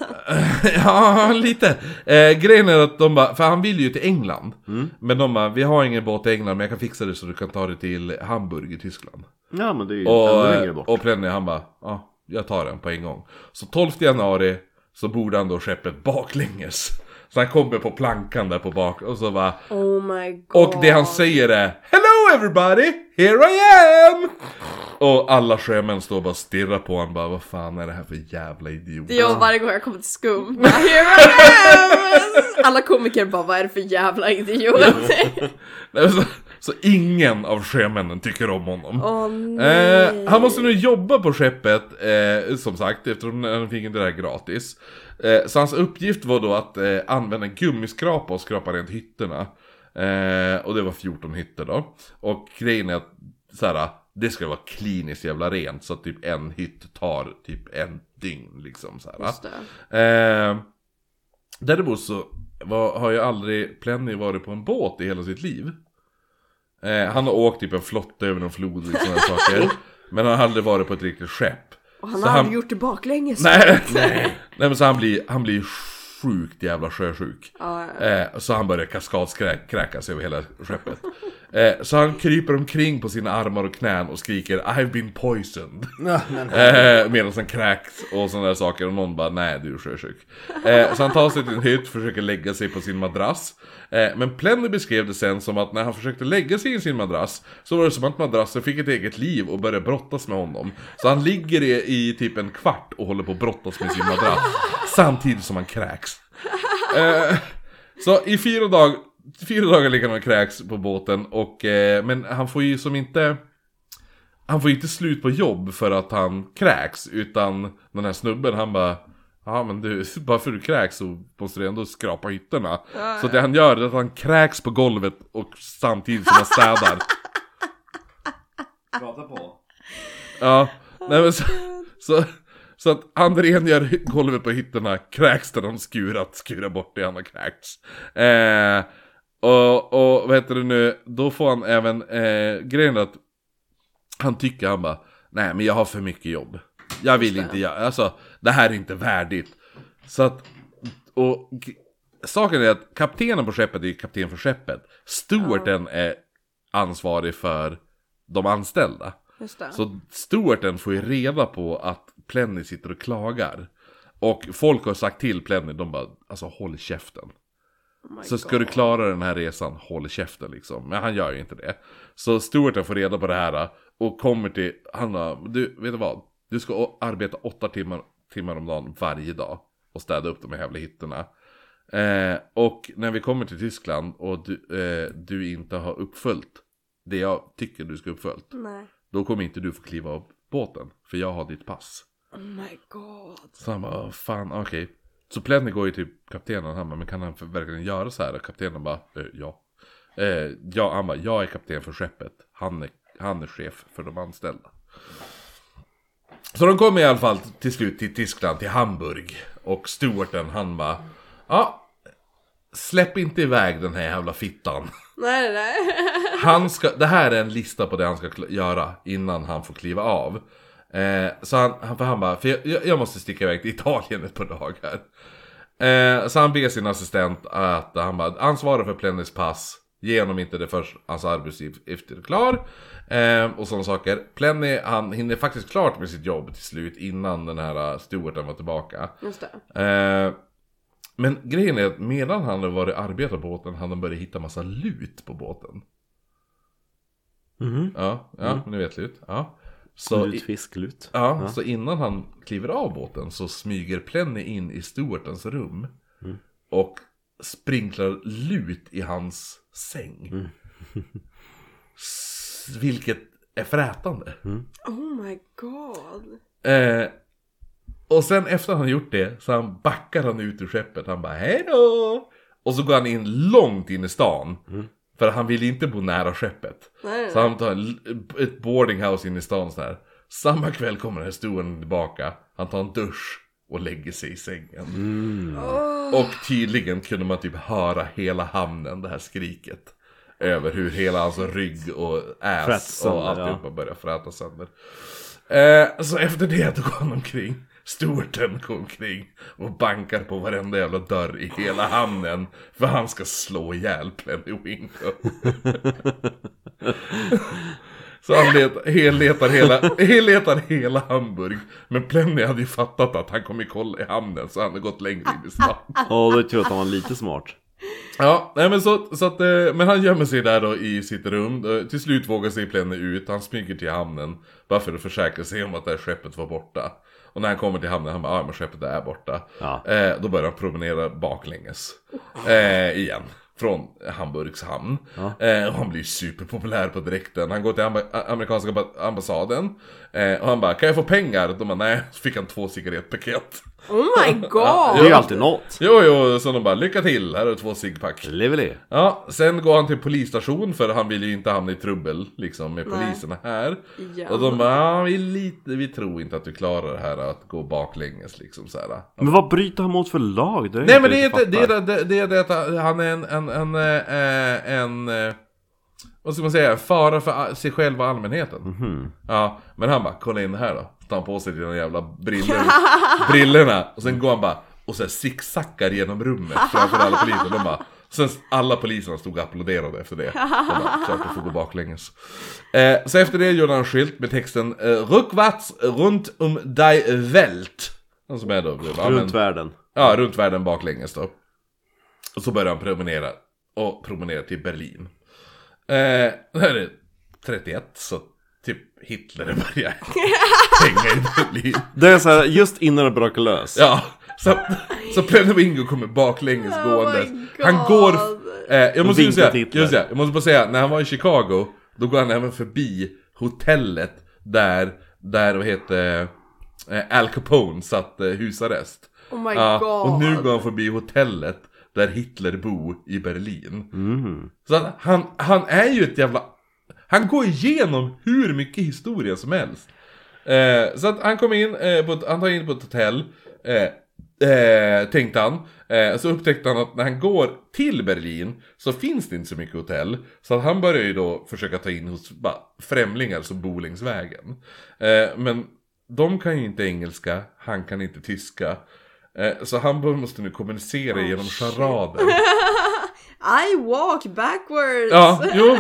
Ja, lite. Eh, grejen är att de bara, för han vill ju till England.
Mm.
Men de bara, vi har ingen båt i England men jag kan fixa det så du kan ta dig till Hamburg i Tyskland.
Ja men det är ju ännu längre bort.
Och, och Plenny han bara, ja, jag tar den på en gång. Så 12 januari så borde han då skeppet baklänges. Så han kommer på plankan där på bak och så bara,
Oh my god.
och det han säger är Hello everybody, here I am! Och alla sjömän står bara och stirrar på honom bara, vad fan är det här för jävla idiot?
Det gör jag varje gång jag kommer till skum. Bara, Here I am! Alla komiker bara vad är det för jävla idiot?
Nej, Så, så ingen av sjömännen tycker om honom.
Åh nej.
Eh, han måste nu jobba på skeppet, eh, som sagt, eftersom han fick inte det här gratis. Eh, så hans uppgift var då att eh, använda en gummiskrapa och skrapa rent hytterna. Eh, och det var 14 hytter då. Och grejen är att såhär, det ska vara kliniskt jävla rent, så att typ en hytt tar typ en dygn liksom såhär.
Just det.
Eh, däremot så var, har ju aldrig Plenny varit på en båt i hela sitt liv. Eh, han har åkt typ en flotte över någon flod och sådana saker. Men han har aldrig varit på ett riktigt skepp.
Och han
Så
har
han-
aldrig gjort det baklänges.
Nej, nej. nej men så han blir, han blir sjukt jävla sjösjuk.
Ja, ja.
Eh, så han börjar kaskadskräkas över hela skeppet. Eh, så han kryper omkring på sina armar och knän och skriker I've been poisoned. eh, medan han kräks och sådana där saker och någon bara nej du är sjösjuk. Eh, så han tar sig till en hytt, försöker lägga sig på sin madrass. Eh, men Plenny beskrev det sen som att när han försökte lägga sig i sin madrass så var det som att madrassen fick ett eget liv och började brottas med honom. Så han ligger i, i typ en kvart och håller på att brottas med sin madrass samtidigt som han kräks. Eh, Så i fyra, dag, fyra dagar ligger han och kräks på båten och, eh, men han får ju som inte Han får ju inte slut på jobb för att han kräks utan Den här snubben han bara Ja men du, bara för du kräks så måste du ändå skrapa hytterna Så det han gör är att han kräks på golvet och samtidigt som han städar
Prata på.
Ja Nej, men så, så, så att han rengör golvet på hytterna, kräks där de skurat, skurar bort det han har kräkts. Eh, och, och vad heter det nu, då får han även, eh, grejen är att han tycker, han bara, nej men jag har för mycket jobb. Jag vill inte göra, alltså det här är inte värdigt. Så att, och g- saken är att kaptenen på skeppet är ju kapten för skeppet. Stewarden är ansvarig för de anställda.
Just det.
Så Stewarten får ju reda på att Plenny sitter och klagar. Och folk har sagt till Plenny, de bara alltså håll käften.
Oh my
Så ska
God.
du klara den här resan, håll käften liksom. Men han gör ju inte det. Så Stewarten får reda på det här och kommer till, han bara, du vet du vad? Du ska å- arbeta åtta timmar, timmar om dagen varje dag och städa upp de här jävla hytterna. Eh, och när vi kommer till Tyskland och du, eh, du inte har uppfyllt det jag tycker du ska uppfyllt.
Nej.
Då kommer inte du få kliva av båten, för jag har ditt pass.
Oh my god.
Så han bara, "Åh, fan, okej. Så Plenny går ju till kaptenen, han bara, men kan han för- verkligen göra så här? Och kaptenen bara, "Eh, ja. Eh, ja, han bara, jag är kapten för skeppet. Han är, han är chef för de anställda. Så de kommer i alla fall till slut till Tyskland, till Hamburg. Och stewarden, han bara, ja. Släpp inte iväg den här jävla fittan.
Nej, nej. nej.
Han ska, det här är en lista på det han ska kl- göra innan han får kliva av. Eh, så han, han, för han bara, för jag- jag, jag måste sticka iväg till Italien ett par dagar. Eh, så han ber sin assistent att, han bara, ansvara för Plennys pass. Ge honom inte det först hans arbetsuppgifter är klar. Eh, och sådana saker. Plenny, han hinner faktiskt klart med sitt jobb till slut innan den här eh, stewarden var tillbaka.
Just det.
Eh, men grejen är att medan han har varit arbetare på båten, han har börjat hitta massa lut på båten.
Mhm.
Ja, ja ni vet lut. Ja. Så, i,
fisklut.
ja, så innan han kliver av båten så smyger Plenny in i stewartens rum. Och sprinklar lut i hans säng. S- Vilket är frätande.
Oh my god.
Eh, och sen efter han gjort det så han backar han ut ur skeppet. Han bara hej då! Och så går han in långt in i stan. För han vill inte bo nära skeppet.
Mm. Nej, nej.
Så han tar en, ett boardinghouse in i stan så här. Samma kväll kommer den här stolen tillbaka. Han tar en dusch och lägger sig i sängen.
Åh.
Och tydligen kunde man typ höra hela hamnen det här skriket. Över hur hela hans rygg och
Fräts
ass
sönder,
och alltihopa börjar fräta sönder. Eh, så efter det då går han omkring. Stewarten går omkring och bankar på varenda jävla dörr i hela hamnen. För han ska slå ihjäl Plenny Wingo. Så han let, hel, letar, hela, hel, letar hela Hamburg. Men Plenny hade ju fattat att han kom i koll i hamnen så han hade gått längre in i stan.
Ja, då tror jag att han var lite smart.
Ja, nej men så, så att, eh, men han gömmer sig där då i sitt rum. Eh, Till slut vågar sig Plenne ut, han smyger till hamnen. Bara för att försäkra sig om att det här skeppet var borta. Och när han kommer till hamnen, han bara, ja men skeppet är borta.
Ja.
Eh, då börjar han promenera baklänges. Eh, igen. Från Hamburgs hamn. Eh, och han blir superpopulär på direkten. Han går till amba- a- amerikanska ba- ambassaden. Eh, och han bara, kan jag få pengar? De bara, nej. Så fick han två cigarettpaket.
Oh my
Det är ju
god.
alltid något.
Jo, jo, så de bara, lycka till, här har du två cigpack.
Lively.
Ja, sen går han till polisstation för han vill ju inte hamna i trubbel liksom med
Nej.
poliserna här.
Ja.
Och de bara, "Ja, vi, är lite, vi tror inte att du klarar det här att gå baklänges liksom så här.
Men vad bryter han mot för lag? Det är
Nej men det är
inte
inte, det är det, det, det, är det att han är en, en, en, eh, en, eh, vad ska man säga, en fara för a- sig själv och allmänheten.
Mhm.
Ja, men han bara, kolla in det här då. Tar han på sig dina jävla briller, brillorna och sen går han bara och så här zigzaggar genom rummet framför alla poliser. De bara, sen alla poliserna stod och applåderade efter det. De bara, klart du får gå baklänges. Eh, så efter det gjorde han en skylt med texten eh, Rückwärts runt um die Welt. Och så är då, ja, men-
Runt världen.
Ja, runt världen baklänges då. Och så börjar han promenera. Och promenera till Berlin. Eh, det här är 31, så typ Hitler börjar hänga i Berlin.
Det är så här, just innan det brakar lös.
Ja, så, så Plenovingo kommer baklänges
Oh
gåendes.
my God.
Han går... Eh, jag, måste ju
vinkar
säga,
till
jag,
Hitler.
måste säga, jag måste bara säga, när han var i Chicago, då går han även förbi hotellet där, där vad heter eh, Al Capone satt eh, husarrest.
Oh my
Ja,
god.
och nu går han förbi hotellet där Hitler bor i Berlin. Så att han, han är ju ett jävla... Han går igenom hur mycket historia som helst. Eh, så att han kom in, eh, på ett, han tar in på ett hotell, eh, eh, tänkte han. Eh, så upptäckte han att när han går till Berlin så finns det inte så mycket hotell. Så att han börjar ju då försöka ta in hos bara, främlingar som bor längs vägen. Eh, men de kan ju inte engelska, han kan inte tyska. Eh, så han bara måste nu kommunicera genom charader.
I walk backwards!
Ja, jo.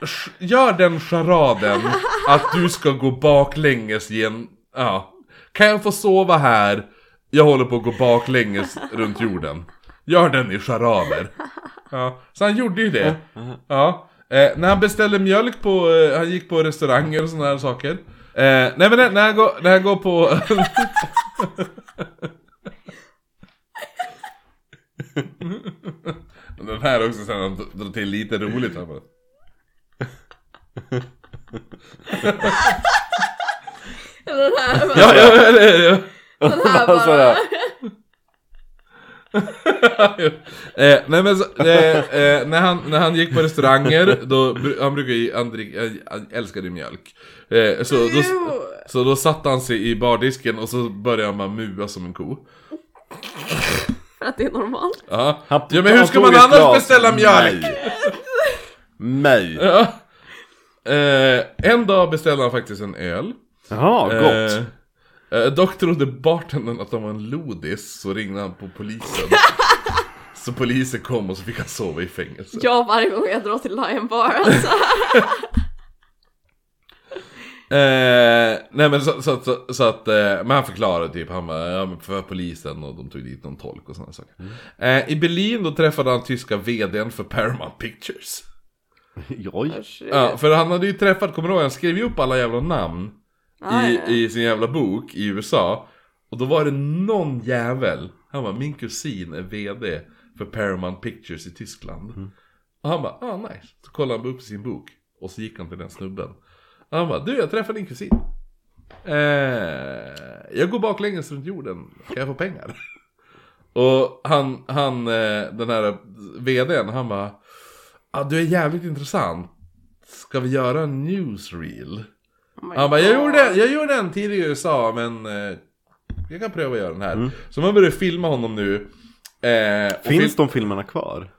Sch- Gör den charaden att du ska gå baklänges i en... Ja. Kan jag få sova här? Jag håller på att gå baklänges runt jorden. Gör den i charader. Ja, så han gjorde ju det. Ja. Eh, när han beställde mjölk på... Eh, han gick på restauranger och sådana här saker. Eh, nej men när- när han går, när han går på... Den här också sen han drar till lite roligt. Han bara...
Den här bara,
Ja, ja, eller ja.
den här
Alltså,
bara.
eh, nej men så, eh, eh, när, han, när han gick på restauranger, då, bru- han brukar ju, han, drick, eh, han älskade ju mjölk. Eh, så, då,
Jo.
så då satte han sig i bardisken och så började han bara mua som en ko.
För att det är normalt.
Ja,
Han-
ja men hur
han
ska
tog
man
ett
annars
glas.
beställa mjölk?
Nej! Nej.
Ja. Eh, en dag beställde han faktiskt en öl.
Jaha, gott!
Eh, eh, dock trodde bartendern att han var en lodis, så ringde han på polisen. så polisen kom och så fick han sova i fängelse.
Jag varje gång jag drar till Lion Bar alltså.
Eh, nej men så, så, så, så att, eh, men han förklarade typ, han var ja, men för polisen och de tog dit någon tolk och sådana saker. Eh, I Berlin då träffade han tyska vdn för Paramount Pictures.
Oj!
Eh.
Ja, för han hade ju träffat, kommer du ihåg, han skrev ju upp alla jävla namn
Ah,
i,
ja.
i sin jävla bok i USA. Och då var det någon jävel, han var min kusin är vd för Paramount Pictures i Tyskland. Och han bara, ah nice. Så kollade han upp sin bok och så gick han till den snubben. Och han bara, du jag träffade din kusin. Eh, jag går baklänges runt jorden, kan jag få pengar? Och han, han eh, den här vdn, han bara ah, Du är jävligt intressant Ska vi göra en newsreel?
Oh my
Han bara, jag
God.
gjorde, jag gjorde en tidigare i USA men eh, Jag kan pröva att göra den här Så man börjar filma honom nu eh, och
Mm. Finns
fil-
de filmerna kvar?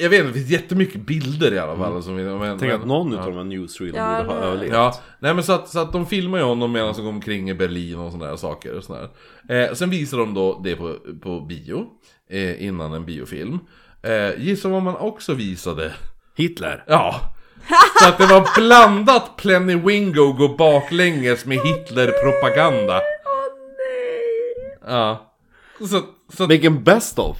Jag vet inte, det finns jättemycket bilder i alla fall som vi- men,
Mm. Tänk att
men-
någon utav de här newsreelen
Ja,
borde ha
eller-
överlevt
Ja, nej men så att, så att de filmar ju honom medan de går omkring i Berlin och sådana där saker och sådär. Eh, sen visar de då det på, på bio, eh, innan en biofilm. Eh, gissa vad man också visade?
Hitler!
Ja! Så att det var blandat Plenny-Wingo gå baklänges med Hitler-propaganda.
Åh nej!
Ja. Så, så,
Vilken best of!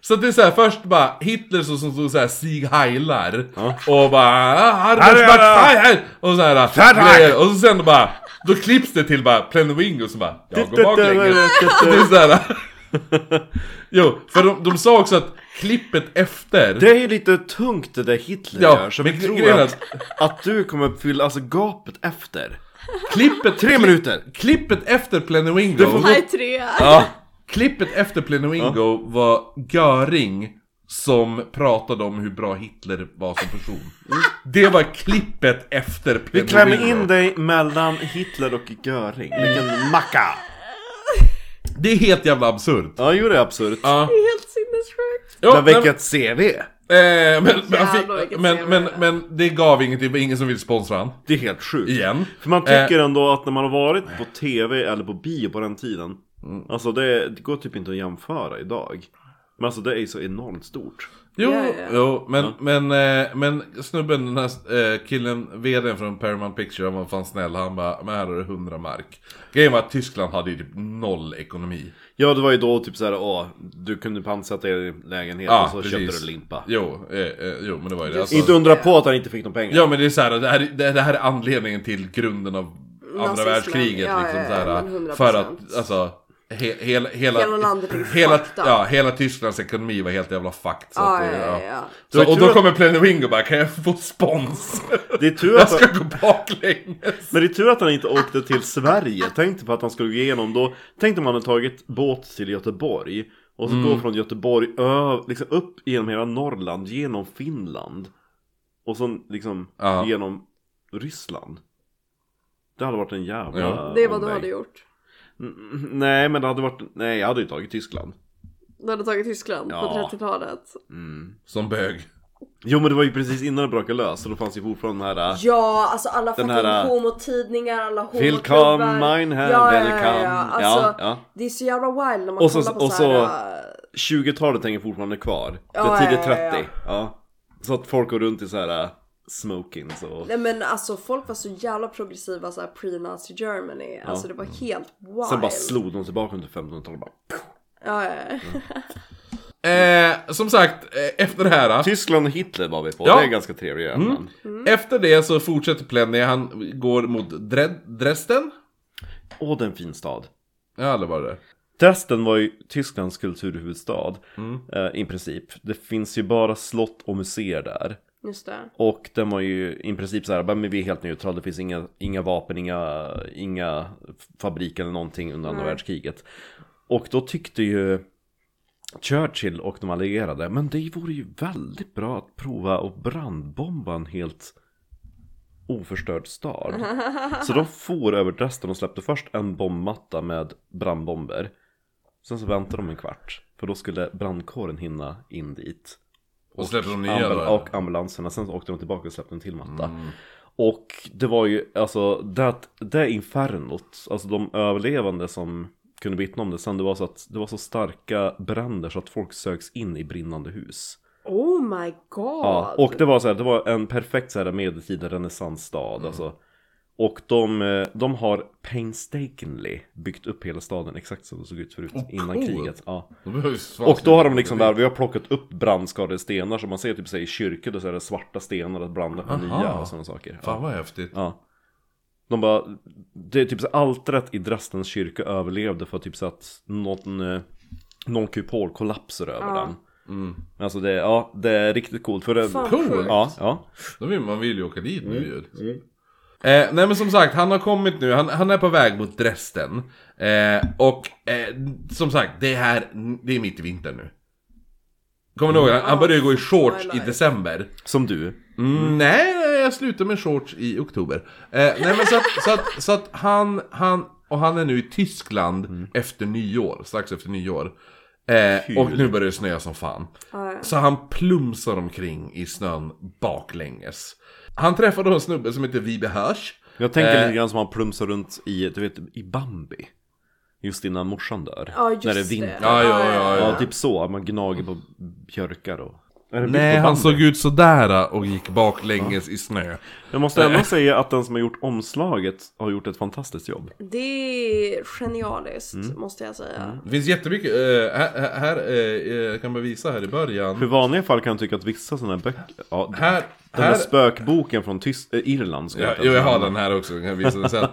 så att det är såhär, först bara Hitler så, som stod såhär Sieg Heilar och bara "Ah, Arbets- Bart- Heilar!" och såhär
Heilar!
grejer. Och så sen bara, då klipps det till bara Plenwingo som bara Jag går baklänges Det är såhär Jo, för de, de sa också att klippet efter
Det är ju lite tungt det där Hitler
Ja,
gör, så vi
men
tror
grejen är
att, att du kommer fylla alltså gapet efter.
Klippet,
Tre minuter!
klippet efter Plenwingo
Du får gå-
High tre.
Ja, klippet efter Plenwingo var Göring som pratade om hur bra Hitler var som person. Det var klippet efter Plenwingo.
Vi klämmer in dig mellan Hitler och Göring. Vilken macka!
Det är helt jävla absurt.
Ja, jo det är absurt.
Ja.
Det är helt sinnessjukt.
Jo,
Men
nej,
vilket CV!
eh, men, men, han
Jävlar,
fick,
vilket
men,
CV.
men, men det gav ingenting, det var ingen som ville sponsra han.
Det är helt sjukt.
Igen. Eh.
För man tycker ändå att när man har varit på TV eller på bio på den tiden Alltså det, det går typ inte att jämföra idag Men alltså det är ju så enormt stort
Jo,
Ja, ja.
jo men, men, eh, men snubben, den här eh, killen, vdn från Paramount Picture, han var fan snäll. Han bara, men här har du 100 mark. Grejen var att Tyskland hade ju typ noll ekonomi.
Ja det var ju då typ såhär, åh Du kunde pantsätta er lägenhet och så köpte du limpa
Jo, eh, eh, jo men det var ju det. Alltså,
Inte undra på att han inte fick några pengar
Ja men det är så här, det här, det, det här är anledningen till grunden av andra
Nazismen,
världskriget
ja,
liksom
ja,
så här,
ja, men 100%.
För att, alltså he, hela, hela,
Hela landet är
hela,
fucked up.
ja, hela Tysklands ekonomi var helt jävla fucked så
Ja,
att det-
ja, ja, ja.
Det
Så,
var
och
tur
då
att-
kommer Plenwing och bara kan jag få spons?
Det är tur
jag
att
ska gå baklänges!
Men det är tur att han inte åkte till Sverige. Tänk dig på att han skulle gå igenom då. Tänk dig om han hade tagit båt till Göteborg. Och så
Mm.
gå från Göteborg ö, liksom upp genom hela Norrland, genom Finland. Och sen liksom
Ja.
genom Ryssland. Det hade varit en jävla
Ja.
Det är vad du
omväg.
hade gjort.
Mm, Nej men det hade varit, nej jag hade ju tagit Tyskland
Du hade tagit Tyskland
Ja.
på 30-talet.
mm.
Som bög.
Jo men det var ju precis innan det brakade lös så då fanns ju fortfarande de här äh,
Ja, alltså alla fucking
här, äh,
homotidningar, alla homoklubbar.
Welcome mine hand,
ja, ja,
welcome
ja, ja. Alltså,
ja, ja.
Det är så jävla wild när man
Och så-
kollar på
och
så
så-
här, äh,
20-talet hänger fortfarande kvar
Ja,
Det är tidigt
ja,
30
ja,
ja,
ja.
Så att folk går runt i så här äh, smokings och
Nej men alltså folk var så jävla progressiva såhär pre-nazi Germany. Alltså det var helt wild.
Mm. Sen bara slog Mm. de tillbaka under 1500-talet bara
Ja, ja, ja.
Eh, som sagt, eh, efter det här.
Tyskland och Hitler var vi på,
Ja.
det är ganska trevliga ämnen
Efter det så fortsätter Plenny, han går mot Dre- Dresden.
Åh det är en fin stad
Jag har aldrig varit där.
Dresden var ju Tysklands kulturhuvudstad eh, i princip. Det finns ju bara slott och museer där.
Just det.
Och den var ju i princip så här, men vi är helt neutrala, det finns inga, inga vapen, inga, inga fabriker eller någonting under andra världskriget. Och då tyckte ju Churchill och de allierade, men det vore ju väldigt bra att prova att brandbomba en helt oförstörd stad. Så de for över Dresden och släppte först en bombmatta med brandbomber. Sen så väntade de en kvart, för då skulle brandkåren hinna in dit.
Och släpper de nya
Ambul-
då?
och ambulanserna, sen så åkte de tillbaka och släppte en till matta.
Mm.
Och det var ju, alltså det, det infernot, alltså de överlevande som kunde vittna om det sen, det var så att det var så starka bränder så att folk söks in i brinnande hus.
Oh my god.
Ja, och det var så här, det var en perfekt så här medeltida renässansstad alltså. Och de, eh, de har painstakingly byggt upp hela staden exakt som det såg ut förut innan
coolt.
kriget. Ja.
De behövs fan
Och då har de
inte.
liksom där, vi har plockat upp brandskadade stenar som man ser typ säg, i kyrkor, då så är det svarta stenar att branda på
Aha.
nya och sådana saker.
Fan
Ja.
vad häftigt.
ja. De bara, det är typ så här, altaret i Dresdens kyrka överlevde för typ så att någon, eh, någon kupol kollapsar över den.
Mm.
Alltså det, ja, det är riktigt coolt. För det,
Fan,
Cool.
sjukt.
Ja, ja.
Då vill man vill ju åka dit
Mm.
nu ju. liksom. Eh, nej men som sagt, han har kommit nu, han, han är på väg mot Dresden. Eh, och eh, som sagt, det här, det är mitt i vintern nu. Kommer ni ihåg? Han, han började gå i shorts i
Twilight.
december.
Som du.
Mm, nej, nej, jag slutar med shorts i oktober. Eh, nej men så att, så att, så att han, han, och han är nu i Tyskland efter nyår, strax efter nyår. Eh, och nu börjar det snöa som fan.
Ja, ja.
Så han plumsar omkring i snön baklänges. Han träffar då en snubbe som heter Vibe Hirsch.
Jag tänker
Eh.
lite grann som han plumsar runt i, du vet, i Bambi. Just innan morsan dör.
Ja, just
när det är vinter.
Ja, ja, ja,
Ja, typ så. Man gnager på björkar och... Är det bild
Nej,
på
han
Bambi?
såg ut sådär och gick baklänges i snö.
Jag måste ändå säga att den som har gjort omslaget har gjort ett fantastiskt jobb.
Det är genialiskt
Mm.
måste jag säga.
Det finns jättemycket, eh, här, här- här eh, jag kan bara visa här i början.
För i vanliga fall kan jag tycka att vissa sådana här böcker... Ja, den
Här,
här
här,
spökboken från Tyst... eh, Irland ska
Ja,
jag
jo, jag
säga.
har den här också, jag kan visa den sen.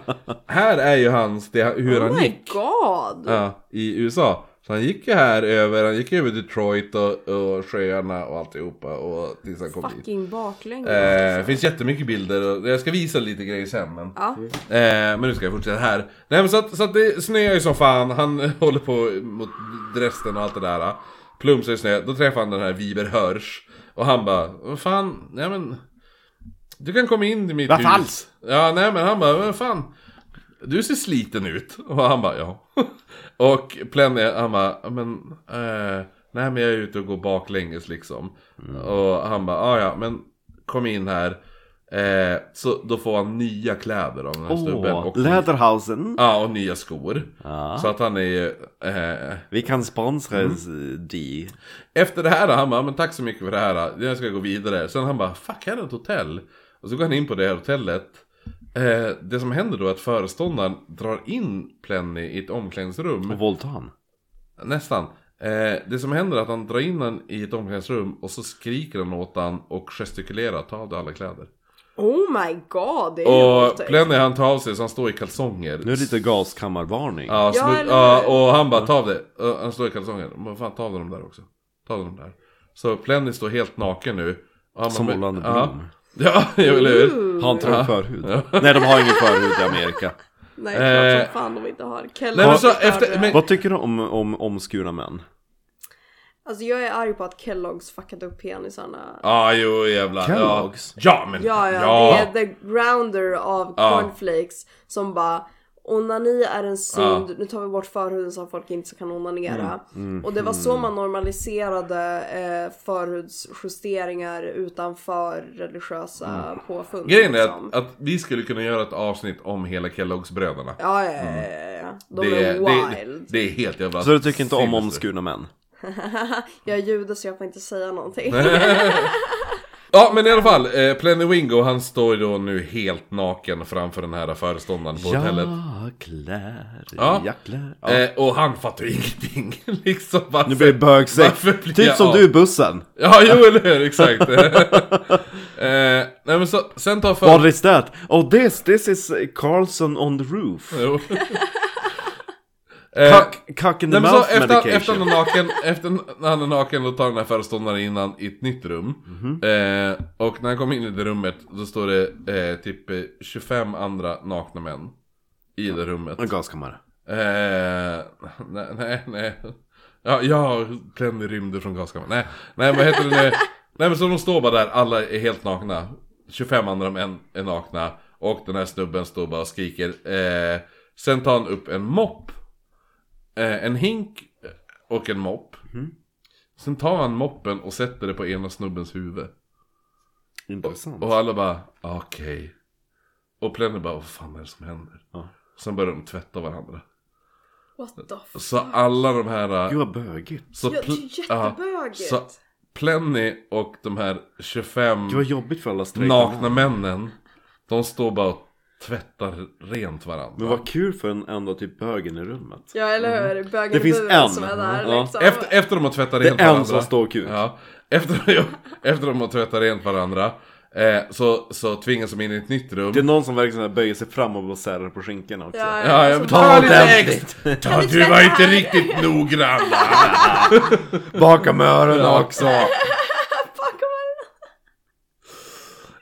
här är ju hans, det, hur
Oh
han
my
gick
god.
ja, i USA. Så han gick ju här över, han gick över Detroit och, och sjöarna och alltihopa och tills han kom dit.
Fucking baklänges.
Eh, Det finns jättemycket bilder och jag ska visa lite grejer sen men...
Ja.
Eh, men nu ska jag fortsätta här. Nej men så att, så att det snöar ju som fan, han håller på mot Dresden och allt det där. Plumsar i snö, då träffar han den här Viber Hirsch. Och han bara, vad fan, nej men... Du kan komma in i mitt
Vad
hus.
falskt!
Ja, nej men han bara, vad fan. Du ser sliten ut. Och han bara, ja. Och Plenny, han bara, men... Eh, nej men jag är ute och går baklänges liksom.
Mm.
Och han bara, ah, ja men kom in här. Eh, så då får han nya kläder av den här snubben.
Åh,
Och,
Läderhausen.
ja, och nya skor.
Ja.
Så att han är ju... Eh,
Vi kan sponsra mm. de.
efter det här, han bara, men tack så mycket för det här, jag ska gå vidare. Sen han bara, fuck här är ett hotell. Och så går han in på det här hotellet. Eh, det som händer då är att föreståndaren drar in Plenny i ett omklädningsrum.
Och våldta han.
Nästan. Eh, det som händer är att han drar in han i ett omklädningsrum och så skriker han åt han och gestikulerar, ta av dig alla kläder.
Oh my god. Det är ju
Och
otäckt.
Plenny han tar av sig så han står i kalsonger.
Nu är det lite gaskammarvarning.
Ja,
Ja,
snu-
eller-
ja, och han bara ta av det. Ja, Han står i kalsonger. Men fan ta av dem där också. Ta av dem där. Så Plenny står helt naken nu. Och han
Som
bara-
Orlando
ja.
Bloom.
Ja, eller hur?
Ooh.
Har inte de förhud? Nej, de har ingen förhud i Amerika.
Nej klart
Eh.
som fan de inte har.
Nej,
Kelly
men så efter, men,
Vad tycker du om, om omskurna män?
Alltså jag är arg på att Kellogg's fuckat upp penisarna.
Ja, jo jävlar. Ja.
Kellogg's?
ja, men
Ja, ja,
ja.
det är the grounder av
Ja.
cornflakes som bara Onani är en synd, nu tar vi bort förhuden så att folk inte kan onanera.
Mm.
Och det var så man normaliserade eh, förhudsjusteringar utanför religiösa påfund.
Mm. Grejen är
liksom.
att, att vi skulle kunna göra ett avsnitt om hela Kelloggsbröderna.
Ja, ja, ja, ja, ja. De
Mm. Det,
är
är- det,
wild.
det, det är helt jävla...
Så Alltså, du tycker inte om
sinnesfullt.
omskurna män?
Jag är jude så jag får inte säga någonting.
Ja men i alla fall, eh, Plenny Wingo han står ju då nu helt naken framför den här föreståndaren på hotellet.
klär,
Ja.
klär. Ja.
Eh, och han fattar ju ingenting. liksom varför...
Nu blir det bögsex.
varför blir
Typ
jag
som
av?
du i bussen.
Ja jo eller hur, exakt. eh, nej men så, sen tar för...
What is that? Oh this, this is eh, Carlson on the roof.
Jo. Eh,
Cuck, cuck in the
Nej, men så
mouth
efter, efter,
medication.
han är naken, efter när han är naken då tar den här föreståndaren in han i ett nytt rum.
Mhm.
Eh, och när han kommer in i det rummet då står det eh, typ eh, 25 andra nakna män i det rummet.
En gaskammare.
Eh, nej, nej, nej. Ja, ja Plenny rymde från gaskammaren. Nej, nej, vad heter det nu? Nej, men så de står bara där, alla är helt nakna. 25 andra män är nakna. Och den här snubben står bara och skriker. Eh, sen tar han upp en mopp. Eh, en hink och en mopp. Sen tar han moppen och sätter det på ena snubbens huvud.
Intressant.
Och alla bara, okej. Och Plenny bara, vad fan är det som händer?
Ja.
Sen börjar de tvätta varandra.
What the fuck?
Så alla de här... eh,
Gud vad bögigt.
Så,
Ja, det
pl-
är
ja,
jättebögigt.
så Plenny och de här 25
Gud vad jobbigt för alla strejkande.
nakna männen, de står bara och tvättar rent varandra.
Men vad kul för en enda typ bögen i rummet.
Ja
Mm.
eller hur? Bögen
Det
i
finns
buren
en.
som är där
Ja.
liksom.
Efter, efter de har tvättat
Det
rent
är en
varandra.
som står kuk.
Ja, efter, efter de har tvättat rent varandra eh, så, så tvingas de in i ett nytt rum.
Det är någon som verkligen så här böjer sig fram och bara särar på skinkorna också.
Ja,
Ja, jag
som
betalar
bara-
lite
ordentligt.
extra. Ja,
vi
du var
tvätta
inte
här?
riktigt noggrann.
Bakom öronen också.
Fuck, vad-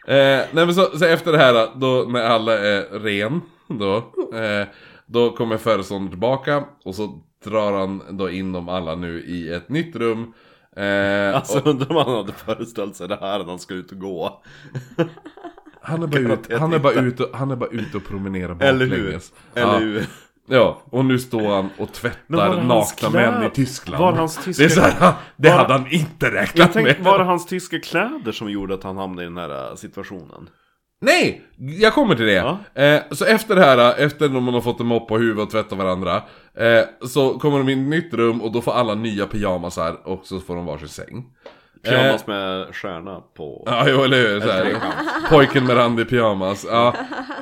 Eh, nej men så, så efter det här då, när alla är ren då, eh, då kommer föreståndaren tillbaka och så drar han då in dem alla nu i ett nytt rum. Eh,
Alltså
och
undrar om han hade föreställt sig det här när han skulle ut och gå.
han är bara ute han är bara ute och, han är bara ute och promenerar
Eller hur?
baklänges.
Eller
Ja.
hur?
Ja, och nu står han
Men
och
var det
tvättar
hans
nakna
kläder?
män i Tyskland.
Var det hans tyska-
Det, är så här, det
Var-
hade han inte räknat
Jag tänkte,
med.
var det hans tyska kläder som gjorde att han hamnade i den här äh, situationen?
Nej! Jag kommer till det.
Ja.
Eh, så efter det här, eh, efter de har fått en mopp på huvudet och tvättat varandra, eh, så kommer de in i ett nytt rum och då får alla nya pyjamasar och så får de varsin säng.
Pyjamas med stjärna på.
Eh. Ja, jo, eller hur? Så här. Pojken med randig pyjamas. Ja.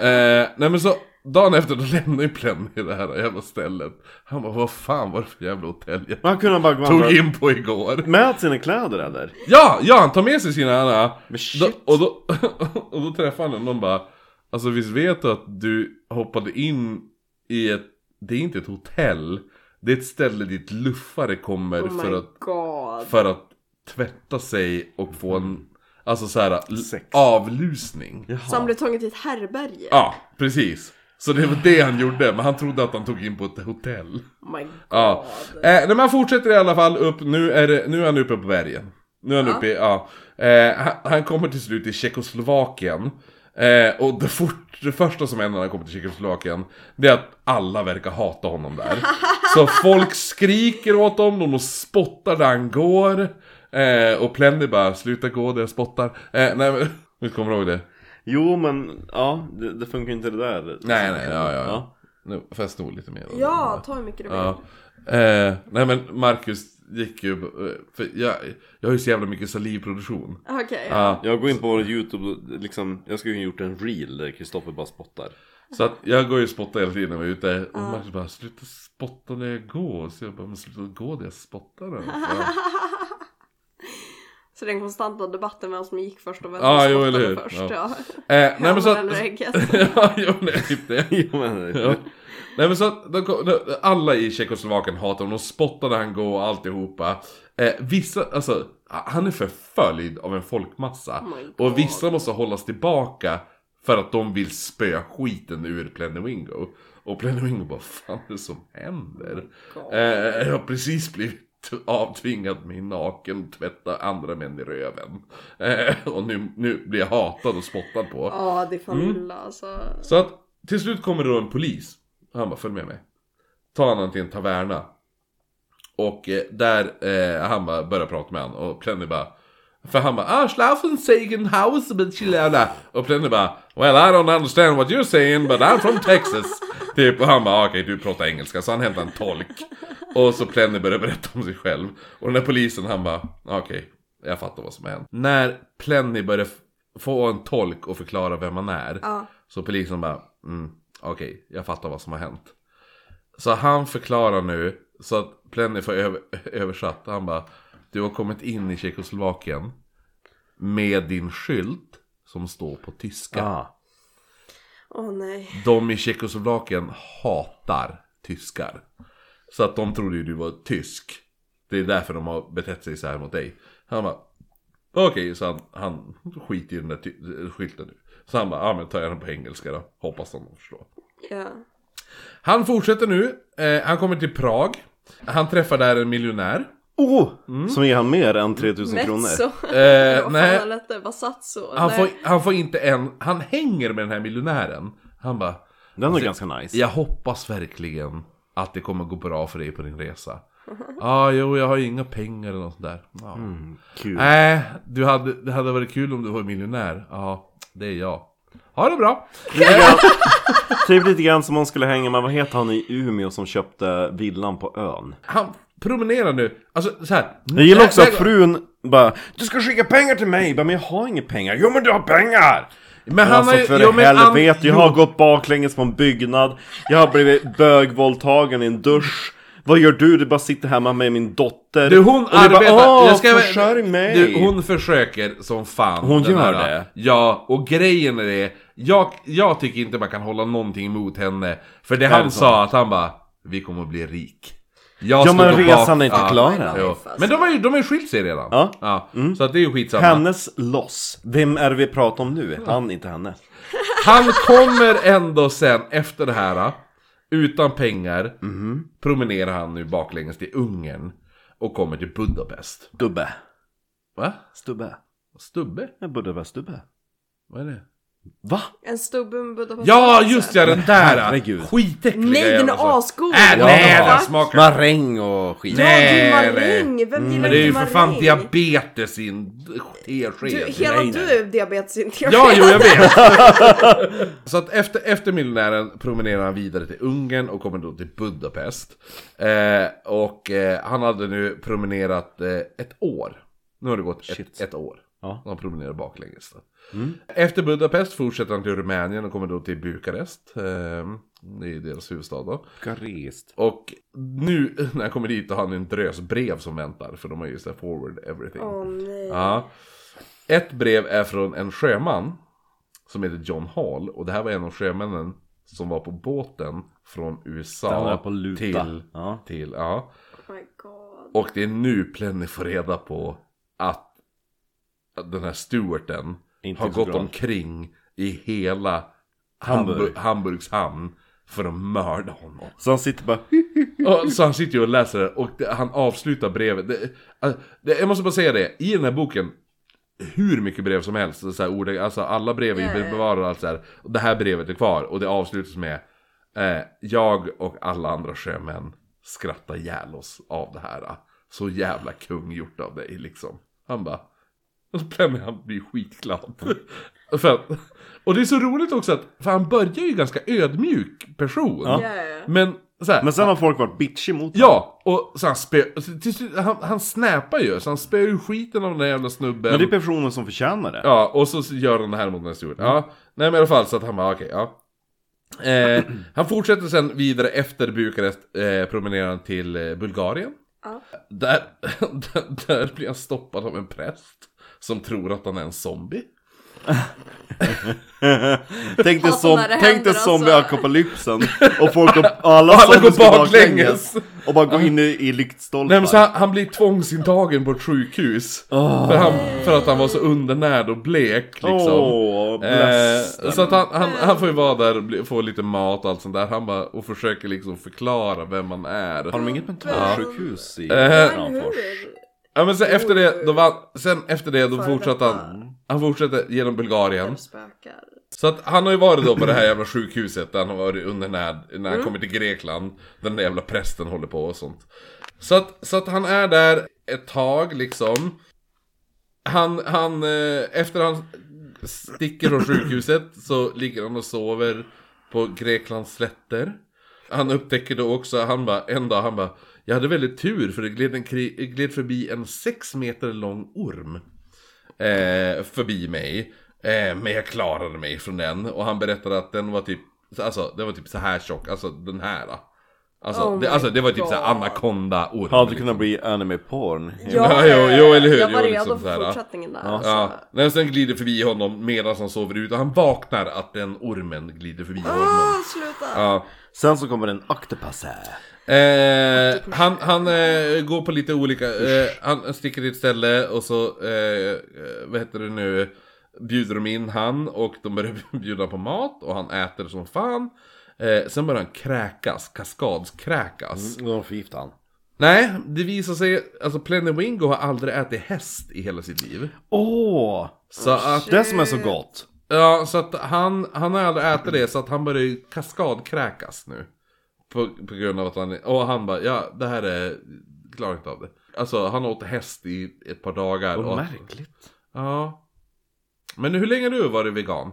Eh, nej men så, dagen efter då lämnar ju Plenny det här jävla stället. Han bara, vad fan var det för jävla hotell jag
Men han kunde bara
tog
vandra
in på igår?
med sina kläder eller?
Ja, ja han tar med sig sina andra.
Men
Då,
shit.
och, då, och då träffar han den och de bara Alltså visst vet du att du hoppade in i ett Det är inte ett hotell Det är ett ställe dit luffare kommer
Oh
för,
my
att,
god.
för att tvätta sig och få en Alltså såhär
Sex.
avlusning
Så han blev tagen till ett härbärge.
Ja, precis Så det var det han gjorde men han trodde att han tog in på ett hotell
Oh my god.
Ja. Eh, nej, men han fortsätter i alla fall upp, nu är, det, nu är han uppe på bergen. Nu är han uppe i, ja. Eh, han, han kommer till slut till Tjeckoslovakien. Eh, och det, fort, det första som händer när han kommer till Tjeckoslovakien, det är att alla verkar hata honom där. Så folk skriker åt honom, de spottar där han går. Eh, och Plenny bara, sluta gå där jag spottar. Eh, nej men, nu kommer du ihåg det?
Jo men, ja, det, det funkar inte det där.
Nej, nej, ja, ja. ja. Nu får jag sno lite mer.
Ja, ta hur mycket du vill.
Ja. Eh, nej men Marcus gick ju, eh, för jag, jag har ju så jävla mycket salivproduktion.
Okej.
Ja,
Jag går in på vår youtube, liksom, jag skulle ha gjort en reel där Kristoffer bara spottar.
så att jag går ju och spottar hela tiden när jag är ute. Och Marcus bara, sluta spotta när jag går. Så jag bara, men sluta gå där jag spottar. alltså."
Så den konstanta debatten med vem som gick först och vem
Ja,
som
jo,
spottade
eller hur.
först.
Ja.
Ja.
Eh, nej men så
Hönan eller
att...
ägget.
ja, jo, nej, typ det.
Jo men,
Ja. Nej men så att de kom, de, alla i Tjeckoslovakien hatar honom, de spottar när han går och alltihopa. Eh, vissa, alltså, han är förföljd av en folkmassa.
Oh my God.
och vissa måste hållas tillbaka för att de vill spöa skiten ur Plenowingo. Och Plenowingo bara, fan är det som händer?
Oh God.
Eh, jag har precis blivit t- avtvingat mig naken tvätta andra män i röven. Eh, och nu, nu blir jag hatad och spottad på.
Ja, det är fan
Mm.
illa alltså.
Så att till slut kommer det då en polis. Han bara följ med mig. Tar han honom till en taverna. Och eh, där eh, han bara börjar prata med honom och Plenny bara för han bara ah schlafen sagen house men chillala och Plenny bara well I don't understand what you're saying but I'm from Texas typ och han bara ah, okej du pratar engelska så han hämtar en tolk och så Plenny börjar berätta om sig själv och den där polisen han bara ah, okej jag fattar vad som har hänt när Plenny börjar f- få en tolk och förklara vem han är
Ja.
så polisen bara, mm, okej, jag fattar vad som har hänt. Så han förklarar nu, så att Plenny får över, översatt, han bara, du har kommit in i Tjeckoslovakien med din skylt som står på tyska.
Ah.
Åh nej.
De i Tjeckoslovakien hatar tyskar. Så att de trodde ju du var tysk. Det är därför de har betett sig så här mot dig. Han bara, okej, så han, han skiter i den där ty- skylten nu. Så han bara, ja ah, men tar jag den på engelska då. Hoppas de förstår.
Ja.
Han fortsätter nu, eh, han kommer till Prag. Han träffar där en miljonär.
Oh!
Mm.
Som ger han mer än 3000 kronor.
Mezzo.
Eh,
Vad
nej.
fan lät det? Vasazzo?
Han
Nej.
får, han får inte en, han hänger med den här miljonären. Han bara,
Den var ganska nice.
Jag hoppas verkligen att det kommer gå bra för dig på din resa.
Uh-huh.
Ja, ah, jo, jag har ju inga pengar eller något sånt där. Ja.
Kul.
Nej, du hade, det hade varit kul om du var miljonär. Ja, det är jag. Ha det bra!
Lite grann, typ lite grann som hon skulle hänga med, vad heter han i Umeå som köpte villan på ön?
Han promenerar nu. Alltså så här.
Jag gillar också
Nej,
att frun bara Du ska skicka pengar till mig! Jag bara, Men jag har inga pengar! Jo men du har pengar!
Men han
alltså
har ju-
för
jo, men han-
helvete, jag har
jo.
gått baklänges på en byggnad Jag har blivit bögvåldtagen i en dusch Vad gör du? Du bara sitter hemma med min dotter
Du, hon
Och du
arbetar...
bara,
jag ska-
försörj mig!
Du, hon försöker som fan.
Hon
den
gör
här.
det?
Ja, och grejen är det. Jag, jag tycker inte man kan hålla någonting emot henne. För det
det
han
sant?
sa, att han bara, vi kommer att bli rik. Jag
Ja
ska
men
gå
resan
bak-
är inte
Ja,
klar
nej,
än
nej.
Jo. Men de har ju de har ju skilt sig redan.
Ja. Mm.
Så att det är ju skitsamma.
Hennes loss, vem är det vi pratar om nu? Han, inte henne
Han kommer ändå sen efter det här Utan pengar
Mhm.
Promenerar han nu baklänges till Ungern Och kommer till Budapest
Dubbe,
Va?
stubbe,
Stubbe?
Ja, Budapest-stubbe
Vad är det?
Va?
En stubbe med Budapest.
Ja just ja den där!
herregud.
Skitäckliga
Nej, den
jävla
är
sak.
asgod!
Äh, nej
Ja.
den smakar...
Maräng och skit
Ja, det
Nej,
är
nej. Mm,
maräng! Vem gillar
Men det är ju
inte
för fan
maräng?
diabetes i en tesked.
Du, hela
Nej, nej.
du är diabetesintresserad.
Ja, jo jag vet! så att efter, efter miljonären promenerar han vidare till Ungern och kommer då till Budapest. Eh, och eh, han hade nu promenerat eh, ett år. Nu har det gått ett,
Shit.
ett år.
Ja. Mm.
Han promenerar baklänges. Då. Efter Budapest fortsätter han till Rumänien och kommer då till Bukarest. Eh, det är deras huvudstad då.
Bukarest
Och nu när han kommer dit har han en drös brev som väntar. För de har ju så här forward everything.
Åh nej.
Ja. Ett brev är från en sjöman som heter John Hall och det här var en av sjömännen som var på båten från
Den var
USA
på luta.
till,
Ja.
till ja.
Oh my god.
Och det är nu Plenny får reda på att att den här Stewarten
Inte
har
så
gått
bra.
omkring i hela
Hamburg.
Hamburg. Hamburgs hamn för att mörda honom.
Så han sitter bara "Hm."
Och, så han sitter ju och läser det och det, han avslutar brevet. Det, eh, det, jag måste bara säga det, i den här boken, hur mycket brev som helst, så här, ord, alltså alla brev är
Ja, ja, ja.
bevarade och allt så här. Och det här brevet är kvar och det avslutas med eh, Jag och alla andra sjömän skrattar ihjäl oss av det här. Så jävla kung gjort av dig liksom. Han bara och så Plenny han blir skitglad. för att, och det är så roligt också att, för han börjar ju ganska ödmjuk person.
Ja.
Ja, ja.
Men så här,
Men sen har folk varit bitchy mot honom.
Ja, och så han spö... till slut- Han, han snäpar ju, så han spöar ju skiten av den där jävla snubben.
Men det är personen som förtjänar det
Ja, och så gör han det här mot den här steward. Ja, nej men i alla fall så att han bara, okej, ja. Eh, han fortsätter sen vidare efter Bukarest, eh, promenerar han till eh, Bulgarien.
Ja.
Där, där, där blir han stoppad av en präst som tror att han är en zombie.
Tänk dig
Hatar
som,
när det
tänk
händer,
dig
alltså.
zombieapokalypsen och folk och alla,
Alla
zombies
går baklänges.
och bara går in i, i
Nej men så
lyktstolpar.
han, han blir tvångsintagen på ett sjukhus.
Ah.
För, han, för att han var så undernärd och blek liksom.
Åh, bless.
Eh, så att han, han, han får ju vara där och bli, få lite mat och allt sånt där. Han bara, och försöker liksom förklara vem man är.
Har de inget mentalsjukhus i
Eller
Kramfors?
hur?
Ja men sen efter det, då vann, sen efter det då
Före
fortsatte
detta.
han Han fortsatte genom Bulgarien
De spökar.
Så att han har ju varit då på det här jävla sjukhuset där han har varit undernärd när han kommer till Grekland där Den där jävla prästen håller på och sånt Så att, så att han är där ett tag liksom Han, han, eh, efter han sticker från sjukhuset så ligger han och sover på Greklands slätter han upptäcker då också, han bara, en dag han bara Jag hade väldigt tur för det gled, en kri- gled förbi en sex meter lång orm eh, Förbi mig eh, Men jag klarade mig från den och han berättade att den var typ Alltså den var typ så här tjock, alltså den här då. Alltså,
Oh my
det, alltså det var typ så här
God.
anakonda-orm
Hade det
liksom.
kunnat bli anime-porn?
Ja, jo, jo, eller hur?
Jag var
Jo,
redo
liksom så
för
här, ja.
fortsättningen där.
Ja,
Alltså.
när sen glider förbi honom medan han sover ut och han vaknar att den ormen glider förbi honom
Ah, sluta!
Ja
Sen så kommer en octopus här.
Eh, han han eh, går på lite olika, eh, han sticker till ett ställe och så, eh, eh, vad heter det nu, bjuder de in han och de börjar bjuda på mat och han äter som fan. Eh, sen börjar han kräkas, kaskadskräkas.
Mm.
De förgiftar han.
Nej, det visar sig, alltså Plenny Wingo har aldrig ätit häst i hela sitt liv.
Åh!
Så att,
det som är så gott.
ja, så att han, han har aldrig ätit det så att han börjar ju kaskadkräkas nu. På, på grund av att han, och han bara, ja det här är, klarar inte av det. Alltså han åt häst i ett par dagar.
Vad
och-
märkligt.
Ja. Men hur länge har du varit vegan?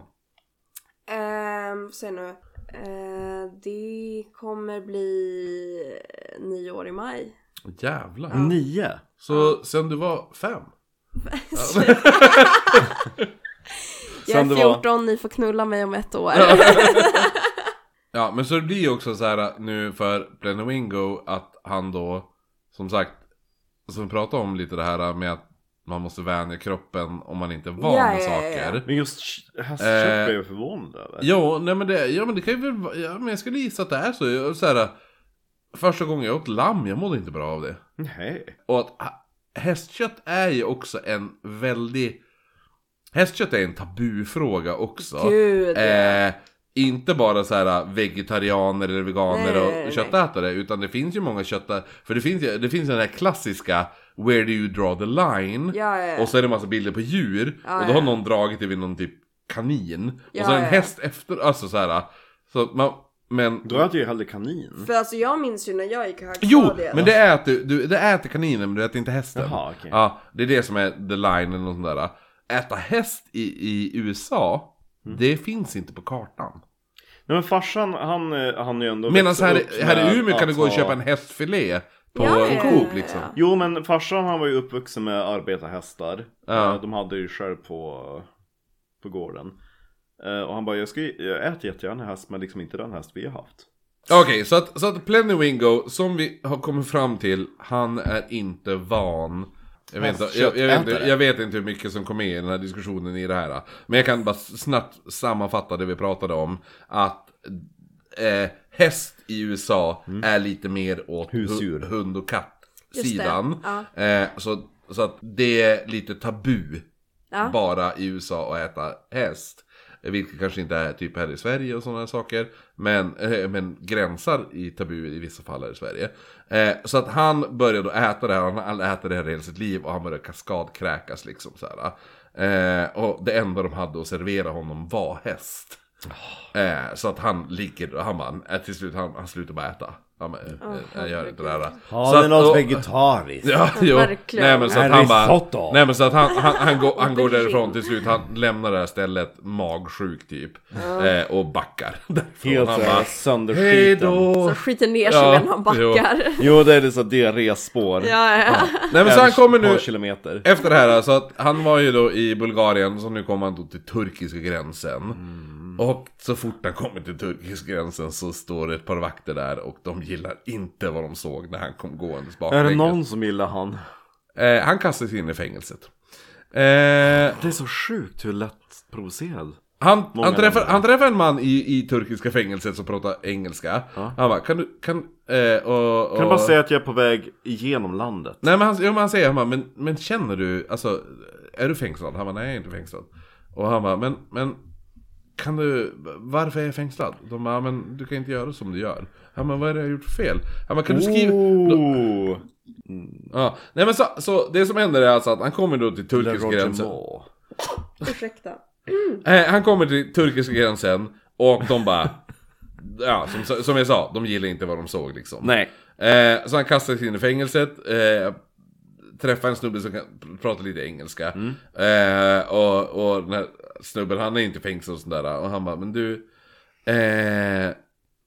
Ehm, se nu. Eh, det kommer bli nio år i maj.
Jävlar.
Nio.
Så sen du var fem?
Jag
Sen det
är
var-
14, ni får knulla mig om ett år.
Ja, men så det blir ju också så här nu för Plenowingo att han då, som sagt, som vi pratade om lite det här med att man måste vänja kroppen om man inte är van
Ja,
med
ja, ja, ja.
saker.
Men just ch- hästkött
Eh.
blev jag förvånad över.
Jo, nej men det, ja, men det kan ju väl vara- ja, men jag skulle gissa att det är så. Jag, så här, första gången jag åt lamm, jag mådde inte bra av det.
Nej.
Och att ha- hästkött är ju också en väldigt... Hästkött är en tabufråga också.
Gud.
Eh, inte bara så här äh, vegetarianer eller veganer
Nej,
och
nej, nej.
köttätare utan det finns ju många köttätare För det finns ju det finns ju den här klassiska Where do you draw the line?
Ja, ja, ja.
Och så är det en massa bilder på djur
Ja,
och då har
ja.
någon dragit det vid någon typ kanin
Ja,
Och så en
ja.
häst efter, alltså så här så att man, Men
Då äter jag hellre kanin.
För alltså jag minns ju när jag gick i
Jo!
högstadiet.
Men det äter, du, det äter kaninen men du äter inte hästen
Jaha, okej.
Ja, det är det som är the line eller något sånt där Äta häst i, i USA
Mm.
Det finns inte på kartan
Nej men farsan han, eh, han är ju ändå
Medan
växt
här,
upp
här
med
i Umeå kan
att
du gå och
ha-
köpa en hästfilé på
Ja, ja, ja,
Coop
ja,
liksom.
ja.
Jo men farsan han var ju uppvuxen med arbetarhästar
Ja.
Eh, De hade ju själv på, på gården Eh, Och han bara jag, ska, jag äter jättegärna häst men liksom inte den häst vi har haft
Okej, så att, så att Plenny Wingo, som vi har kommit fram till, han är inte van. Jag vet, inte, jag, jag, vet inte, jag vet inte hur mycket som kom med i den här diskussionen i det här. Men jag kan bara snabbt sammanfatta det vi pratade om. Att eh, häst i USA är lite mer åt hu-
Husdjur.
hund och
Just det,
katt-sidan. Eh, så, så att det är lite tabu
Ja.
bara i USA att äta häst. Vilket kanske inte är typ här i Sverige och sådana saker. Men, eh, men gränsar i tabu i vissa fall här i Sverige. Eh, så att han började att äta det här, han äter det här hela sitt liv och han började kaskadkräkas liksom så här. Eh, och det enda de hade att servera honom var häst. Eh, så att han ligger och han bara, eh, till slut han, han slutar bara äta. Han bara, eh, eh, jag gör inte det här. Så att- och-
vegetariskt?
Ja, jo.
verkligen.
Nej men så att
En
han bara...
risotto.
Nej men så att han, han, han, går, han går
Aubergine.
därifrån till slut. Han lämnar det här stället magsjuk typ. Eh, och backar därifrån.
Helt
han
såhär
bara...
sönderskiten
Hej då!
Så skiter ner sig
Ja,
medan han backar.
Jo det är liksom det så diarréspår
Ja, ja.
Nej men så han kommer
Ett par
nu...
kilometer
Efter det här så att han var ju då i Bulgarien så nu kommer han då till turkiska gränsen.
Mm.
Och så fort han kommer till turkiska gränsen så står det ett par vakter där och de gillar inte vad de såg när han kom gåendes
Är det
baklänges.
någon som gillar han?
Eh, han kastades in i fängelset. Eh,
Det är så sjukt hur lätt provocerad.
Han,
Många
han, träffar,
länder.
han träffar en man i, i turkiska fängelset som pratar engelska.
Ja.
Han bara, kan du, kan, eh, och, och...
Kan du bara säga att jag är på väg igenom landet?
Nej men han, jo, men han säger, han bara, men, men känner du, alltså, är du fängslad? Han bara, nej jag är inte fängslad. Och han bara, men, men, kan du, varför är jag fängslad? De bara, men du kan inte göra som du gör. Han bara, vad är det jag har gjort för fel? Han bara, kan du skriva?
Oh. Ooh,
Ja, nej men så, så det som händer är alltså att han kommer då till
Le
turkiska
Roger
gränsen.
Moore.
Ursäkta.
Eh, han kommer till turkiska gränsen och de bara, ja som, som jag sa, de gillar inte vad de såg liksom.
Nej.
Eh, så han kastas in i fängelset, eh, träffar en snubbe som kan prata lite engelska. Eh, och, och den här snubben, han är inte fängslad och sådär. Och han bara, men du, eh,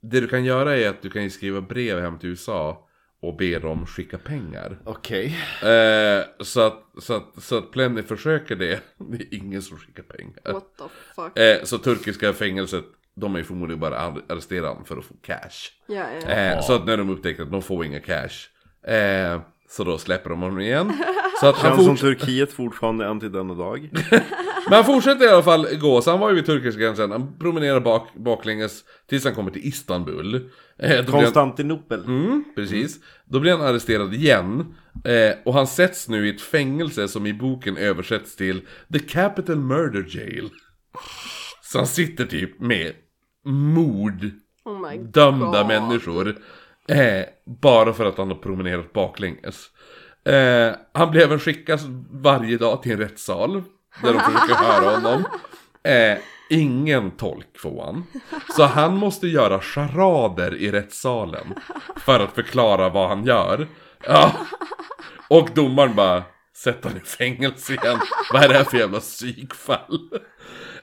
det du kan göra är att du kan ju skriva brev hem till USA och be dem skicka pengar.
Okej.
Eh, så att, så att, så att Plenny försöker det. Det är ingen som skickar pengar.
What the fuck.
Eh, så turkiska fängelset, de är ju förmodligen bara ar- arresterade honom för att få cash.
Ja, ja.
Eh, så att när de upptäcker att de får inga cash, eh, så då släpper de honom igen. Så att han,
Känns som
forts-
Turkiet fortfarande än till denna dag.
men han fortsätter i alla fall gå, så han var ju vid turkiska gränsen, han promenerar bak, baklänges tills han kommer till Istanbul. Eh, då blir han-
Konstantinopel.
Mm, precis. Då blir han arresterad igen. Eh, och han sätts nu i ett fängelse som i boken översätts till The Capital Murder Jail. Så han sitter typ med mord,
Oh my god.
dömda människor. Eh, bara för att han har promenerat baklänges. Eh, han blev även skickad varje dag till en rättssal. Där de försöker höra honom. Eh, ingen tolk får han. Så han måste göra charader i rättssalen. För att förklara vad han gör. Ja. Och domaren bara Sätt honom i fängelse igen. Vad är det här för jävla psykfall?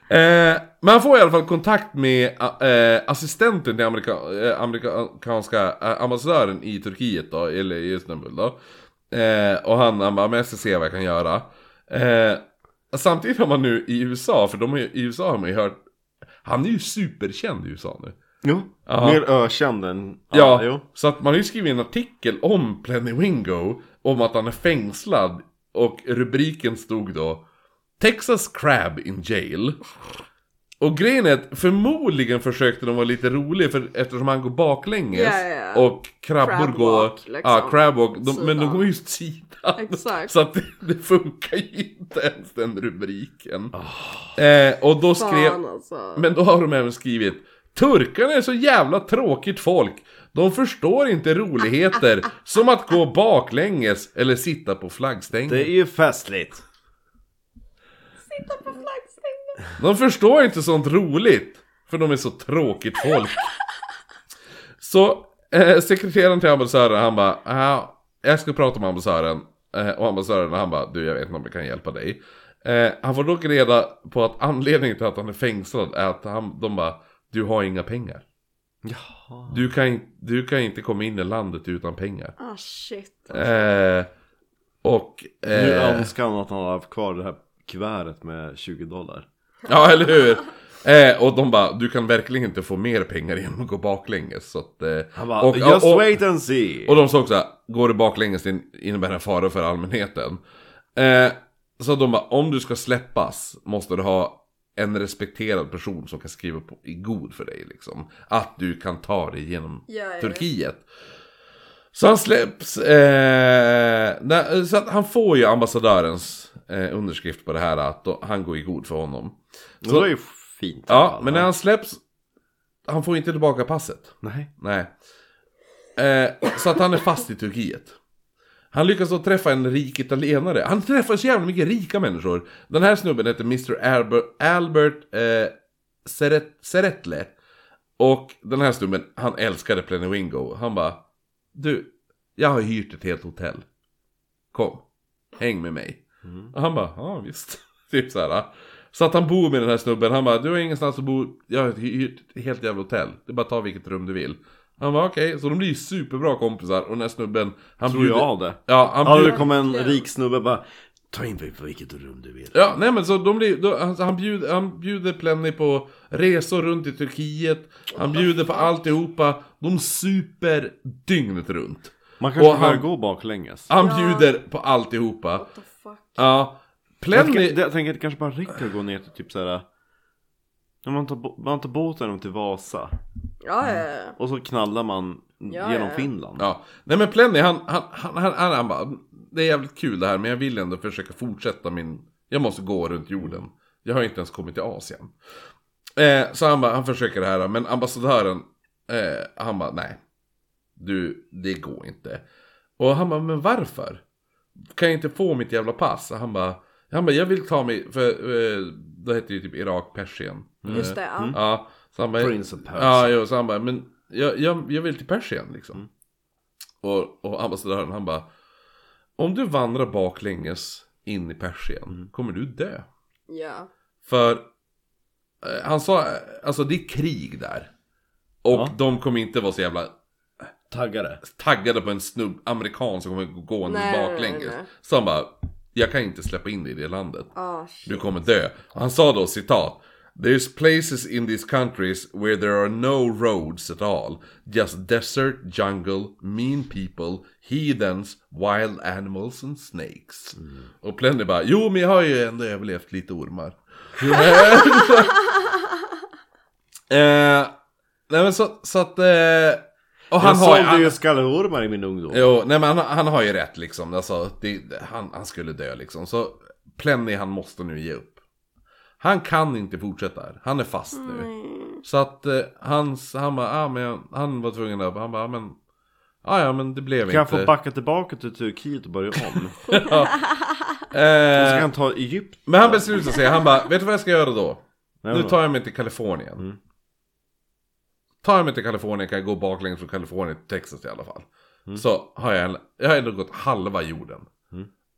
Eh, men han får i alla fall kontakt med eh, assistenten till amerika- eh, amerikanska eh, ambassadören i Turkiet då, eller i Istanbul då. Eh, och han, han bara, men jag ska se vad jag kan göra. Eh, samtidigt har man nu i USA, för de har ju, i USA har man ju hört, han är ju superkänd i USA nu.
Jo.
Ja.
Mer ökänd än...
Ja,
Jo.
så att man har ju skrivit en artikel om Plenny Wingo om att han är fängslad och rubriken stod då Texas Crab in jail. Och grejen är att förmodligen försökte de vara lite roliga för eftersom han går baklänges
Ja, ja, ja.
och krabbor
Crab
går...
walk, liksom.
Ja, crab walk. De, men de
Sidan.
går ju åt sidan.
Exakt.
Så att det, det funkar ju inte ens den rubriken. Eh, och då skrev...
Fan alltså.
Men då har de även skrivit Turkarna är så jävla tråkigt folk De förstår inte roligheter Som att gå baklänges Eller sitta på
Det
flaggstängen
är ju festligt.
Sitta på flaggstängen.
De förstår inte sånt roligt För de är så tråkigt folk Så eh, sekreteraren till ambassadören Han bara ah, Jag ska prata med ambassadören eh, Och ambassadören han bara Du jag vet inte om jag kan hjälpa dig eh, Han får dock reda på att anledningen till att han är fängslad Är att han, de bara Du har inga pengar
Jaha.
Du kan, in- du kan inte komma in i landet utan pengar.
Ah shit.
Eh, och...
Nu
Eh,
önskar han att han hade haft kvar det här kuvertet med 20 dollar.
ja, eller hur? Eh, och de bara, du kan verkligen inte få mer pengar genom att gå baklänges. Så att, eh,
Han bara,
och,
just
och,
wait and see.
och de sa också, går du baklänges det innebär en fara för allmänheten. Eh, så de bara, om du ska släppas måste du ha en respekterad person som kan skriva på, i god för dig liksom. Att du kan ta dig genom
Ja, ja, ja.
Turkiet. Så han släpps. Eh, när, så att han får ju ambassadörens eh, underskrift på det här att då, han går i god för honom.
Det var ju fint. i alla
Ja,
fall.
men när han släpps. Han får inte tillbaka passet.
Nej.
Nej. Eh, så att han är fast i Turkiet. Han lyckas då träffa en rik italienare. Han träffar så jävla mycket rika människor. Den här snubben heter Mr. Albert, Albert eh, Seret, Seretle. Och den här snubben, han älskade Plenny Wingo. Han bara, du, jag har hyrt ett helt hotell. Kom, häng med mig.
Mm.
Och han bara, ja visst. typ så här. Så att han bor med den här snubben, han bara, du har ingenstans att bo, jag har hyrt ett helt jävla hotell. Det är bara att ta vilket rum du vill. Han bara okej, så de blir ju superbra kompisar och den här snubben, han
Tror jag det.
Ja, han
Hade
bjuder...
det kommit en rik snubbe bara, ta in mig på vilket rum du vill.
Ja, nej men så de blir, då, alltså, han, bjuder, han bjuder Plenny på resor runt i Turkiet, han bjuder på alltihopa, de super dygnet runt.
Man kanske
Och
börjar
han-
gå baklänges.
Han
Ja.
bjuder på alltihopa.
What the fuck.
Ja,
Jag,
Plenny...
tänker- jag tänker att det kanske bara räcker att gå ner till typ såhär när man tar, bå- man tar båten upp till Vasa
Ja, ja, ja.
och så knallar man
Ja,
genom
ja.
Finland.
Ja, nej men Plenny han, han, han, han, han, han bara, det är jävligt kul det här men jag vill ändå försöka fortsätta min, jag måste gå runt jorden. Jag har inte ens kommit till Asien. Eh, så han bara, han försöker det här men ambassadören, eh, han bara, nej. Du, det går inte. Och han bara, men varför? Kan jag inte få mitt jävla pass? Han bara, han bara, jag vill ta mig, för eh, då hette det ju typ Irak, Persien. Eh,
Just det, ja.
Ja, så han bara,
Prince of Persia.
Ja, jo, så han bara, men jag, jag, jag vill till Persien liksom. Och, och ambassadören han bara, om du vandrar baklänges in i Persien, kommer du dö.
Ja.
För eh, han sa, eh, alltså det är krig där. Och
Ja.
de kommer inte vara så jävla
Taggare.
taggade på en snubb, amerikan som kommer gå
Nej, nej, nej,
baklänges.
nej.
Så han bara, jag kan inte släppa in dig i det landet.
Ah, shit.
Du kommer dö. Han sa då citat. There's places in these countries where there are no roads at all. Just desert, jungle, mean people, heathens, wild animals and snakes.
Mm.
Och Plenny bara, jo men jag har ju ändå överlevt lite ormar. eh, nej men så, så att... Eh, och
Han
han
jag
har,
sålde
han,
ju skallerormar i min ungdom.
Jo, nej men han, han har ju rätt liksom. Alltså, det, han, han skulle dö liksom. Så Plenny han måste nu ge upp. Han kan inte fortsätta här. Han är fast nu. Så att eh, hans, han bara, ah, men jag, han var tvungen att, han bara, ah, men, ah, ja men det blev
Kan jag
inte.
få backa tillbaka till Turkiet och börja om?
Eh,
Ska han ta Egypten?
men han beslutar sig, han bara, vet du vad jag ska göra då?
Nej,
Nu
men-
tar jag mig till Kalifornien. Tar jag mig till Kalifornien kan jag gå baklänges från Kalifornien till Texas i alla fall. Så har jag, en, jag har ändå gått halva jorden.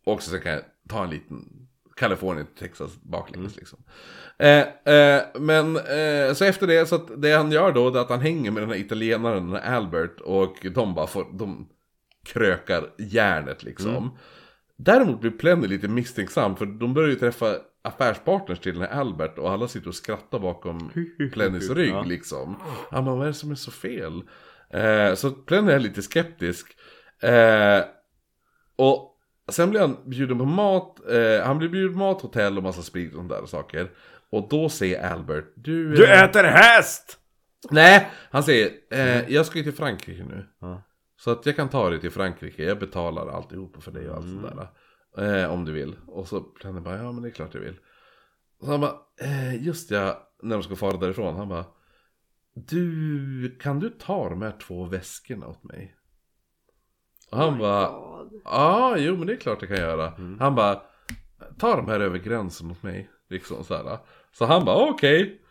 Och så sen kan jag ta en liten Kalifornien till Texas baklänges liksom. Eh, eh, men eh, så efter det, så att det han gör då det är att han hänger med den här italienaren, den här Albert. Och de bara får, de krökar järnet liksom. Däremot blir Plenny lite misstänksam för de börjar ju träffa affärspartners till den här Albert och alla sitter och skrattar bakom Plennys rygg
Ja.
liksom. Han bara, vad är det som är så fel? Eh, så Plenny är lite skeptisk. Eh, och sen blir han bjuden på mat, eh, han blir bjuden på mat, hotell och massa sprit och sådana där saker. Och då säger Albert, du...
Du
eh,
äter häst!
Nej, han säger, eh, jag ska ju till Frankrike nu.
Ja.
Så att jag kan ta dig till Frankrike, jag betalar alltihop för dig och allt sånt där. Eh, om du vill. Och så Plenny bara, ja men det är klart jag vill. Så han bara, eh, just ja, när de ska fara därifrån, han bara, du, kan du ta de här två väskorna åt mig? Och han bara,
God.
Ja, jo men det är klart det kan jag göra. Han bara, ta de här över gränsen mot mig. Liksom så här. Så han bara, okej.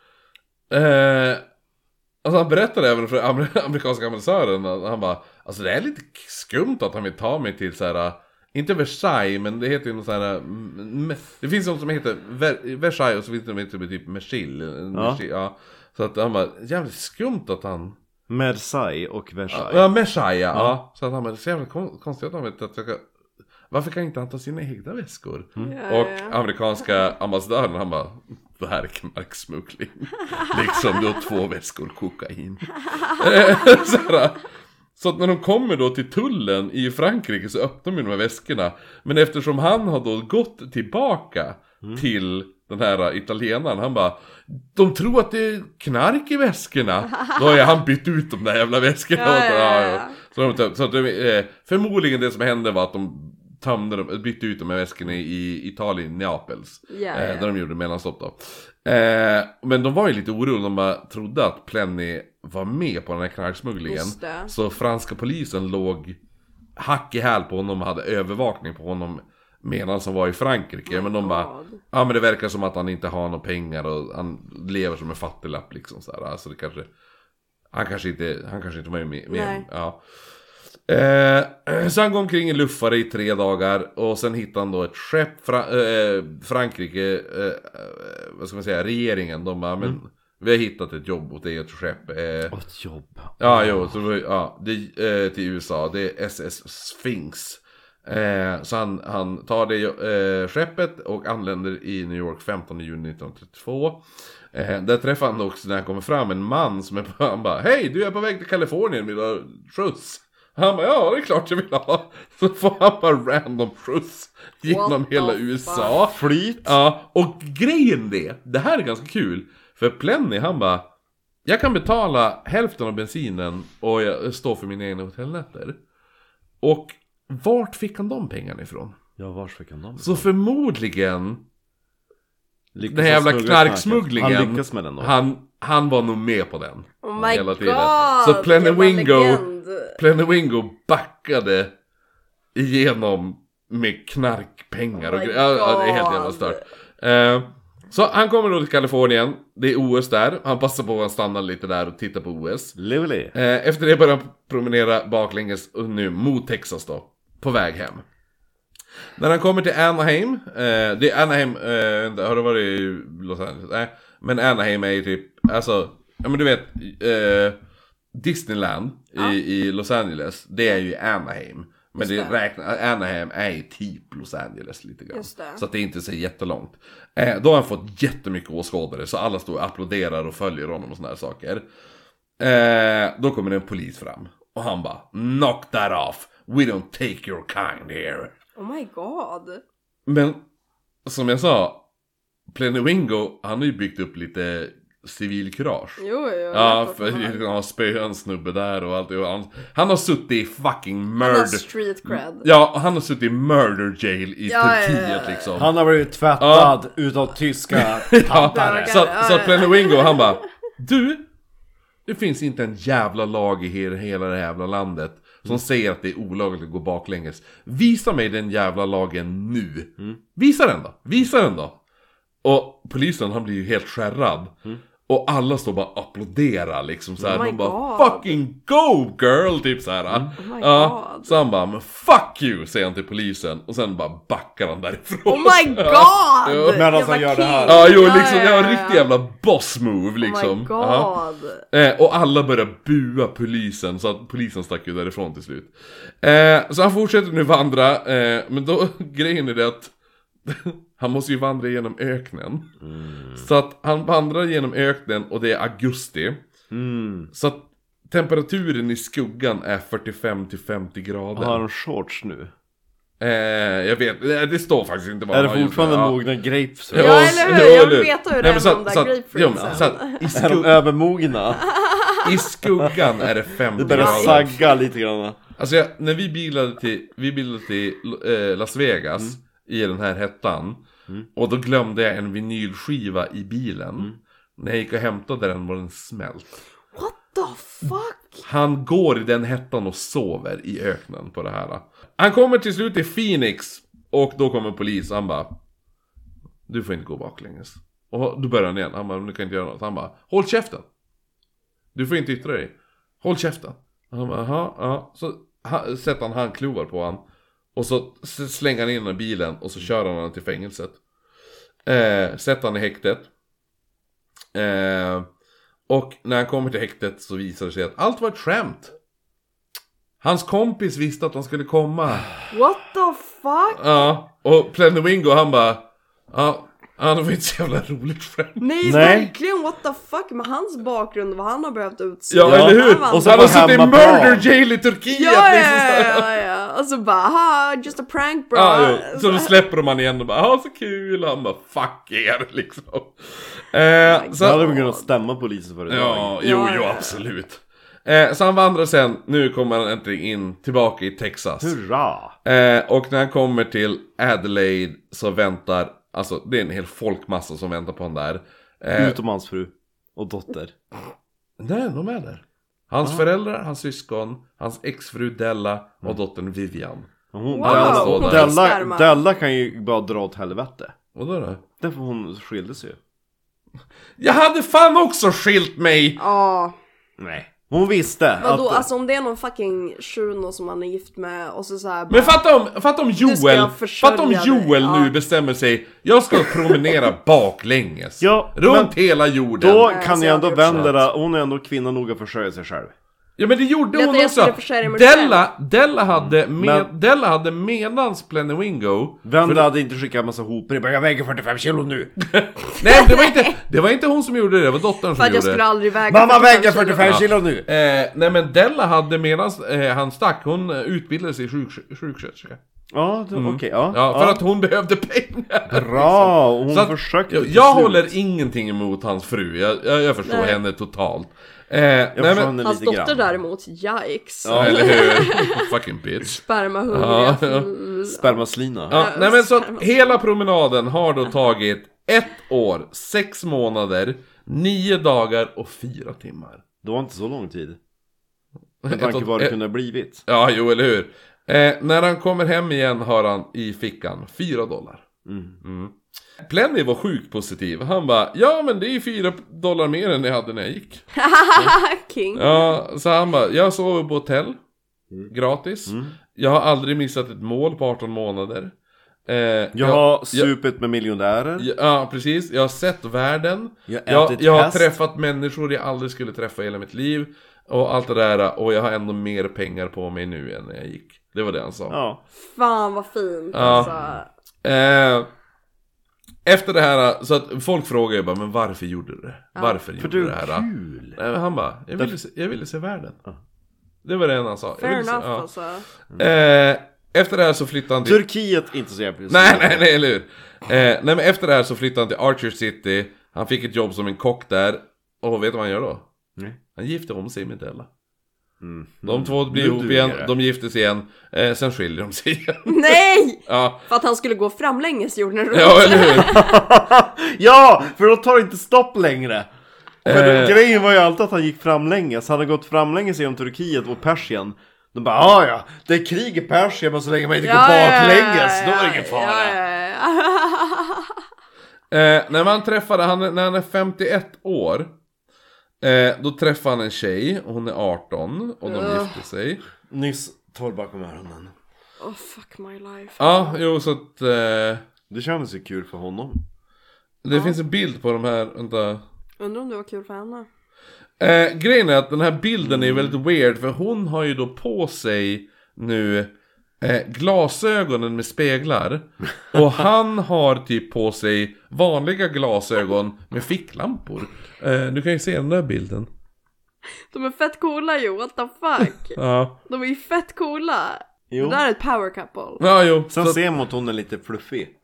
Eh, alltså han berättade även för amer- amerikanska ambassadören, att han bara, alltså det är lite skumt att han vill ta mig till så här. Inte Versailles, men det heter ju något sånt här... mm, Det finns något som heter Ver- Versailles och så finns det något som heter typ Merchil. Ja. Ja. Så att han bara, jävligt skumt att han...
Versailles och Versailles.
Ja, Messiah. Ja. Så att han bara, det är så jävla kon- konstigt att han vet att jag ska... Varför kan inte han ta sina egna väskor?
Ja,
Och
ja.
amerikanska ambassadören han bara, det här är knarksmuggling. liksom, du har två väskor kokain. Eh, så här. Så att när de kommer då till tullen i Frankrike så öppnar de de här väskorna. Men eftersom han har då gått tillbaka
Mm.
till den här italienaren, han bara De tror att det är knark i väskorna. Då har ju han bytt ut de där jävla väskorna.
Ja, ja, ja, ja.
Så, de, töm- så att de, eh, förmodligen det som hände var att de tömde dem, bytte ut de här väskorna i Italien, Neapels.
Ja,
eh,
ja.
Där de gjorde mellanstopp då. Eh, men de var ju lite oroliga, de bara trodde att Plenny var med på den här knarksmugglingen.
Just det.
Så franska polisen låg hack i häl på honom och hade övervakning på honom medan han var i Frankrike. men de bara,
Oh God.
ja men det verkar som att han inte har några pengar och han lever som en fattiglapp liksom så här. Alltså det kanske, han kanske inte, han kanske inte var med. med
Nej.
ja. Eh, så han går omkring i luffare i tre dagar och sen hittar han då ett skepp, Fra eh, Frankrike, eh, vad ska man säga, regeringen, de bara,
Mm.
men vi har hittat ett jobb åt dig och ett skepp. Eh,
Och ett jobb.
Ja, jo, så, var- ja, det, eh, till USA. Det är SS Sphinx. Eh, så han, han tar det eh, skeppet och anländer i New York 15 juni 1932. Eh, där träffar han också, när han kommer fram, en man som är på, han bara Hej, du är på väg till Kalifornien, vill du ha skjuts? Han bara, ja det är klart jag vill ha. Så får han bara random skjuts genom
What
hela
the
USA.
Flyt!
Ja, och grejen det, det här är ganska kul. För Plenny han bara, jag kan betala hälften av bensinen och jag står för mina egna hotellnätter. Och vart fick han de pengarna ifrån?
Ja, vars fick han dem?
Så förmodligen
Lyckas
den här
han
jävla
smuggla knarket?
knarksmugglingen.
Han lyckas med den då.
Han, han var nog med på den.
Oh my
Hela tiden.
god!
Så Plenty
vilken
Wingo-
legend.
Plenewingo backade igenom med knarkpengar och
Oh my
grejer. Ja, det är helt
God.
jävla stört. Eh, så han kommer då till Kalifornien, det är OS där, han passar på att stanna lite där och titta på OS.
Lively!
Eh, efter det börjar han promenera baklänges och nu mot Texas då, på väg hem. När han kommer till Anaheim, eh, det är Anaheim, eh, vänta, har du varit i Los Angeles? Nej, men Anaheim är ju typ, alltså, ja men du vet, eh, Disneyland i, i Los Angeles, det är ju Anaheim. Men det,
Just det.
räkna, Anaheim är ju typ Los Angeles lite grann.
Just det.
Så att det är inte så jättelångt. Eh, då har han fått jättemycket åskådare, så alla står och applåderar och följer honom och såna här saker. Eh, då kommer det en polis fram. Och han bara Knock that off! We don't take your kind here!
Oh my god!
Men som jag sa Plenewingo, han har ju byggt upp lite civilkurage.
Jo, jo. jag
Ja,
vet
för
vad det är.
han har spöat en snubbe där och allt. och Han, han har suttit i fucking
Han har
murder...
street cred.
Ja, han har suttit i murder jail i
Ja, ja, ja,
Turkiet
ja.
liksom.
Han har blivit tvättad utav tyska
Ja,
tattare.
så att, så att Plenowingo han bara Du! Det finns inte en jävla lag i he- hela det här jävla landet som säger att det är olagligt att gå baklänges. Visa mig den jävla lagen nu! Visa den då! Visa den då! Och polisen han blir ju helt skärrad. Och alla står bara och applåderar liksom så här.
Oh my
De bara
God.
'Fucking go girl!' typ så här.
Oh my
ja,
God.
så han bara 'Men fuck you!' säger han till polisen. Och sen bara backar han därifrån.
Oh my
Jo.
god!
Medan
Jävla
han gör det här.
king.
Ja, jo, liksom,
ja,
jag har
ja,
en
ja.
riktig jävla boss move
Oh my
liksom. Ja.
god!
Eh, och alla börjar bua polisen, så att polisen stack ju därifrån till slut. Eh, så han fortsätter nu vandra, eh, men då, grejen är det att han måste ju vandra genom öknen.
Mm.
Så att han vandrar genom öknen och det är augusti.
Mm.
Så att temperaturen i skuggan är 45 till 50 grader.
Har han shorts nu?
Eh, jag vet, eh, det står faktiskt inte vad
Är
han
det
har gjort,
fortfarande
ja.
mogna grapes?
Ja, eller hur? Jag vill veta hur det är med de där grapefruitsen.
Är de
grapefruitsen.
övermogna?
I skuggan är det 50
Det börjar
Ja.
grader.
sagga lite grann.
Alltså jag, när vi bilade till, vi bilade till eh, Las Vegas i den här hettan. Och då glömde jag en vinylskiva i bilen. När jag gick och hämtade den var den smält.
What the fuck?
Han går i den hettan och sover i öknen på det här. Han kommer till slut till Phoenix och då kommer polis han bara Du får inte gå baklänges. Och då börjar han igen. Han bara, du kan inte göra något. Han bara, håll käften! Du får inte yttra dig. Håll käften! Han bara, aha, ja. Så ha- sätter han handklovar på han Och så s- slänger han in den i bilen och så kör han honom till fängelset. Eh, sätter han i häktet. Eh, och när han kommer till häktet så visar det sig att allt var ett skämt. Hans kompis visste att han skulle komma.
What the fuck?
Ja, och Plenowingo han bara... Ja, han var inte så jävla roligt skämt.
Nej,
Nej.
verkligen what the fuck med hans bakgrund och vad han har behövt utstå.
Ja,
Ja.
eller hur?
Och
Och
så
han
var
har suttit i
hemma
murder
bra.
jail i Turkiet!
Ja,
liksom.
ja, ja, ja. Och så bara haha, just a prank bro.
Ja, jo. Så då släpper de han igen och bara ah, så kul! Och han bara fuck er liksom. Eh,
my
så,
Då hade de kunnat stämma polisen för det idag.
Ja, jo,
Ja,
jo,
ja.
absolut. Eh, så han vandrar sen, nu kommer han äntligen in, tillbaka i Texas.
Hurra!
Eh, och när han kommer till Adelaide så väntar, alltså det är en hel folkmassa som väntar på honom där. Eh,
Mm.
Utom hans fru och dotter.
Nej, de är där.
Ah.
Hans föräldrar, hans syskon, hans exfru Della och
Mm.
dottern Vivian.
Hon,
Wow,
Della,
hon fick
Della,
sperma.
Della kan ju bara dra åt helvete.
Och då då?
Därför hon skildes ju.
Jag hade fan också skilt mig!
Ja,
Nej. Hon visste
vadå?
att...
Alltså om det är någon fucking shuno som han är gift med och så såhär
Men fatta om, fatta om
ska
Joel,
jag försörja
fatta om
dig,
Joel
ja.
nu bestämmer sig, jag ska promenera baklänges.
Ja,
runt
men
hela jorden.
Då
Nej,
kan
alltså,
jag
jag
ändå
hade gjort
vända det, hon är ändå kvinna nog att försörja sig själv.
Ja men det gjorde
Lät
hon
jag
också!
skulle försörja mig Mm.
Della, Della hade, med,
Men-
Della hade medans Plenewingo
Venda hade inte skickat en massa hopor, Jag bara, jag väger 45 kilo nu!
Nej det var, inte, det var inte hon som gjorde det, det var dottern som
För att jag
gjorde
skulle
det
aldrig väga
Mamma väger
kilo.
45 kilo nu!
eh, Nej men Della hade medan eh, han stack, hon eh, utbildade sig sjuk, sjuksköterska
Ja, det- okej, ja.
Ja, för att hon behövde pengar
Mm. Bra! och Hon
Så att-
försökte
Jag,
till
jag
slut.
håller ingenting emot hans fru, jag, jag, jag förstår
Nej.
henne totalt eh, Nej
Jag förstår
men,
henne
Hans
lite
dotter
grann.
däremot, yikes.
Ja.
eller hur? Fucking bitch
Spermahungriga.
Ja.
Mm.
Spermaslina.
Ja,
Ja,
nej men så
sperma.
att hela promenaden har då tagit ett år, sex månader, nio dagar och fyra timmar.
Det var inte så lång tid.
Ett
Med tanke
och-
på vad det
ett-
kunde ha blivit.
Ja, jo eller hur. Eh, när han kommer hem igen har han i fickan fyra dollar.
Mm.
Plenny var sjukt positiv. Han bara, ja men det är ju fyra dollar mer än jag hade när jag gick.
King.
Ja, så han bara, jag sover på hotell. Gratis.
Mm.
Jag har aldrig missat ett mål på 18 månader. Eh,
Jag har supit med miljonärer.
jag, ja, precis. Jag har sett världen.
Jag har
Jag,
ätit
jag har
häst.
träffat människor jag aldrig skulle träffa i hela mitt liv Och allt det där och jag har ändå mer pengar på mig nu än när jag gick Det var det han sa
Ja.
Fan vad fint
Ja.
alltså.
eh, Efter det här, så att folk frågar ju bara Men varför gjorde du det?
För
Varför gjorde
du
du det här?
är
då?"
kul!
Nej, men han bara, jag ville, se, jag ville se världen Det var det han sa jag
Fair
ville se,
enough
ja.
alltså.
Mm.
eh, Efter det här så flyttade han till
Turkiet, inte så jävla
Nej, nej, nej, eller hur? Eh, nej, men efter det här så flyttade han till Archer City Han fick ett jobb som en kock där Och vet du vad han gör då?
Nej.
Han gifte om sig med Della
Mm.
De två blir
Nu
ihop
duger
igen,
det.
de gifter sig igen, eh, sen skiljer de sig igen.
Nej!
ja,
För att han skulle gå framlänges jorden runt.
ja, eller hur?
ja! För då tar det inte stopp längre! För
Eh.
grejen var ju alltid att han gick framlänges, han hade gått framlänges genom Turkiet och Persien De bara ah, ja, det är krig i Persien men så länge man inte går baklänges, då är det ingen fara
Ja, ja,
Eh, när man träffade, han, när han är 51 år, eh, då träffar han en tjej, och hon är 18 och de
Ugh.
gifter sig.
Nyss torr bakom öronen
ja. Oh fuck my life.
Ja, jo så att eh,
Det känns ju kul för honom
det finns en bild på de här, vänta.
Undrar om det var kul för henne.
Eh, grejen är att den här bilden är väldigt weird för hon har ju då på sig nu eh, glasögonen med speglar och han har typ på sig vanliga glasögon med ficklampor. Eh, du kan ju se den där bilden.
De är fett coola ju, what the fuck.
Ja,
De är ju fett coola.
Jo.
Det där är ett power couple.
ja jo.
Sen
Så,
ser man att hon är lite fluffig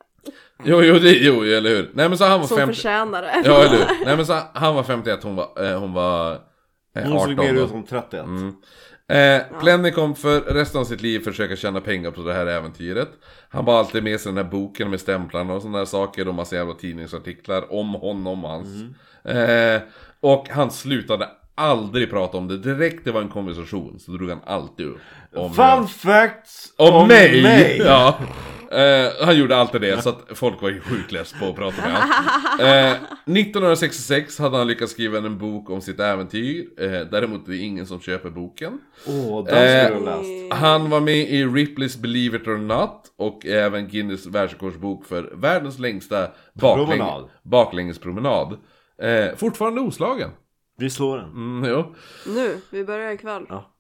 jo, jo, det, jo, eller hur. Nej men så han var
Som
50...
förtjänar det.
Ja, eller hur. Nej men så han var 51, hon var, eh, hon var eh, 18.
Hon såg mer
då.
ut som 31
Mm. Eh, Plenny kom för resten av sitt liv försöka tjäna pengar på det här äventyret. Han var alltid med sig den här boken med stämplarna och sådana där saker och massa jävla tidningsartiklar om honom och hans.
Mm.
Eh, och han slutade aldrig prata om det. Direkt det var en konversation så drog han alltid upp om
Fun fact
om, mig! Ja. Eh, han gjorde alltid det, så att folk var ju sjukt less på att prata med honom. Eh, 1966 hade han lyckats skriva en bok om sitt äventyr. Eh, däremot är det ingen som köper boken.
Åh, den skulle
Eh.
du ha läst
Han var med i Ripley's Believe It or Not och även Guinness världsrekordsbok för världens längsta bakläng
Promenad.
baklängespromenad. Eh, fortfarande oslagen.
Vi slår den
Mm, jo.
Nu, vi börjar ikväll.
Ja.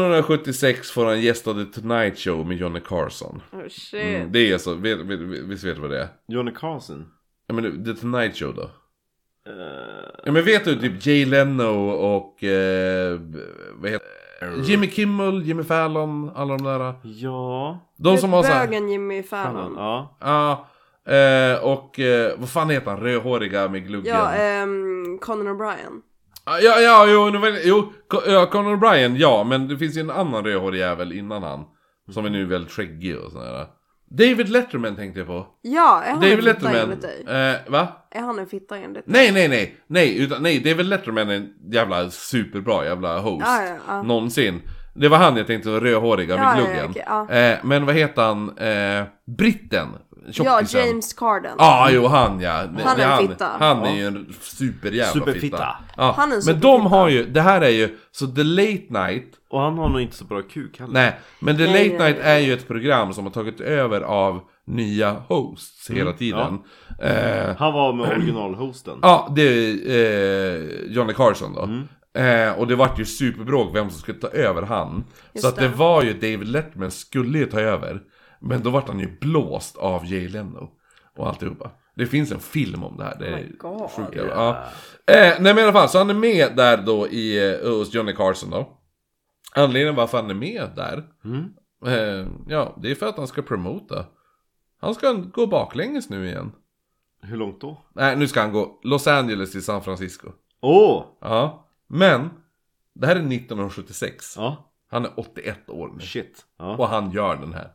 1976 får han gästa The Tonight Show med Johnny Carson.
Oh shit.
Mm, det är så, vet, vet, visst vet du vad det är?
Johnny Carlson
Ja men The Tonight Show då?
Eh,
Ja men vet du typ Jay Leno och... Eh, vad heter Jimmy Kimmel, Jimmy Fallon, alla de där.
Ja,
De som har såhär...
Bögen Jimmy
Fallon,
Fallon.
ja
Ja. eh, och eh, vad fan heter han? Rödhåriga med gluggen?
Ja, ehm, Conan O'Brien.
Ah, ja, ja, jo, nu väl, jo Co- ja, Conan O'Brien, ja, men det finns ju en annan rödhårig jävel innan han. Som är nu väldigt skäggig och sådär. David Letterman tänkte jag på.
Ja, är han
David
en fitta
Letterman.
enligt dig?
Eh, va?
Är han en fitta enligt dig?
Nej, nej, nej, nej, utan nej, det är väl Letterman en jävla superbra jävla host
Ja, ja, ja.
någonsin. Det var han jag tänkte, den rödhåriga
Ja,
med
ja,
gluggen.
okej, ja.
eh, men vad heter han? Eh, britten?
Ja,
Tjockisen? Ah,
James Carden.
Ja, jo han ja. Han
är en
han,
fitta.
han är ju en superjävla
Superfitta.
fitta. Ja.
Han är en
men de
superfitta.
har ju, det här är ju, så The Late Night
Och han har nog inte så bra kuk heller
Nej, men The
Nej,
Late
nej,
Night är ju ett program som har tagit över av nya hosts hela tiden. Eh,
Han var med originalhosten
Mm.
Ja, det är eh, Johnny Carson då. Eh, och det vart ju superbråk vem som skulle ta över han.
Just
så att det
det.
var ju David Letterman skulle ju ta över. Men då vart han ju blåst av Jay Leno. Och alltihopa. Det finns en film om det här. Det
Oh
är
my God.
sjukt jävla- ja. eh, Nej men i alla fall, så han är med där då i, eh, hos Johnny Carson då. Anledningen varför han är med där.
Mm.
Eh, ja, det är för att han ska promota. Han ska gå baklänges nu igen.
Hur långt då?
Nej, nu ska han gå Los Angeles till San Francisco.
Åh!
Ja, men det här är 1976.
Ja,
Han är 81 år nu.
shit. Ja.
Och han gör den här.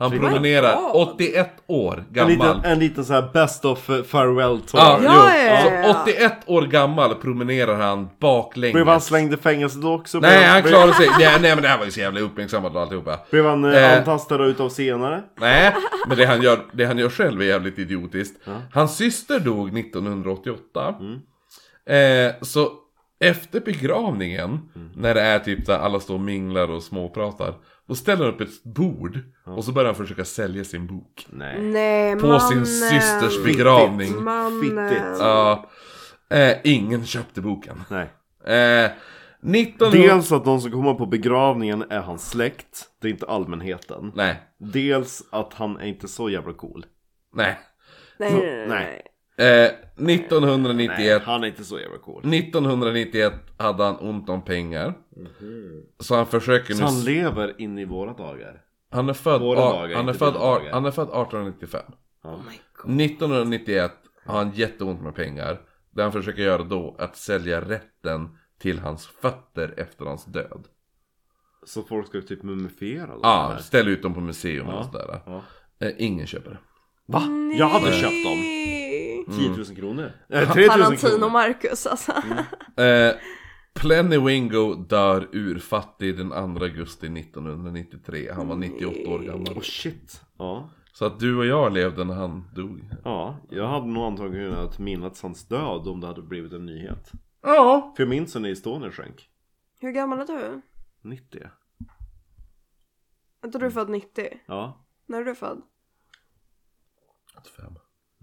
Han
Fy-
promenerar
My God.
81 år
En liten,
gammal.
en liten så här best of eh, farewell tour.
Ja,
Ja,
jo.
ja, ja, ja.
Så 81 år gammal promenerar han baklänges.
Blev han slängd i fängelse då också?
Nej,
Blev-
han
blev-
klarade sig. Nej, nej, men det här var ju så jävla uppmärksammat och alltihopa.
Blev han eh,
Eh.
antastad utav senare?
Nej, men det han, gör, det han gör själv är jävligt idiotiskt. Hans syster dog 1988.
Mm.
Eh, så efter begravningen,
Mm.
när det är typ där alla står och minglar och småpratar. Då ställer han upp ett bord och så börjar han försöka sälja sin bok.
Nej.
Nej,
På
mannen.
sin systers begravning.
Mannen.
Fittigt.
Ja. eh, ingen köpte boken.
Nej.
Eh, 1900...
Dels att de som kommer på begravningen är hans släkt. Det är inte allmänheten.
Nej,
Dels att han är inte så jävla cool.
nej.
Nej, nej, nej, nej.
Nej.
Eh, 1991.
Nej, han är inte så jävla
Mm.
cool.
1991 hade han ont om pengar.
Mhm.
Så han försöker nu...
Så han lever in i våra dagar.
Han är född,
Våra
ar-
dagar,
han är
inte
född,
dina
ar-
dagar.
han är född 1895.
Ja.
1991 har han jätteont med pengar. Det han försöker göra då är att sälja rätten till hans fötter efter hans död.
Så folk ska typ mumifiera dem?
Ja,
eller?
ställ ut dem på museum och sådär.
ja.
Eh, ingen köper det.
Va? Jag hade köpt dem.
dem.
10 000 kronor? Äh, 3 000
Tarantino
kronor!
Marcus alltså.
Mm.
Eh, Plenny Wingo dör urfattig den 2 augusti 1993. Han var 98 år
Åh
gammal.
Oh, shit! Ja.
Så att du och jag levde när han dog.
ja, jag hade nog antagligen kunnat minnas hans död om det hade blivit en nyhet.
Ja.
För jag minns när Estonia sjönk.
Hur gammal är du?
90?
Jag tror du är född 90.
Ja,
När är du född?
85.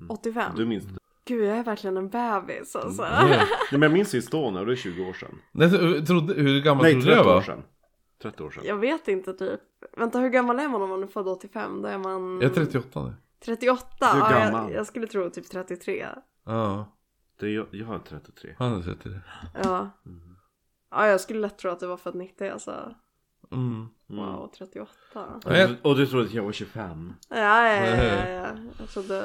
85?
Mm. du Mm. minns det.
Gud, jag är verkligen en bebis alltså.
Nej men jag minns Estonia och det är 20 år sedan.
Nej, så- trodde, hur gammal
Nej,
trodde du jag
30 år
var?
sedan. 30 år sedan.
Jag vet inte typ. Vänta, hur gammal är man om man är född 85? Då är man...
Jag är 38 nu.
38?
är
Ja, jag,
gammal.
jag skulle tro typ 33.
Ja,
Det är, jag, jag är 33.
han är 33.
Ja.
Mm.
Ja, jag skulle lätt tro att du var född 90 alltså.
Mm.
Wow, 38. Ja,
Och
Jag-
du, och du trodde att jag var 25?
ja, ja, ja, ja. Jag trodde...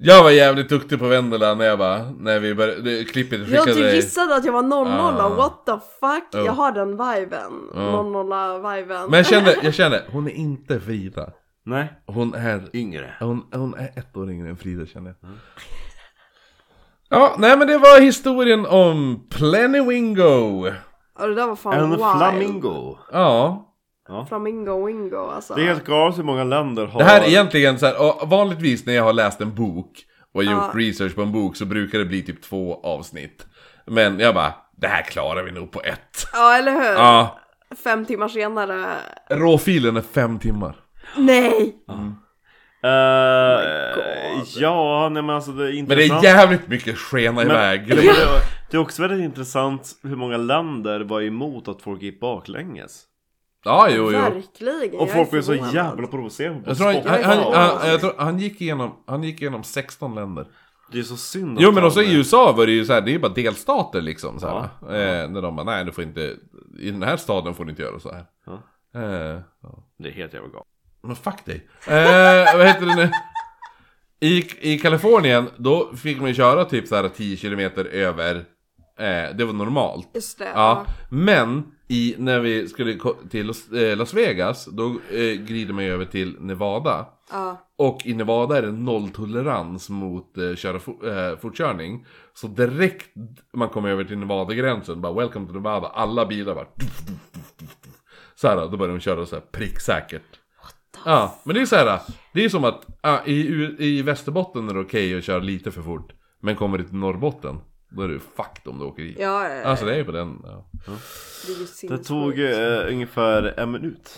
Jag var jävligt duktig på Vendela när jag bara, när vi började, det, klippet
Ja,
skickade
du gissade att jag var 00,
Ah.
what the fuck?
Ja.
Jag har den viben.
Ja.
00-viben.
Men jag kände, jag kände, hon är inte Frida.
Nej.
Hon är,
Yngre.
hon, hon är ett år yngre än Frida kände jag. Mm. Ja, nej men det var historien om Plenywingo.
Ja, det där var fan
En
wild.
flamingo.
Ja.
Flamingo wingo alltså.
Det är helt galet hur många länder har...
Det här är egentligen så här, och vanligtvis när jag har läst en bok och gjort
Ja.
research på en bok så brukar det bli typ två avsnitt. Men jag bara, det här klarar vi nog på ett.
Ja, eller hur?
Ja,
Fem timmar senare.
råfilen är fem timmar.
Nej!
Eh, ja, nej men alltså det är
Men det är
intressant.
jävligt mycket skena iväg grejer.
det, det är också väldigt intressant hur många länder var emot att folk gick baklänges.
Ja, jo, jo.
Verkligen.
Och
jag
folk
är
blev så
förvånad.
jävla provocerade på
Jag tror han,
Spotify.
han, han, han,
förvånad.
jag tror han, gick igenom, han gick igenom 16 länder.
Det är så synd att
Jo men också
han-
i USA var det ju så här, det är ju bara delstater liksom. Så här,
Ja,
eh, när de bara, nej du får inte, i den här staden får du inte göra så här.
Ja.
Eh, ja.
Det är helt jävla galet.
Men fuck dig. Eh, vad heter det nu? I, I Kalifornien, då fick man ju köra typ så här 10 kilometer över. Eh, det var normalt.
Just det.
Ja. Men i, när vi skulle ko- till Los, eh, Las Vegas, då eh, grider man ju över till Nevada.
ja.
Och i Nevada är det nolltolerans mot eh, köra fo- eh, fortkörning. Så direkt man kommer över till Nevada-gränsen, bara 'Welcome to Nevada' alla bilar bara... Så här, då börjar de köra så här pricksäkert. Ja, men det är så här. Det är som att ja, i, U- i Västerbotten är det okej att köra lite för fort. Men kommer du till Norrbotten, då är du fucked om du åker dit.
Ja, ja,
Alltså det är ju på den... Ja.
det är ju
Det
sinnessjukt.
tog eh, ungefär en minut.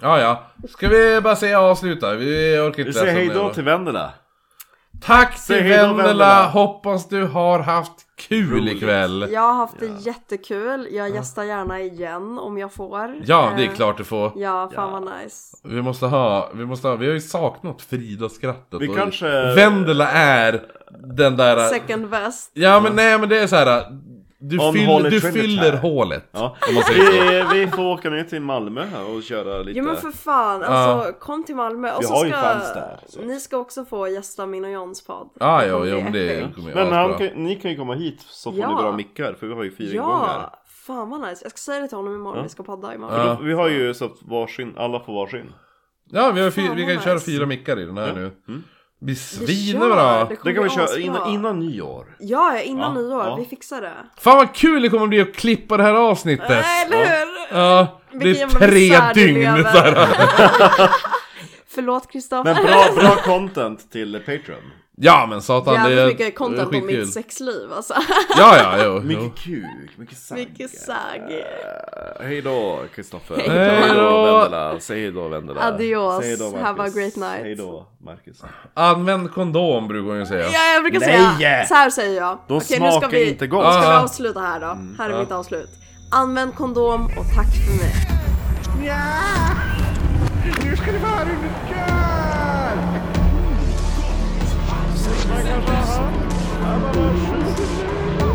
ja, ja. Ska vi bara säga avsluta? Vi orkar inte
Vi
läsa
säger
om det
hejdå
då.
till Vendela.
Tack
Säg
till
hej då,
Vendela!
Vendela.
Hoppas du har haft kul
Roligt.
ikväll.
Jag har haft det jättekul. Jag gästar gärna igen om jag får.
Ja, det är
Eh,
klart du får.
Ja, fan
Ja.
vad nice.
Vi måste ha, vi måste ha, vi har ju saknat Frida-skrattet.
Vi
och
kanske-
Vendela är den där...
Second best.
Ja men nej men det är så här. Du,
On
fyll,
Holy
du
Trinity.
fyller hålet.
Ja.
Om man säger så.
Vi, vi får åka ner till Malmö här och köra lite
Jo men för fan, alltså kom till Malmö och
Vi
så
har
ska
ju fans där, så.
ni ska också få gästa min och Johns podd.
Ah,
Det
jo,
kommer
jo,
bli
men det
epic.
kommer ju
Men
vara
han
bra.
kan, ni kan ju komma hit så får
Ja.
ni bra mickar för vi har ju fyra ingångar.
Ja, fan vad nice. Jag ska säga det till honom imorgon,
Ja.
vi ska podda imorgon.
Ja.
Då- Vi har ju så att varsin, alla får varsin.
Ja vi, har fy,
Fan,
vi
vad
kan ju köra
nice.
fyra mickar i den här
Ja.
nu.
Mm.
Blir
Vi
svinbra!
kör,
Det kan vi
kommer bli
köra
asbra.
innan, innan nyår.
Ja, ja, innan
Ja,
nyår.
ja.
Vi fixar det.
Fan vad kul det kommer bli att klippa det här avsnittet!
Äh, eller hur?
Ja, det
Vilken
blir
jävla
tre
misär du
dygn
lever.
så här.
Förlåt
Men
Kristoffer.
bra, bra content till Patreon.
Ja men satan det är
Jävligt mycket content
det är
om
skitkul.
mitt sexliv alltså.
Ja ja jo, jo.
Mycket kuk, mycket sagg.
Mycket sagg.
Eh, Hej då Kristoffer.
Hej
då.
Hej då Vendela. Säg hej då Vendela.
Adios.
Säg då, Marcus.
Have a great night.
Hej då Marcus.
Använd kondom brukar hon ju säga.
Ja, jag brukar
Nej!
säga, så här säger jag.
De
Okej, nu ska
smakar
vi,
inte
ska
gott. Mm.
Ja.
vi avsluta här då. Här är mitt avslut. Använd kondom och tack för mig.
Man kanske har hört. Ja, man har skjutit nu.